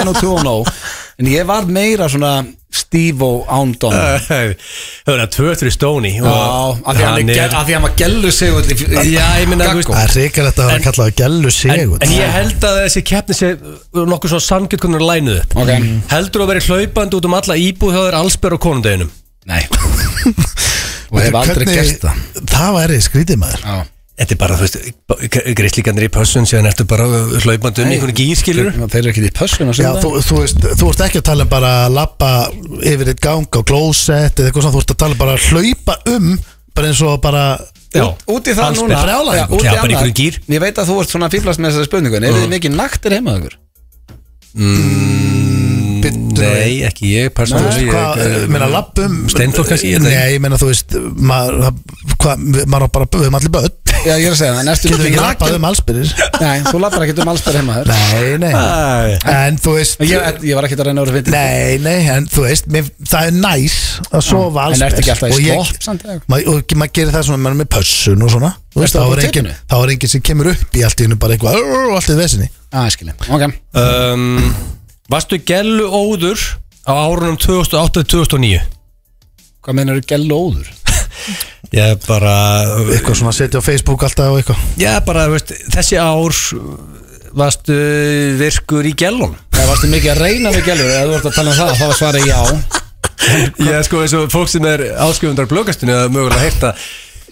S1: 90210 En ég var meira svona Steve og Ándon
S3: [laughs]
S1: Já,
S3: það var að tvötur í stóni
S1: af því hann er gel- af því hann var gælusegur
S3: Já, ég meina, þú veist-
S2: Það er ríkalegt að vera kallað gælu
S3: En,
S2: sigur
S3: en ég held að þessi keppni sé nokkuð svo samgjöld hvernig hún er lænuð upp
S1: Ok. Mm.
S3: Heldur þú að vera hlaupandi út um alla íbúð hjá þér allsber og konundeginum?
S1: [laughs] Nei Og hef aldrei gert það
S2: Það væri skrítið maður
S1: Já
S3: Þetta er bara, þú veist, greislíkanir í pössun síðan ertu bara uh, hlaupandi um
S1: Nei.
S3: einhvern gýrskilur
S1: Þeir eru ekki í pössun
S2: Já, þú, þú, veist, þú ert ekki að tala um bara að lappa yfir eitt gang á klósett eða eitthvað svona, þú ert að tala um bara að hlaupa um bara eins og bara
S1: Út, út í það núna Já, út í
S3: Klepar í
S1: annað.
S3: einhverjum gýr
S1: Ég veit að þú ert svona að fýblast með þessari spurningu En eru þið mikið naktir heima hjá ykkur?
S3: Nei, ekki ég,
S2: Nei,
S3: persónulega
S2: hvað, eh, meina lappum
S3: Steinþór kannski, ég veit það
S2: Nei, ég meina þú veist maður það- hvað, við- maður á bara að buðum allir börn
S1: Já, ég er að segja það Næstu
S2: Getur ekki lappað um allsbyrðis
S1: Nei, þú lappar ekkert um allstar heima þér
S2: Nei, nei En þú veist
S1: ég, ég var ekkert að reyna að vera fyndið
S2: Nei, nei, en þú veist mér, það er næs að sofa
S1: En
S2: allsbyrðis
S1: ertu ekki alltaf í slopp samt, eða?
S2: Og maður ma, og maður gerir það svona maður er með pössun og svona Þú
S1: Ertu
S2: veist, þá
S1: bara
S2: er
S1: á
S2: engin
S1: tippinu?
S2: þá er engin sem kemur upp í allt í hennu bara eitthvað "Arr", og allt í þessinni
S1: Já, Ah, ég skilja Ok
S3: um, Varstu gellu óður á árunum 2008-2009?
S1: Hvað meinar þú gælu óður?
S3: Ég bara,
S2: eitthvað svona setja á Facebook alltaf og eitthvað
S3: já, bara, þú veist, þessi ár varstu virkur í gellum
S1: Nei, varstu mikið að reyna með gælur Ef þú ert að tala um það, þá var svarið já
S3: Já, sko, eins og fólk sem er áskrifundar blökastinu eða mögulega heyrta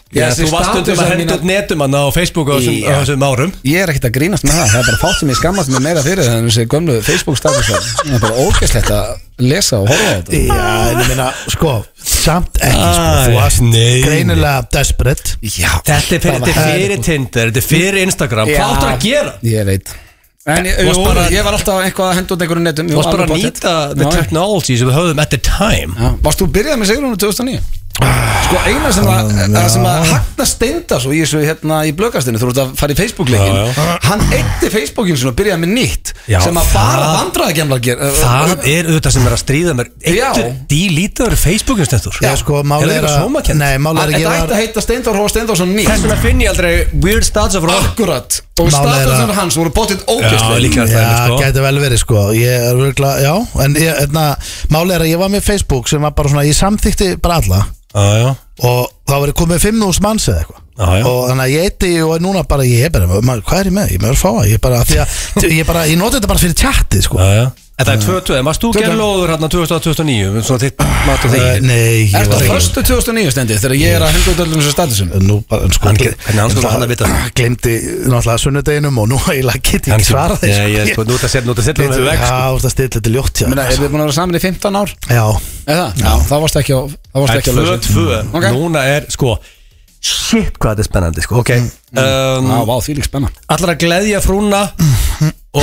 S1: Já,
S3: Já,
S1: þessi
S3: þú varst undir
S1: statusa
S3: að henda
S1: mína-
S3: út netum hann á Facebook á þessum, á
S1: Já.
S3: þessum árum
S1: Ég er ekkert að grínast með það Það er bara fátt sem ég skammast mér meira fyrir En þessi gömlu Facebook status Það er bara ógeðslegt að lesa og horfa á þetta
S2: Já, en ég meina, sko, samt ekki sko,
S3: Æ,
S2: Þú varst
S3: nei, nei.
S2: greinilega desperate
S1: Ah, Já,
S3: Þetta er fyrir,
S1: það var
S3: þetta er fyrir
S1: hræðilegt.
S3: Tinder, þetta er fyrir Instagram
S1: Já.
S3: Hvað áttu að gera?
S1: Ég veit En ég,
S3: Varst
S1: jú,
S3: bara-
S1: ég var alltaf eitthvað að henda út einhverju netum
S3: Þú varst bara að
S1: alveg
S3: nýta
S1: pottþétt.
S3: the
S1: Já, já.
S3: technology sem við höfðum at the time
S1: Já, Varst þú byrjað með Sigrúnu 2009? Sko eina sem að, að, sem að hagna steinda svo í þessu hérna í blökastinu þú ert að fara í
S3: Já, já.
S1: Facebook-leikin hann eitti Facebook-in og byrjaði með nýtt
S3: Já,
S1: sem að
S3: það-
S1: bara vandræðagemlar ger ö, ö,
S3: Það
S1: ö,
S3: er auðvitað sem er að stríða mér
S1: Já.
S3: Eittu dílítaður Facebookum stendur
S2: Já, sko, mál
S3: Er það
S2: er
S3: eitthvað
S2: að
S3: sómakent?
S2: Nei, mál
S1: Þetta
S2: er að ég
S1: ætti að
S2: var
S1: heita Steindar Hóa Steindarsson
S3: Þess
S1: nýtt
S3: vegna finn ég aldrei weird stats of rock
S1: Akkurat Og
S2: Mál er að-
S1: statusar hans voru bóttið
S3: Já,
S1: ógæslega
S3: líklega er það,
S2: Já,
S3: sko.
S2: gæti vel verið, sko Ég er vörgla, já En ég, hérna, mál er að ég var með Facebook sem var bara svona, ég samþykti bara alla
S3: Já, já
S2: og þá var ég komið 5.000 manns eða eitthvað
S3: Já, já.
S2: og þannig að ég eitti og er núna bara ég er bara, maður, hvað er ég með, ég með að fá það ég bara, því
S3: [laughs]
S2: að, ég bara, ég noti þetta bara fyrir tjatti sko.
S3: Já, já En það er 22, en varst þú gerlóður hérna 2009, svona þitt mat og
S2: uh,
S3: þegin
S2: nei, ég
S1: Er
S2: var
S1: það
S2: ekki
S1: förstu 2009 stendi þegar ég er að henda út öllum þessu statusum?
S2: nú bara, en sko
S3: Hann get- hvernig hann skulle hann
S2: [clears throat]
S3: að vita það?
S2: glemdi náttúrulega sunnudeginum og nú eiginlega get ég
S3: Hann
S2: ekki
S3: sem-
S2: svarað þeim,
S3: Já, ég er sko, nú er þetta setjum, nú er þetta setjum
S2: Bíddu,
S3: við vekk
S2: já, þú ert að stilla þetta ljótt hjá
S1: Menna, er
S2: þér.
S1: við búin að vera saman í 15 ár?
S2: já,
S1: Eða? Já, það varst ekki á Það varst
S3: Það
S1: ekki á
S3: er 2-2,
S1: Ok.
S3: núna er sko Shit hvað þetta er spennandi sko Ok,
S2: Mm.
S3: um,
S1: Já, vá, því lík spenna
S3: allar að gleðja frúna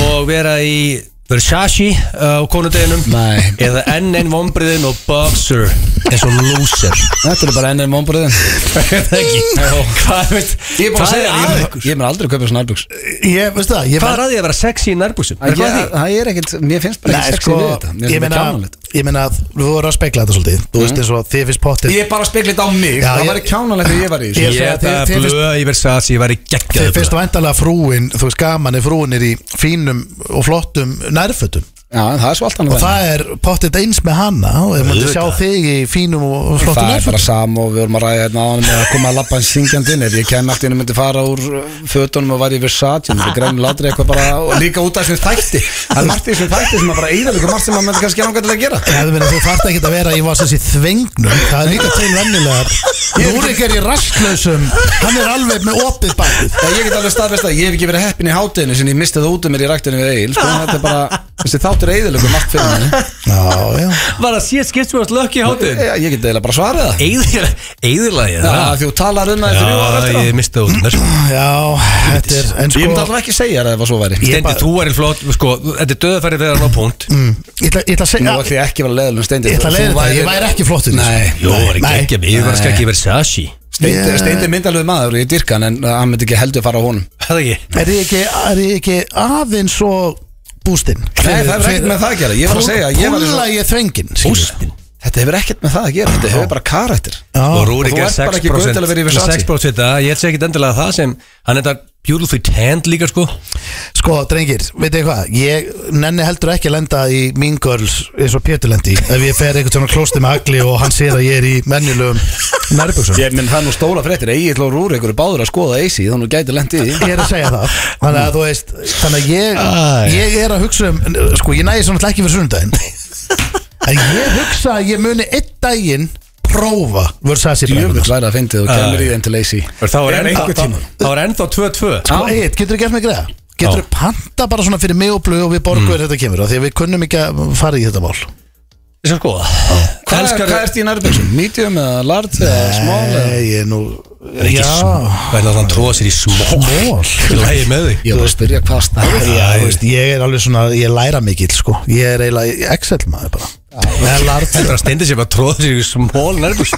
S3: Og vera í Versace uh, á konudeginum Nei. eða enn einn vombriðin og boxer eins og loser
S1: Þetta er bara enn einn [laughs] vombriðin
S3: Það ekki Hvað veit
S1: Ég er búin að
S3: hvað
S1: segja
S3: að
S1: það, ég-
S3: ykkur?
S1: Ég er mér aldrei að kaupa svona nærbuks
S2: Ég, veistu það, ég
S3: Hvað er að því að vera sexy í nærbúksum? Er hvað að því?
S1: Það er ekkert, mér finnst bara
S2: Nei,
S1: ekki sexy
S2: sko,
S1: við þetta Mér
S2: ég
S1: finnst
S2: meina,
S1: þetta kjánalegt
S2: ég meina að við vorum að spekla þetta svolítið Þú veist eins og þið finnst pottið
S1: Ég er bara að spekla þetta á mig
S2: Já,
S1: Það
S2: ég-
S1: væri kjánalegt að ég var í þessu.
S2: Ég er
S3: Þetta
S2: þið- þið
S3: blöð í Versace, ég væri
S2: Þið
S3: geggjað
S2: finnst væntalega frúin, þú veist gaman er frúin er í fínum og flottum nærfötum
S1: Já, en það er svo allt annað
S2: Og það er pottið eins með hana og ef maður sjá
S1: Auðvitað.
S2: þig í fínum og flottum
S1: Það er bara
S2: nærfötum
S1: sam og við vorum að ræða hérna á hann með að koma að labba hans syngjandi inn ef ég kem allt í henni myndi fara úr uh, fötunum og var í Versace og grænum látri um eitthvað bara og líka út af þessum þætti það er margt í þessum þætti sem að bara eða líka margt sem að myndi kannski gera til að gera
S2: Já, þú meina, þú þarft ekki að vera í vasins í þvengnum Það er líka til vennilegar Rúrik er í rastlösum Hann er alveg með opið bakið
S1: Ég, ég get alveg staðfest að ég hef ekki verið heppin í hátinu sem ég misti það út um mér í ræktinu við Egil sko, þetta er bara, þessi þáttur eðilöku margt fyrir henni
S2: Já, já
S3: Var það síðan skipt sem að slökk í hátinn?
S1: Já, ég get eða bara svarið það
S3: Eðilagið
S1: Já, því þú talar um það í þrjú ára
S3: Já,
S1: eftir á.
S3: ég misti það út um þessu
S2: Já, þetta er en
S1: Ég myndi
S2: sko
S1: alltaf ekki segja það ef að svo væri
S2: Ég
S3: Stendi,
S2: bara-
S3: þú er flott, sko, þetta er döðafæri þegar hann á punkt
S2: mm, Ég ætla- ég ætla að
S1: Nú ætlum ég
S2: segja
S1: ekki að vera leðilum steindi
S2: Ég ætla að leiða
S1: Þú
S2: þetta,
S1: værir-
S2: ég væri ekki flottur í þessu.
S1: Nei,
S3: Jó, það er
S2: Nei.
S3: geggjað, ég var ekki að Versace
S1: Steindi,
S2: Ég-
S1: steindi er myndalögu maður og ég dyrka hann en uh, hann myndi ekki heldur fara á honum
S3: Það ekki
S2: Er ég ekki, er ég ekki aðeins og bústinn?
S1: Nei, það hefur ekkert með það að gera Ég var að segja, ég var
S2: Púla
S1: að
S2: ég þvengin
S3: Ústin
S1: Þetta hefur ekkert með það að gera, þetta hefur bara karakter
S3: Og
S2: Já,
S1: Og
S3: Rúrik
S1: þú
S3: er
S1: ert bara ekki
S3: 6%
S1: gaur til að vera í Versace.
S3: 6% þetta, ég sé ekkit endilega það sem Hann er þetta beautifully tanned líka, sko
S2: Sko, drengir, veitu ég hvað Ég nenni heldur ekki að lenda í Mean Girls eins og Pétur lendi í, Ef ég fer einhvern svona klósti með agli og hann sér að ég er í mennilegum nærbjöksum
S1: Ég menn það er nú stóla fréttir, Egil og Rúrik eru báður að skoða Eisi Þannig gæti lendi [laughs] í því.
S2: Ég er að segja það Þannig að þú veist Þannig að ég, ég er að hugsa um Sko, ég næði svona ekki fyrir sunnudaginn En ég hugsa að ég muni einn daginn Prófa Versace
S1: Jöfull
S2: blæðurnar.
S1: væri að fyndi þú kemur í þeim til Eisi
S3: Það var
S1: En
S3: ennþá-
S1: einhvern tímann.
S3: það var ennþá 2-2
S2: Sko, Egil, getur þú gert mig greiða? Getur þú panta bara svona fyrir mig og blöð og við borgum mm. þetta kemur af Því að við kunnum ekki að fara í þetta mál
S3: Ég skal skoða
S1: Hvað
S3: Elskar-
S1: hvað ert í nærbyggsum? [clears throat] Medium eða large eða small eða?
S2: Nei, ég er nú
S3: Það er ekki smól Það er að hann tróða sér í smól
S2: Mól
S3: Lægi með þig
S1: Ég var að spyrja hvað stærð
S2: Já, þú veist, ég er alveg svona, ég læra mikill sko Ég er eiginlega Excel maður bara Það er
S3: [laughs]
S2: lart
S3: Heldur að stendi sér bara tróða sér í smól nærbús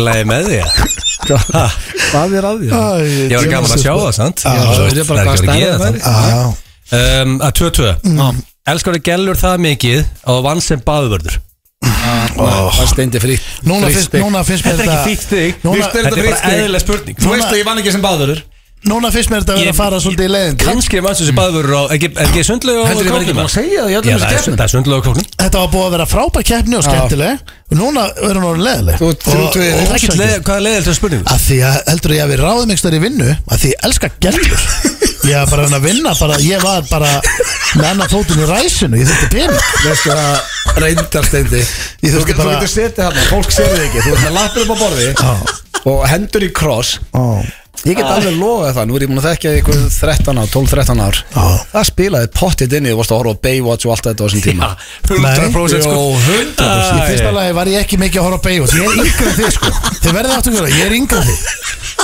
S3: Lægi með þig Ha,
S1: Hvað er að því?
S3: Ég var gaman að sjá það, sant?
S2: Já,
S3: Þú veist,
S1: ég er
S3: Það
S1: bara
S3: er
S1: hvað
S3: ekki að
S1: stærð
S3: gera
S1: það
S3: það
S1: væri.
S2: Já,
S3: Um, að
S2: Mm.
S3: 2-2 Elskar að gellur það mikið að það vann sem baðvörður
S1: Það steindi frýtt
S2: núna finnst, núna finnst mér
S3: Þetta er ekki fýtt þig
S2: Núna-
S3: Þetta er bara eðlilega spurning
S1: Þú veist að ég vann ekki sem báðurur
S2: Núna finnst mér þetta að vera
S3: Ég-
S2: að fara svolítið í leiðindi
S3: Kanski er mannstu sem baðvörður á Ekki, ekki sundlega
S1: Heldur ég var ekki búin að segja það í öllum
S3: Já,
S1: þessu
S3: það er,
S1: keppnum?
S3: það er sundlega á kóknum
S2: Þetta var búið að vera frábær keppni og skemmtileg og Núna er hún orðin leiðileg
S1: Þú ert þrjú, tvö, þrjú,
S2: Og- og
S3: Það er ekki
S2: ósækir.
S3: leið, hvað er leiðilega til spurningu?
S2: Að því að heldur ég að við ráðum einhverstað í vinnu að því ég elska gælur Ég var bara að vinna bara, ég var bara með annar fótun í ræsinu, ég þurfti pening
S1: Veistu að reyndar steindi Þú
S2: þurfti
S1: getur
S2: bara-
S1: bara... setið hann, fólk sér þig ekki Þú ert með lappir upp á borði Og hendur í kross
S2: Ó,
S1: Ég
S2: Ah.
S1: get alveg lofað það, nú er ég búin að þekkja þig ykkur 13 ár, 12-13 ár
S2: Já.
S1: Það spilaði pottið inn í, þú varst að horfa á Baywatch og allt þetta á þessum tíma
S3: Ha, 100% Ah, sko
S1: Jó, 100%
S2: Í fyrsta lagi var ég ekki mikið að horfa á Baywatch Ég er yngri en þið sko Þið verðið aftur að gera, ég er yngri en þið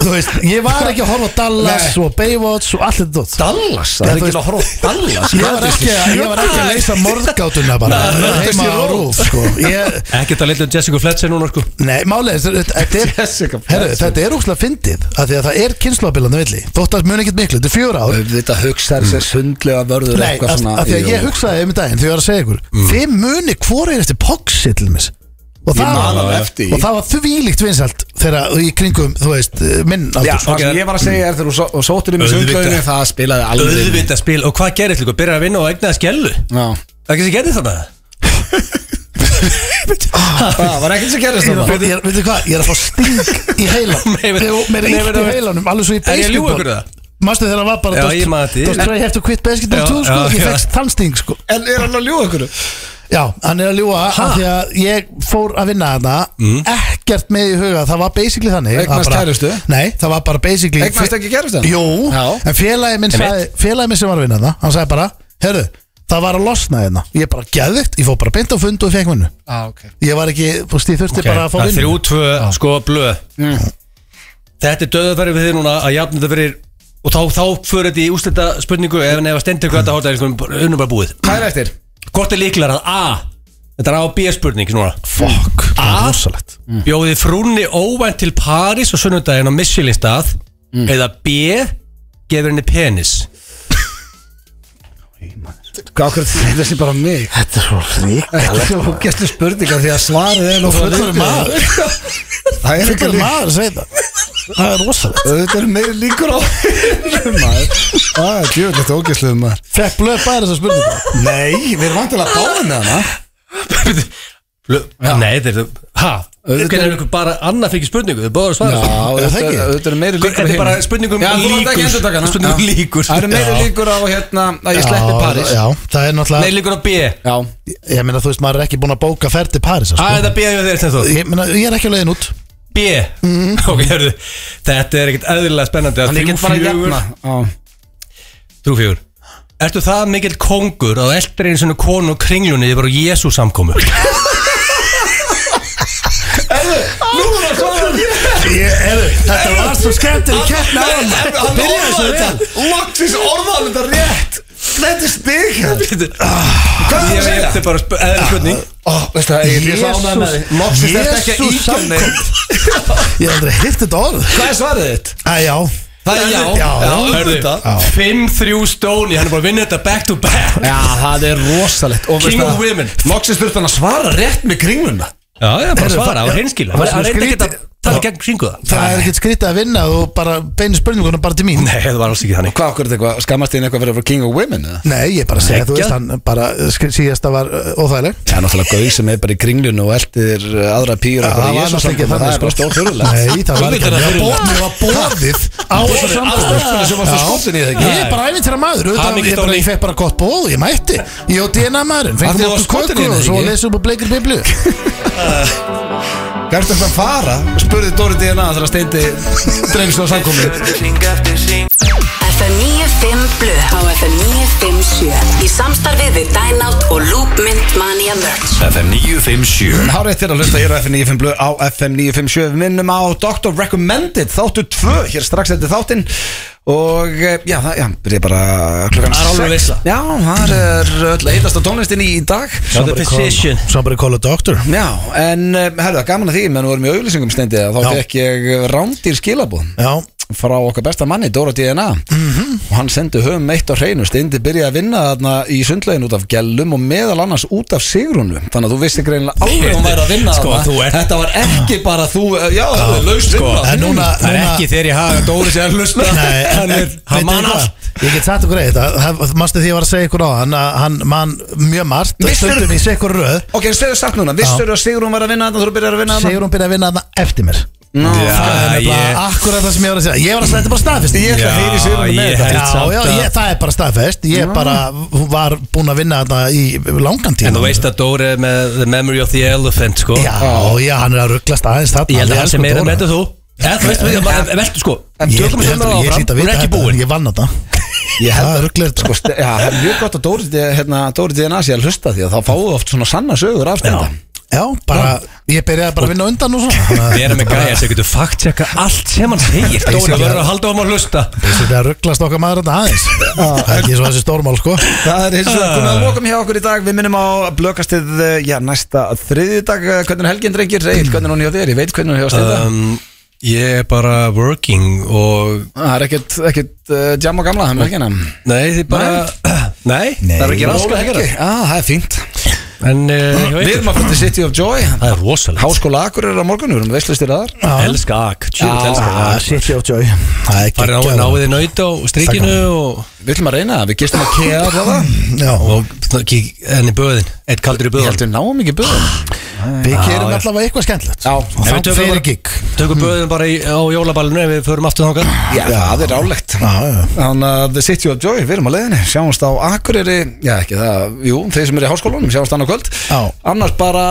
S2: Þú veist, ég var ekki að horfa á Dallas
S1: Nei.
S2: og Baywatch og allt þetta dót.
S1: Dallas, það
S2: Já,
S1: er
S2: þú
S1: ekki
S2: veist-
S1: að horfa á Dallas
S2: Ég var ekki, að- ég var ekki að leysa morðgátuna bara
S1: Nei,
S2: heima
S1: þessi
S2: á
S1: rót.
S2: rúf sko. ég,
S3: Ekkert að leita um Jessica Fletcher núna sko
S2: Nei, málið er, þetta
S3: [laughs]
S2: er
S1: Jessica
S2: herru,
S1: Fletcher.
S2: Þetta er óslega fyndið af því að það er kynnslóðabilandi villi Þótt að mun ekkert miklu, þetta er fjögur ár
S1: Þetta hugsaði sér sundlega vörður
S2: Mm. Nei,
S1: eitthvað
S2: af,
S1: svona
S2: af því að
S1: Jú.
S2: ég hugsaði um daginn því ég var að segja ykkur
S3: Mm.
S2: Þið muni hvora er eftir poxi til mis Og
S1: Ég
S2: það,
S1: man
S2: var,
S1: alveg eftir því.
S2: og það var þvílíkt vinsalt þegar í kringum, þú veist, minn
S1: Já,
S2: aldur
S1: það sem ég var að segja er þegar þú só- sóttir um í
S3: Auðvitað.
S1: sundlöðinu Það spilaði alveg inn í.
S3: Auðvitað spil og hvað gerir líka? Byrjar að vinna og egnaði skellu
S1: Já.
S3: Það er ekki sem gerir þannig
S1: Það var ekkert sem gerist
S2: Ég er
S1: þarna.
S2: að fá- ég- Veitu hvað, ég er að fá sting í heilan
S3: [laughs] Nei, veit-
S2: Þegar Mér er
S3: nei,
S2: illt
S3: veit-
S2: í heilanum, alveg svo í
S3: Er ég að ljúga ykkur
S2: basketball
S3: það?
S2: Mastu þegar það var bara
S3: Já,
S2: dost-
S3: ég man þetta.
S2: dost try have to quit basketball
S3: Já,
S2: too, sko
S3: já,
S2: Ég
S3: já.
S2: fekk þann sting, sko
S1: En er hann að ljúa ykkur?
S2: Já, hann er að ljúga af því að ég fór að vinna þarna Ekkert með í huga, það var basically þannig að
S1: Mm. Eignast
S2: bara-
S1: kærustu?
S2: Nei, það var bara basically
S1: Eignast ekki gerist hann?
S2: Jú,
S1: Já.
S2: en félagi minn, sagði, félagi minn sem var að vinna þarna Hann sagði bara, herru, það var að losna þarna Ég bara geðvikt, ég fór bara beint á fund og fekk vinnu
S1: Já, ok
S2: Ég var ekki, þú veist, ég þurfti bara að fá
S3: Það er
S2: vinnu
S3: þrjú, tvö, sko, blöð Þetta er döðafæri við þið núna að jafna þetta fyrir Og þá, þá fyrir þetta í úslita spurningu Ef nefn að stendur
S2: Mm.
S3: hvað þetta hóta er einhvern unnum bara búið
S1: Hvað er eftir?
S3: Hvort er líklar að A Þetta er A og B spurning núna Fuck,
S2: það
S3: A
S2: er rosalegt Mm.
S3: Bjóði frúnni óvænt til Paris og sunnudaginn á Michelin stað
S2: Mm.
S3: Eða B Gefur henni penis
S2: [laughs]
S1: Hvað okkur þetta sé bara mig Þetta er svo ríkalegt Þetta er svo gæstu spurningar því að svarið er nú
S2: Þú fullur [laughs] maður.
S1: Það er
S2: Fullur maður,
S1: segir það Það er rosalegt Þetta er meiri líkur á maður Það er djöfull, þetta er ógæsluð maður Fekk blöð bara þess að spurninga Nei, við erum vantilega báðið með hana
S3: Blö, Nei, þetta er Ha? Hvernig er ykkur bara annað fyrir spurningu? Þau báður svara
S1: Já, þetta er- þetta er meiri líkur á
S3: Þetta er bara
S1: hinu.
S3: spurningum
S1: Já, þú mátt ekki
S3: líkur
S1: endurtaka hana.
S3: Spurningum
S1: Já.
S3: líkur
S1: Það eru meiri
S3: Já.
S1: líkur á hérna að ég
S2: Já,
S1: sleppi París
S2: Já, það er náttúrulega
S3: Nei, líkur á B
S1: Já
S2: Ég meina, þú veist, maður er ekki búin að bóka ferð til París
S3: Það er þetta B við þeir sem þú
S2: Ég meina, ég er ekki á leiðin út
S3: B Ok, hörðu Þetta er ekkert eðlilega
S1: Mhm.
S3: spennandi
S1: Hann er ekkert bara að jafna
S3: Trú fjögur Ertu það mikill kongur að eldri eins og konu og kringlunni yfir á Jésu samkomu?
S2: Þetta var svo skemmtileg keppni áðan. Byrjaði svo vel.
S1: Loksis orðan þetta rétt Þetta er stig hérna. Hvað
S3: Ég
S1: er
S3: veit,
S1: þetta?
S3: þetta Eh, er bara sp- eðlileg spurning
S1: Veist það, ég er svo ánægð með þig Loksis þetta ekki að
S2: Jesús
S1: íkja mig
S2: Ég hef aldrei hitt þetta orð
S1: Hvað er svarið þitt?
S2: Æ, já
S1: Það er já
S2: Já,
S3: Hörðu,
S1: auðvitað.
S3: 5-3 stóni, hann er bara að vinna þetta back to back
S1: Já, það er rosalegt Og
S3: King
S1: veist
S3: of
S1: það-
S3: women.
S1: Loksins þurft hann að svara rétt með kringluna
S3: Já, já, bara
S2: Heyrðu,
S3: svara,
S2: það-
S3: það var hinskil
S2: það var
S3: Það
S2: svo
S3: er eitthvað
S2: skrítið.
S3: að tala gegn kringu það
S2: Það er ekkert skrítið að vinna og bara beinu spurningunum bara til mín
S3: Nei, það var alls ekki þannig
S1: Hvað okkur er þetta eitthvað? Skammast þín eitthvað fyrir að vera king of women? eða?
S2: Nei, ég bara segja, þú
S1: Geggjað.
S2: veist, hann bara uh, sk- síðasta var uh, óþægileg
S1: Það er náttúrulega gauð sem er bara í kringlunu og eldir aðra pýra
S2: Það var náttúrulega ekki
S1: Það
S2: þannig sko.
S1: er bara stórfjörulegt
S2: Nei, það var ekki Mér var boð- mér var boðið á þessu
S1: Boðið á
S2: samkomu
S1: stelpunni sem var svo
S2: Já.
S1: skotin í þig, ekki?
S2: Ég er bara æfint þeirra maður
S1: Það er
S2: auðvitað,
S1: mikið
S2: Ég bara-
S1: stóri.
S2: ég fekk bara gott bóð, ég mætti Ég og DNA maðurinn,
S1: Af því
S2: fengum
S1: þú varst
S2: okkur
S1: skotin í
S2: kökur
S1: henni,
S2: og svo
S1: ekki?
S2: lesum við bleikir biblíu
S1: Gært þetta að fara? Spurði Dóri DNA þegar að steindi dreifist á samkominu
S14: FM 95 Blu á FM 957 í samstarfið við Dynout og Loop Mint Mania Merch
S1: FM 957 Hárétt þér að hlusta hér á FM 95 blöð á FM 957 Við minnum á Dr. Recommended þáttu 2 hér strax eftir þáttinn og eh, já, það já, byrja bara klukkan
S3: Það er alveg
S1: sex.
S3: veisla.
S1: Já, það er öll heitast á tónlistinni í dag
S2: Somebody call- Somebody call a doctor
S1: Já, en eh, herðu, gaman að því menn vorum í auðlýsingum steindi að þá
S2: Já.
S1: fekk ég rándýr skilabúð
S3: [laughs]
S2: Já,
S1: frá okkar besta manni, Dóra DNA og hann sendi höfum eitt á hreinu steindi byrjaði að vinna þarna í sundlegin út af gellum og meðal annars út af sigrunu þannig að þú vissi greinilega alveg að hún væri að vinna
S3: Sko,
S1: þarna.
S3: þú ert-
S1: þetta var ekki bara þú eh, já, það er laus
S3: sko,
S1: vinna
S2: en núna
S3: Það er ekki þegar ég hafa Dóri sér að hlusta
S2: Nei,
S3: Hann er,
S2: veitir
S3: hann man
S2: hvað?
S3: allt
S2: Ég get sagt okkur eitt Mástu því ég var að segja ykkur á hann að Hann man mjög margt
S1: Vissirðu-
S2: Stundum í sekkur röð
S1: ok, en stegðu sagt núna, vissur þú að sigrun var að vinna þarna þú byrjar að vinna þarna
S2: Sigur hún byrja að vinna þarna eftir mér
S1: Nú,
S3: Já,
S2: Það er
S3: ég-
S2: nefnilega akkurat það sem ég var að segja Ég var að segja þetta bara staðfest
S1: Ég ætla að heyra í Sigrúnu með
S3: ég
S1: þetta.
S3: held
S2: Já,
S3: samt
S2: já,
S3: að-
S2: ég, það er bara staðfest Ég bara var búinn að vinna þarna í langan tíma
S3: En þú veist að Dóri er með The Memory of the Elephant sko.
S2: Já, já, hann er að rugglast aðeins þarna
S3: Ég held að
S2: Við
S3: hann sé
S2: elskum
S3: meira
S2: Dóra.
S3: með þú Eða þú veist, við- en- en- veltu sko
S2: Ég-
S3: Tökum við sem
S2: ég-
S3: það
S2: ég
S3: áfram,
S2: hlýt að
S3: hún er
S2: vita
S3: ekki
S2: þetta,
S3: búin
S2: Ég vann þetta
S1: ég held
S2: Það
S1: að
S2: rugglir
S1: sko, ste- já, það er mjög gott að Dóri, hérna, Dóri DNA sé að hlusta því að þá fáu oft svona sanna sögur af steindi
S2: Já, bara, ég byrjaði bara að vinna á undan og svona Þannig að
S3: Við erum með
S2: þetta bara-
S3: gæja sem getur fact-checka allt sem hann segir Dóri
S2: Basically.
S3: verður að halda á hann að hlusta
S2: Þessi þetta rugglast okkar maður þetta aðeins Það er ekki svo þessi stórmál sko
S1: Það er eins og það
S3: Ah.
S1: komið að lokum hjá okkur í dag Við minnum á blökastið eh, já, næsta þriðjudag eh, Hvernig er helgin drengir, reyð, hvernig er hún hjá þér Ég veit hvernig hún er hjá steinda
S3: um, Ég er bara working og
S1: Það er ekkert, ekkert uh, jam og gamla um helgina
S3: Nei, þið bara Nei, það er ekki rask að
S1: ekki
S3: gera
S1: ah, Það er fínt
S3: En uh,
S1: Við erum að fara til City of Joy
S3: Það er rosalegt
S1: Háskóla Akur er á morgun, við erum veistlustir aðar
S3: Elska ak, tjúrið elska
S2: Ah,
S3: ak
S2: Shit, já, joy Það er
S3: Farið á
S2: geggjað.
S3: náðið naut á strikinu og,
S1: Við ætlum að reyna það, við gistum að kea það
S2: Já,
S3: og kík enn í böðin Eitt kaldur í
S1: Ég held
S3: böðin
S1: við náum ekki böðum
S2: við gerum
S3: já.
S2: allavega eitthvað skemmtilegt sko.
S1: Já.
S2: Og
S3: Nei, við
S2: þá
S3: tökum
S2: fyrir
S3: bara-
S2: gig
S3: Tökum böðin bara í, á jólaballinu ef við förum aftur þangað
S1: Já, það er rálegt
S2: Já, já.
S1: Þannig að The City of Joy, við erum á leiðinni Sjáumst á Akureyri, já ekki það Jú, þeir sem eru í háskólanum, sjáumst annað kvöld
S2: Já.
S1: Annars bara,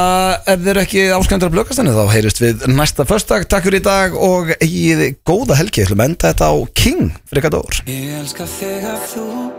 S1: ef þeir eru ekki ásköndur að blökastanni Þá heyrist við næsta föstdag Takk fyrir í dag og eigið góða helgi Ég ætlum að enda þetta á King Frikadór
S8: Ég elska þegar þú